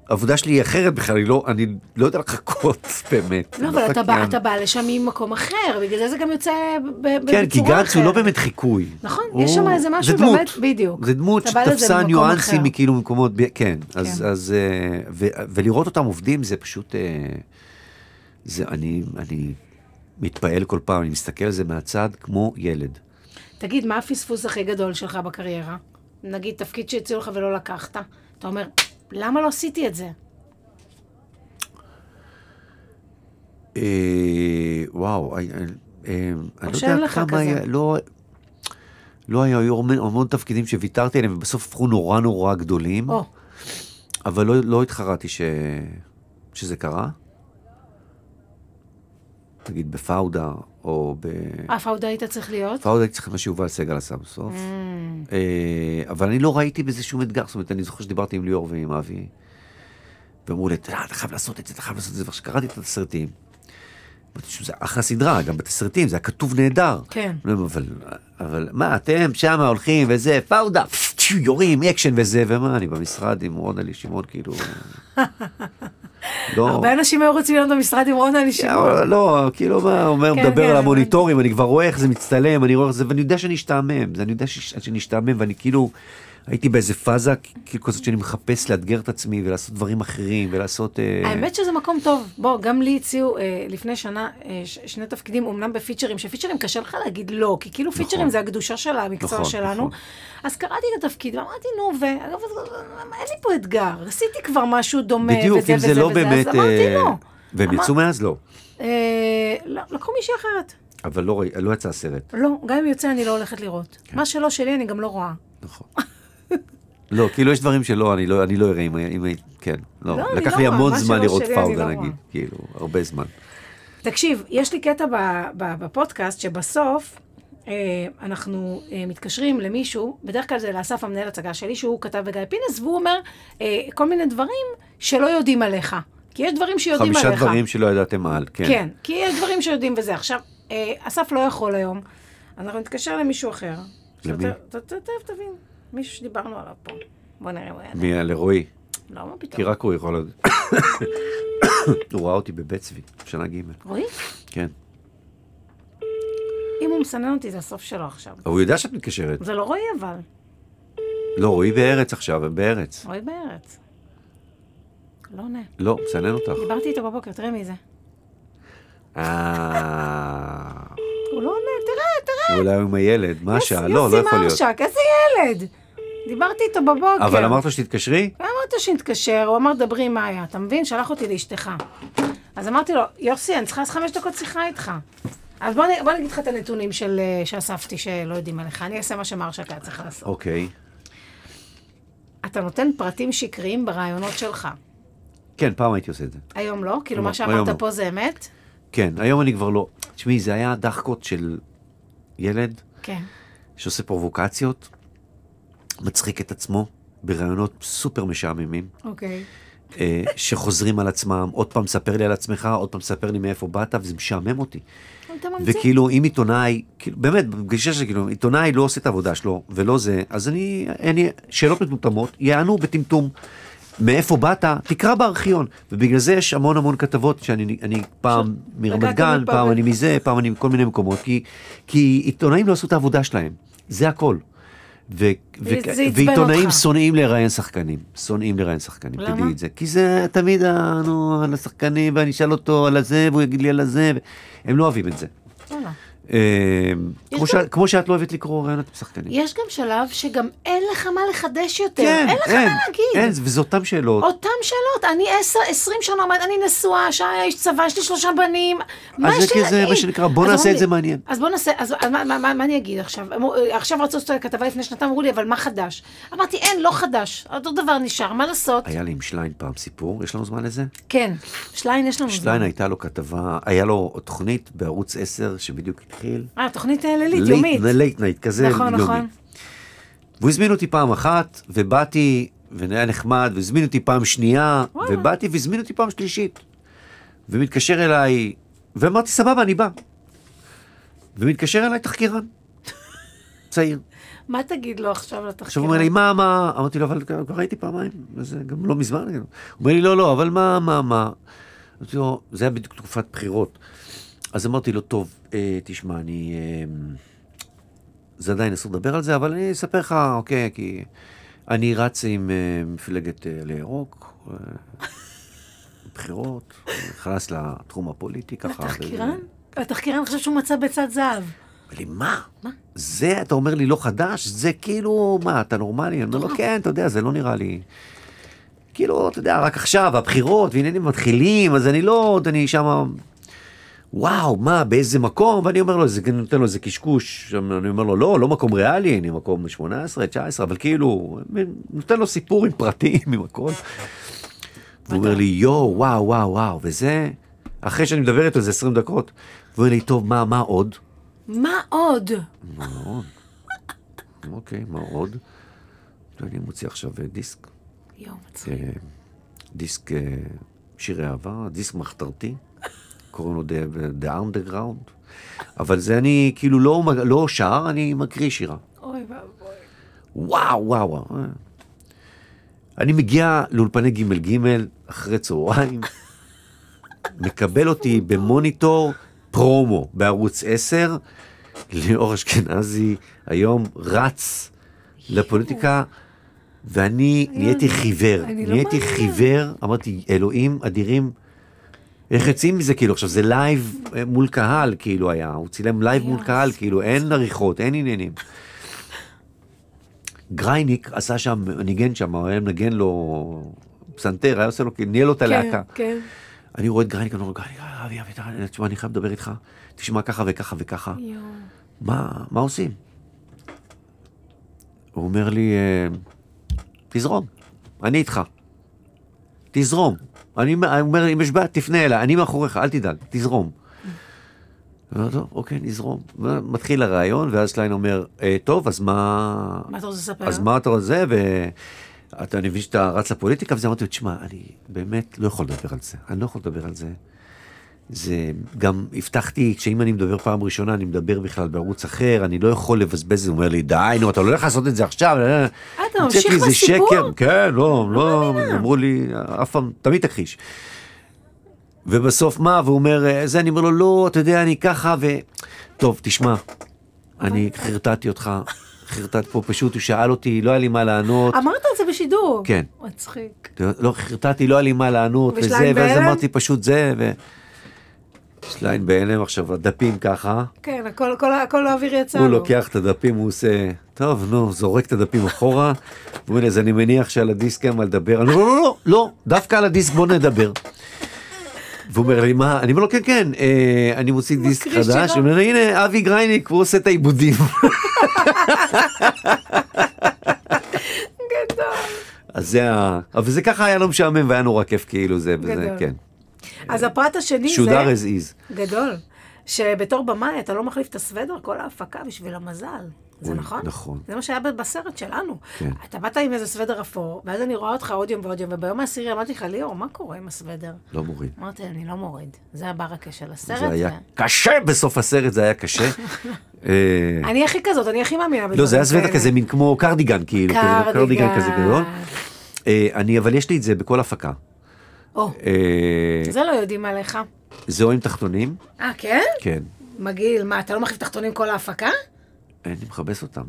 Speaker 2: העבודה שלי היא אחרת בכלל, אני לא, אני לא יודע לחכות, באמת.
Speaker 1: לא,
Speaker 2: אני
Speaker 1: אבל אתה בא-
Speaker 2: חכיין.
Speaker 1: אתה בא לשם ממקום אחר, בגלל זה זה גם יוצא ב- ב- בצורה אחרת.
Speaker 2: כן, כי גנץ הוא לא באמת חיקוי.
Speaker 1: נכון,
Speaker 2: הוא-
Speaker 1: יש שם איזה
Speaker 2: זה
Speaker 1: משהו
Speaker 2: דמות.
Speaker 1: באמת, בדיוק.
Speaker 2: זה דמות
Speaker 1: אתה בא לזה
Speaker 2: שתפסה
Speaker 1: ממקום אחר.
Speaker 2: ניואנסים מכאילו מקומות, ב- כן. אז,
Speaker 1: כן.
Speaker 2: אז, אה, ו, ולראות אותם עובדים זה פשוט, אה, זה, אני, אני מתפעל כל פעם, אני מסתכל על זה מהצד כמו ילד.
Speaker 1: תגיד, מה הפספוס הכי גדול שלך בקריירה? נגיד, תפקיד שהציעו לך ולא לקחת. אתה אומר, למה לא עשיתי את זה?
Speaker 2: אה, וואו, אני, אני, אה, אני לא
Speaker 1: שאין
Speaker 2: יודע
Speaker 1: לך
Speaker 2: כמה
Speaker 1: כזה?
Speaker 2: היה, לא, לא היה, היו המון המון תפקידים שוויתרתי עליהם, ובסוף הפכו נורא נורא גדולים.
Speaker 1: או,
Speaker 2: אבל לא, לא התחרתי ש... שזה קרה. נגיד בפאודה, או ב...
Speaker 1: אף עוד היית צריך להיות?
Speaker 2: פאודה הייתי צריך מה שיובל סגל עשה בסוף.
Speaker 1: Mm,
Speaker 2: אה, אבל אני לא ראיתי בזה שום אתגר, זאת אומרת, אני זוכר שדיברתי עם ליאור ועם אבי, ואמרו לי, "אה, אתה יודע, אתה חייב לעשות את זה, אתה חייב לעשות את זה, וכשקראתי את התסריטים, אמרתי שזה אחלה סדרה, גם בתסריטים, זה היה כתוב נהדר.
Speaker 1: כן.
Speaker 2: לא, אבל, אבל מה, אתם שם הולכים וזה, פאודה, פשש, יורים, אקשן וזה, ומה, אני במשרד עם רונלי שמעון, כאילו... לא,
Speaker 1: הרבה אנשים היו רוצים להיות במשרד עם רונה לשמור.
Speaker 2: אבל לא, כאילו מה, אומר,
Speaker 1: כן,
Speaker 2: מדבר
Speaker 1: כן,
Speaker 2: על
Speaker 1: הבנתי.
Speaker 2: המוניטורים, אני כבר רואה איך זה מצטלם, אני רואה איך זה, ואני יודע שאני אשתעמם, זה- אני יודע ש- שאני אשתעמם, ואני כאילו, הייתי באיזה פאזה, כאילו כזאת שאני מחפש לאתגר את עצמי ולעשות דברים אחרים, ולעשות... אה,
Speaker 1: האמת שזה מקום טוב. בוא, גם לי הציעו אה, לפני שנה אה, ש- שני תפקידים, אמנם בפיצ'רים, שפיצ'רים קשה לך להגיד לא, כי כאילו פיצ'רים זה הקדושה של המקצוע
Speaker 2: נכון,
Speaker 1: שלנו.
Speaker 2: נכון.
Speaker 1: אז קראתי את התפקיד ואמרתי, נו, ו... אגב, אז- אין לי פה אתגר, עשיתי כבר משהו דומה, וזה
Speaker 2: בדיוק,
Speaker 1: וזה
Speaker 2: אם זה לא
Speaker 1: וזה,
Speaker 2: באמת...
Speaker 1: אז אמרתי
Speaker 2: אה,
Speaker 1: לא.
Speaker 2: והם
Speaker 1: אמר-
Speaker 2: יצאו מאז? לא.
Speaker 1: אה, לא, לקחו מישהי אחרת.
Speaker 2: אבל לא ראי- לא יצא הסרט,
Speaker 1: לא, גם אם יוצא אני לא הולכת לראות.
Speaker 2: כן.
Speaker 1: מה שלא שלי אני גם לא רואה.
Speaker 2: נכון. לא, כאילו יש דברים שלא, אני לא אני לא אראה אם היה- אם הייתי, כן, לא.
Speaker 1: לא, אני
Speaker 2: לקח
Speaker 1: לא
Speaker 2: לי
Speaker 1: רואה,
Speaker 2: המון
Speaker 1: מה
Speaker 2: זמן
Speaker 1: שלא
Speaker 2: לראות
Speaker 1: שלי אני
Speaker 2: פאודה,
Speaker 1: לא רואה.
Speaker 2: נגיד, כאילו, הרבה זמן.
Speaker 1: תקשיב, יש לי קטע ב- ב- בפודקאסט שבסוף אה, אנחנו אה, מתקשרים למישהו, בדרך כלל זה לאסף המנהל הצגה שלי, שהוא כתב בגיא פינס, והוא אומר אה, כל מיני דברים שלא יודעים עליך. כי יש דברים שיודעים
Speaker 2: חמישה
Speaker 1: עליך.
Speaker 2: דברים שלא ידעתם על, כן.
Speaker 1: כן, כי יש דברים שיודעים וזה. עכשיו, אה, אסף לא יכול היום, אז אנחנו נתקשר למישהו אחר.
Speaker 2: למי?
Speaker 1: ת- ת- ת- תבין, מישהו שדיברנו עליו פה. בוא נראה, הוא היה...
Speaker 2: מי- לרועי.
Speaker 1: לא, מה
Speaker 2: כי
Speaker 1: פתאום?
Speaker 2: רק הוא יכול... לד- הוא ראה אותי בבית צבי, שנה ג',
Speaker 1: רועי?
Speaker 2: כן.
Speaker 1: אם הוא מסנן אותי, זה הסוף שלו עכשיו.
Speaker 2: אבל הוא יודע שאת מתקשרת.
Speaker 1: זה לא רועי אבל,
Speaker 2: לא, רועי בארץ עכשיו, הם בארץ.
Speaker 1: רועי בארץ. לא עונה.
Speaker 2: לא, מסנן אותך.
Speaker 1: דיברתי איתו בבוקר, תראה מי זה.
Speaker 2: אה...
Speaker 1: הוא לא עונה, תראה, תראה.
Speaker 2: אולי הוא עם הילד, משה, לא, לא
Speaker 1: יוסי
Speaker 2: יכול להיות.
Speaker 1: מרשק, איזה ילד. דיברתי איתו בבוקר.
Speaker 2: אבל אמרת לו שתתקשרי?
Speaker 1: אמרת שנתקשר, הוא אמר, דברי עם מאיה, אתה מבין? שלח אותי לאשתך. אז אמרתי לו, יוסי, אני צריכה אז חמש דקות שיחה איתך. אז בוא, נ- בוא נגיד לך את הנתונים של, אה, שאספתי שלא יודעים עליך. אני אעשה מה שמרשק היה צריך לעשות.
Speaker 2: אוקיי.
Speaker 1: אתה נותן פרטים שקריים ברעיונות שלך.
Speaker 2: כן, פעם הייתי עושה את זה.
Speaker 1: היום לא? כאילו,
Speaker 2: לא,
Speaker 1: מה
Speaker 2: היום
Speaker 1: שאמרת
Speaker 2: לא.
Speaker 1: פה זה אמת?
Speaker 2: כן, היום אני כבר לא. תשמעי, זה היה דחקות של ילד
Speaker 1: כן.
Speaker 2: שעושה פרובוקציות, מצחיק את עצמו, ברעיונות סופר משעממים.
Speaker 1: אוקיי.
Speaker 2: אה, שחוזרים על עצמם, עוד פעם ספר לי על עצמך, עוד פעם ספר לי מאיפה באת, וזה משעמם אותי.
Speaker 1: אתה ממציא.
Speaker 2: וכאילו, אם עיתונאי, כאילו, באמת, בגישה שלי, כאילו, עיתונאי לא עושה את העבודה שלו, ולא זה, אז אני, אני שאלות מטומטמות, יענו בטמטום. מאיפה באת, תקרא בארכיון. ובגלל זה יש המון המון כתבות שאני אני פעם
Speaker 1: פשוט
Speaker 2: מרמת
Speaker 1: נגעת
Speaker 2: גן,
Speaker 1: מפה
Speaker 2: פעם
Speaker 1: ו-
Speaker 2: אני מזה, פעם אני מכל מיני מקומות, כי, כי עיתונאים לא עשו את העבודה שלהם. זה הכל. ו-
Speaker 1: זה
Speaker 2: וכ-
Speaker 1: עצבן
Speaker 2: ועיתונאים
Speaker 1: אותך.
Speaker 2: שונאים לראיין שחקנים, שונאים לראיין שחקנים,
Speaker 1: למה?
Speaker 2: תדעי את זה. כי זה תמיד, ה- נו, על השחקנים, ואני אשאל אותו על הזה, והוא יגיד לי על הזה, ו- הם לא אוהבים את זה.
Speaker 1: וואלה.
Speaker 2: אה, כמו ש- כמו שאת לא אוהבת לקרוא ראיונות עם שחקנים.
Speaker 1: יש גם שלב שגם אין לך מה לחדש יותר.
Speaker 2: כן,
Speaker 1: אין לך מה להגיד. אוקיי.
Speaker 2: אין, וזה אותן שאלות.
Speaker 1: אותן שאלות, אני עשר, עשרים שנה אומרת, אני נשואה, שי איש צבא, יש לי שלושה בנים, מה
Speaker 2: אז זה
Speaker 1: יש לי
Speaker 2: כי זה
Speaker 1: להגיד?
Speaker 2: מה שנקרא, בוא
Speaker 1: אז
Speaker 2: נעשה
Speaker 1: אומרים
Speaker 2: את זה
Speaker 1: לי-
Speaker 2: מעניין.
Speaker 1: אז בוא נעשה, אז אז מה- מה- מה מה אני אגיד עכשיו? אמרו, אה, עכשיו רצו לעשות כתבה לפני שנתיים, אמרו לי, אבל מה חדש? אמרתי, אין, לא חדש, אותו דבר נשאר, מה לעשות?
Speaker 2: היה לי עם שליין פעם סיפור, יש לנו זמן לזה?
Speaker 1: כן, שליין יש לנו
Speaker 2: שליין הייתה לו כתבה, היה לו תוכנית בערוץ 10 שבדיוק התחיל.
Speaker 1: אה, תוכנית אה, לילית, יומית.
Speaker 2: לייט נייט כזה,
Speaker 1: נכון,
Speaker 2: יומי.
Speaker 1: נכון.
Speaker 2: והוא הזמין אותי פעם אחת, ובאתי, והיה נחמד, והזמין אותי פעם שנייה,
Speaker 1: וואלה.
Speaker 2: ובאתי והזמין אותי פעם שלישית. ומתקשר אליי, ואמרתי, סבבה, אני בא. ומתקשר אליי תחקירן, צעיר.
Speaker 1: מה תגיד לו עכשיו לתחקיר?
Speaker 2: עכשיו הוא אומר לי, מה, מה? אמרתי לו, אבל כבר ראיתי פעמיים, וזה גם לא מזמן. הוא אומר לי, לא, לא, אבל מה, מה, מה? אמרתי לו, זה היה בדיוק תקופת בחירות. אז אמרתי לו, טוב, אה, תשמע, אני... אה, זה עדיין אסור לדבר על זה, אבל אני אספר לך, אוקיי, כי אני רץ עם אה, מפלגת אה, לירוק, אה, בחירות, נכנס לתחום הפוליטי ככה.
Speaker 1: התחקירן?
Speaker 2: וזה-
Speaker 1: התחקירן חושב שהוא מצא ביצת זהב.
Speaker 2: אמר לי, מה?
Speaker 1: מה?
Speaker 2: זה, אתה אומר לי לא חדש? זה כאילו, מה, אתה נורמלי? אני אומר לו, כן, אתה יודע, זה לא נראה לי... כאילו, אתה יודע, רק עכשיו, הבחירות, ועניינים מתחילים, אז אני לא, עוד אני שם... וואו, מה, באיזה מקום? ואני אומר לו, זה, אני נותן לו איזה קשקוש, שם אני אומר לו, לא, לא מקום ריאלי, אני מקום 18, 19, אבל כאילו, נותן לו סיפור עם פרטים, עם הכל. והוא אומר לי, יואו, וואו, וואו, וואו, וזה, אחרי שאני מדבר איתו, זה 20 דקות. והוא אומר לי, טוב, מה, מה עוד?
Speaker 1: מה עוד?
Speaker 2: מאוד. אוקיי, מה עוד? אני מוציא עכשיו אה, דיסק,
Speaker 1: יואו, מצחיק.
Speaker 2: אה, דיסק אה, שירי אהבה, דיסק מחתרתי, קוראים לו The- The Underground, אבל זה אני כאילו לא, מג- לא שר, אני מקריא שירה.
Speaker 1: אוי ואבוי.
Speaker 2: וואו, וואו, וואו. אה. אני מגיע לאולפני ג' ג' אחרי צהריים, מקבל אותי במוניטור פרומו בערוץ 10, ליאור אשכנזי היום רץ לפוליטיקה, ואני נהייתי חיוור,
Speaker 1: לא אני לא
Speaker 2: נהייתי
Speaker 1: מאמינה.
Speaker 2: חיוור, אמרתי, אלוהים אדירים. איך יוצאים מזה, כאילו, עכשיו זה לייב אה, מול קהל, כאילו היה, הוא צילם לייב מול
Speaker 1: יואו.
Speaker 2: קהל, כאילו, אין עריכות, אין עניינים. גרייניק עשה שם, ניגן שם, הוא היה מנגן לו פסנתר, היה עושה לו, כאילו, ניהל לו את הלהקה.
Speaker 1: כן, כן.
Speaker 2: אני רואה את גרייניק, אני אומר, גרייניק, אה, אבי, אבי, תראה, תשמע, אני חייב לדבר איתך, תשמע ככה וככה וככה,
Speaker 1: יואו.
Speaker 2: מה, מה עושים? הוא אומר לי, אה, תזרום, אני איתך, תזרום. אני הוא אומר, אם יש בעיה, תפנה אליי, אני מאחוריך, אל תדאג, תזרום. אני אומר, טוב, אוקיי, נזרום. מתחיל הרעיון, ואז קליין אומר, "אה, טוב, אז מה...
Speaker 1: מה אתה רוצה לספר?
Speaker 2: אז מה אתה רוצה? ואתה, אני מבין שאתה רץ לפוליטיקה, וזה אמרתי לו, תשמע, אני באמת לא יכול לדבר על זה. אני לא יכול לדבר על זה. זה גם הבטחתי, כשאם אני מדבר פעם ראשונה, אני מדבר בכלל בערוץ אחר, אני לא יכול לבזבז את זה. הוא אומר לי, די, נו, אתה לא הולך לעשות את זה עכשיו. אה,
Speaker 1: אתה
Speaker 2: המצאתי
Speaker 1: ממשיך
Speaker 2: איזה
Speaker 1: בסיפור?
Speaker 2: שקר. כן, לא, לא, אמרו לי, אף פעם, תמיד תכחיש. ובסוף מה? והוא אומר, אה, זה, אני אומר לו, לא, אתה יודע, אני ככה, ו... טוב, תשמע, אני חרטטתי אותך, חרטט פה, פשוט הוא שאל אותי, לא היה לי מה לענות.
Speaker 1: אמרת את זה בשידור.
Speaker 2: כן.
Speaker 1: מצחיק.
Speaker 2: אתה יודע, לא, חרטטתי, לא היה לי מה לענות,
Speaker 1: ושליין
Speaker 2: וזה, ואז
Speaker 1: בהלם?
Speaker 2: אמרתי פשוט זה, ו... שליין בהלם עכשיו, הדפים ככה,
Speaker 1: כן, הכל, כל, הכל האוויר יצא
Speaker 2: הוא
Speaker 1: לו.
Speaker 2: לוקח את הדפים, הוא עושה, טוב, נו, זורק את הדפים אחורה, הוא אומר לי, אז אני מניח שעל הדיסק אין מה לדבר. אני אומר, לא, לא, לא, לא, דווקא על הדיסק בוא נדבר. והוא אומר לי, מה? אני אומר לו, כן, כן, אה, אני מוציא דיסק
Speaker 1: מקריא
Speaker 2: חדש.
Speaker 1: שירה.
Speaker 2: הוא אומר, הנה, אבי גרייניק, הוא עושה את העיבודים.
Speaker 1: גדול.
Speaker 2: אז זה ה... אבל זה ככה היה לא משעמם והיה נורא כיף כאילו זה, וזה,
Speaker 1: גדול.
Speaker 2: כן.
Speaker 1: אז הפרט השני
Speaker 2: שודר
Speaker 1: זה...
Speaker 2: as is.
Speaker 1: גדול. שבתור במאי אתה לא מחליף את הסוודר כל ההפקה בשביל המזל. זה
Speaker 2: אוי,
Speaker 1: נכון?
Speaker 2: נכון.
Speaker 1: זה מה שהיה ב- בסרט שלנו.
Speaker 2: כן.
Speaker 1: אתה באת עם איזה סוודר אפור, ואז אני רואה אותך עוד יום ועוד יום, וביום העשירי אמרתי לך, ליאור, מה קורה עם הסוודר?
Speaker 2: לא מוריד.
Speaker 1: אמרתי, אני לא מוריד. זה הברקה של הסרט.
Speaker 2: זה היה
Speaker 1: ו-
Speaker 2: קשה בסוף הסרט, זה היה קשה. אה,
Speaker 1: אני הכי כזאת, אני הכי מאמינה בדברים
Speaker 2: לא, זה היה סוודר
Speaker 1: כאלה.
Speaker 2: כזה, מין כמו קרדיגן, כאילו, כזה, קרדיגן כזה גדול. אה, אני, אבל יש לי את זה בכל הפקה.
Speaker 1: או,
Speaker 2: אה,
Speaker 1: זה לא יודעים עליך.
Speaker 2: זה או עם תחתונים,
Speaker 1: אה, כן?
Speaker 2: כן.
Speaker 1: מגעיל, מה, אתה לא מחליף תחתונים כל ההפקה?
Speaker 2: אני מכבס אותם,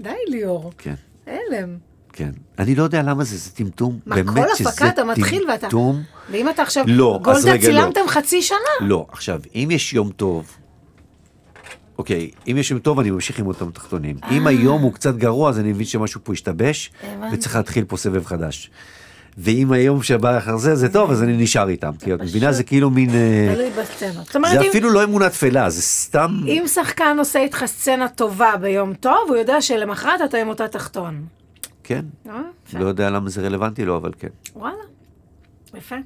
Speaker 1: די, ליאור.
Speaker 2: כן,
Speaker 1: הלם.
Speaker 2: כן. אני לא יודע למה זה, זה טמטום.
Speaker 1: מה,
Speaker 2: באמת
Speaker 1: כל
Speaker 2: שזה
Speaker 1: הפקה אתה מתחיל ואתה...
Speaker 2: טמטום.
Speaker 1: ואם אתה עכשיו...
Speaker 2: לא, אז
Speaker 1: גולדה
Speaker 2: רגע, לא.
Speaker 1: צילמתם חצי שנה.
Speaker 2: לא, עכשיו, אם יש יום טוב, אוקיי, אם יש יום טוב, אני ממשיך עם אותם תחתונים. אם היום הוא קצת גרוע, אז אני מבין שמשהו פה השתבש,
Speaker 1: אה. הבנתי.
Speaker 2: וצריך להתחיל פה סבב חדש. ואם היום שבא אחר זה, זה טוב, אז אני נשאר איתם. כי את מבינה, זה כאילו מין... אה,
Speaker 1: תלוי בסצנות. זאת אומרת,
Speaker 2: זה
Speaker 1: אם-
Speaker 2: אפילו לא אמונה תפלה, זה סתם...
Speaker 1: אם שחקן עושה איתך סצנה טובה ביום טוב, הוא יודע שלמחרת אתה עם אותה תחתון.
Speaker 2: כן.
Speaker 1: אה? יפה.
Speaker 2: לא יודע למה זה רלוונטי לו, אבל כן.
Speaker 1: וואלה, יפה.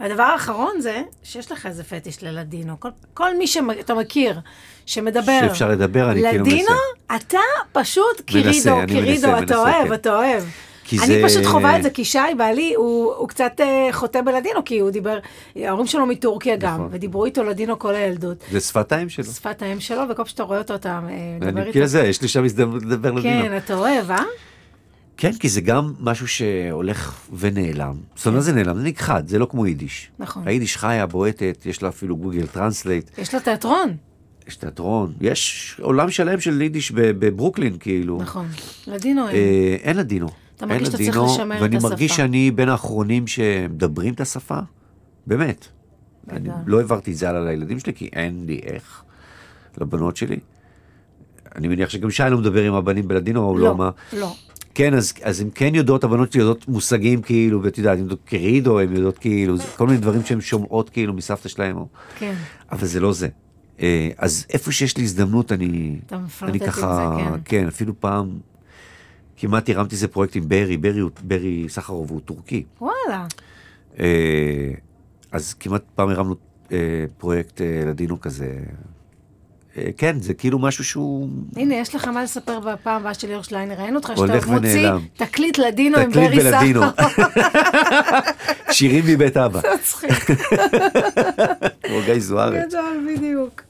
Speaker 1: הדבר האחרון זה שיש לך איזה פטיש ללדינו. כל, כל מי שאתה מכיר, שמדבר
Speaker 2: שאפשר לדבר, אני כאילו
Speaker 1: לדינו, אתה פשוט קירידו,
Speaker 2: אני
Speaker 1: קירידו,
Speaker 2: מנסה,
Speaker 1: אתה
Speaker 2: מנסה,
Speaker 1: אוהב,
Speaker 2: כן.
Speaker 1: אתה אוהב.
Speaker 2: כי
Speaker 1: אני
Speaker 2: זה-
Speaker 1: פשוט חווה את זה, כי שי, בעלי, הוא, הוא קצת אה, חוטא בלדינו, כי הוא דיבר, ההורים שלו מטורקיה גם,
Speaker 2: נכון.
Speaker 1: ודיברו איתו לדינו כל הילדות.
Speaker 2: זה שפתיים שלו.
Speaker 1: שפת האם שלו, וכל פעם שאתה רואה אותו, אתה אה, מדבר
Speaker 2: אני
Speaker 1: איתו.
Speaker 2: כאילו זה, יש לי שם הזדמנות לדבר לדינו.
Speaker 1: כן, אתה אוהב, אה?
Speaker 2: כן, כי זה גם משהו שהולך ונעלם. זאת אומרת, זה נעלם, זה נכחד, זה לא כמו יידיש.
Speaker 1: כן. נכון.
Speaker 2: היידיש חיה, בועטת, יש לה אפילו גוגל טרנסלייט,
Speaker 1: יש לו תיאטרון.
Speaker 2: יש תיאטרון, יש עולם שלם של יידיש ב- בברוקלין, כאילו.
Speaker 1: נכון. לדינו אין.
Speaker 2: אה, אין לדינו.
Speaker 1: אתה מרגיש
Speaker 2: אין
Speaker 1: שאתה צריך
Speaker 2: לדינו,
Speaker 1: לשמר את
Speaker 2: ואני
Speaker 1: השפה.
Speaker 2: מרגיש שאני בין האחרונים שמדברים את השפה, באמת. אני
Speaker 1: גדול.
Speaker 2: לא העברתי את זה הלאה לילדים שלי, כי אין לי איך, לבנות שלי. אני מניח שגם שי לא מדבר עם הבנים בלדינו, או לא, מה.
Speaker 1: לא.
Speaker 2: כן, אז, אז הן כן יודעות, הבנות שלי יודעות מושגים כאילו, ואת יודעת, הן יודעות קרידו, הן יודעות כאילו, זה כל מיני דברים שהן שומעות כאילו מסבתא שלהן, או...
Speaker 1: כן.
Speaker 2: אבל זה לא זה. אה, אז איפה שיש לי הזדמנות, אני...
Speaker 1: אתה מפלרטט
Speaker 2: אני
Speaker 1: עם
Speaker 2: ככה,
Speaker 1: זה, כן.
Speaker 2: כן, אפילו פעם כמעט הרמתי איזה פרויקט עם ברי, ברי, הוא- ברי סחרוב הוא טורקי.
Speaker 1: וואלה.
Speaker 2: אה, אז כמעט פעם הרמנו אה, פרויקט אה, לדינו כזה. אה, כן, זה כאילו משהו שהוא...
Speaker 1: הנה, יש לך מה לספר בפעם הבאה של ליאור שליינר. ראינו אותך
Speaker 2: הולך
Speaker 1: שאתה מוציא
Speaker 2: ונעלם.
Speaker 1: תקליט לדינו לא, עם
Speaker 2: תקליט
Speaker 1: ברי
Speaker 2: בלדינו.
Speaker 1: סחר.
Speaker 2: שירים מבית אבא,
Speaker 1: מצחיק.
Speaker 2: כמו גיא זוארץ.
Speaker 1: גדול, בדיוק.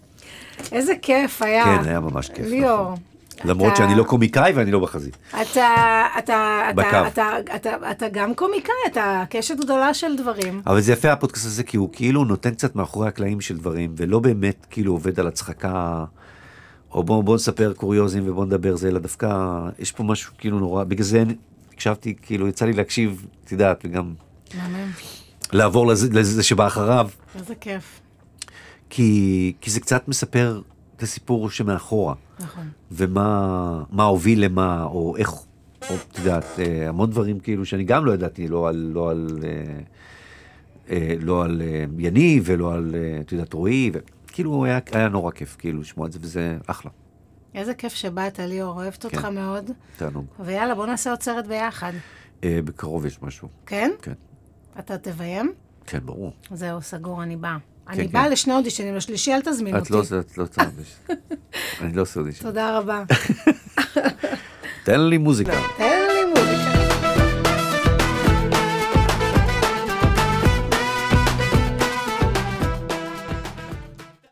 Speaker 1: איזה כיף היה.
Speaker 2: כן, היה ממש כיף,
Speaker 1: ליאור.
Speaker 2: נכון. למרות
Speaker 1: אתה-
Speaker 2: שאני לא קומיקאי ואני לא בחזית.
Speaker 1: אתה, אתה, אתה,
Speaker 2: בקו.
Speaker 1: אתה, אתה, אתה גם קומיקאי, אתה קשת גדולה של דברים.
Speaker 2: אבל זה יפה הפודקאסט הזה, כי הוא כאילו נותן קצת מאחורי הקלעים של דברים, ולא באמת כאילו עובד על הצחקה, או בוא, בוא נספר קוריוזים ובוא נדבר זה, אלא דווקא יש פה משהו כאילו נורא, בגלל זה אני- הקשבתי, כאילו יצא לי להקשיב, את יודעת, וגם
Speaker 1: מהמם.
Speaker 2: לעבור לזה, לזה שבא אחריו,
Speaker 1: איזה כיף.
Speaker 2: כי, כי זה קצת מספר את הסיפור שמאחורה,
Speaker 1: נכון.
Speaker 2: ומה מה הוביל למה, או איך, או את יודעת, אה, המון דברים כאילו שאני גם לא ידעתי, לא על, לא על, אה, אה, לא על אה, יניב ולא על, אה, את יודעת, רועי, וכאילו היה, היה נורא כיף כאילו לשמוע את זה, וזה אחלה,
Speaker 1: איזה כיף שבאת, ליאור. אוהבת אותך
Speaker 2: כן.
Speaker 1: מאוד.
Speaker 2: תענוג.
Speaker 1: ויאללה, בוא נעשה עוד סרט ביחד.
Speaker 2: אה, בקרוב יש משהו,
Speaker 1: כן?
Speaker 2: כן,
Speaker 1: אתה תביים?
Speaker 2: כן, ברור.
Speaker 1: זהו, סגור, אני באה. אני
Speaker 2: כן.
Speaker 1: באה לשני אודישנים, לשלישי אל תזמין
Speaker 2: את לא
Speaker 1: אותי.
Speaker 2: עושה, את לא תעניש. אני לא עושה אודישן.
Speaker 1: תודה רבה.
Speaker 2: תן לי מוזיקה.
Speaker 1: תן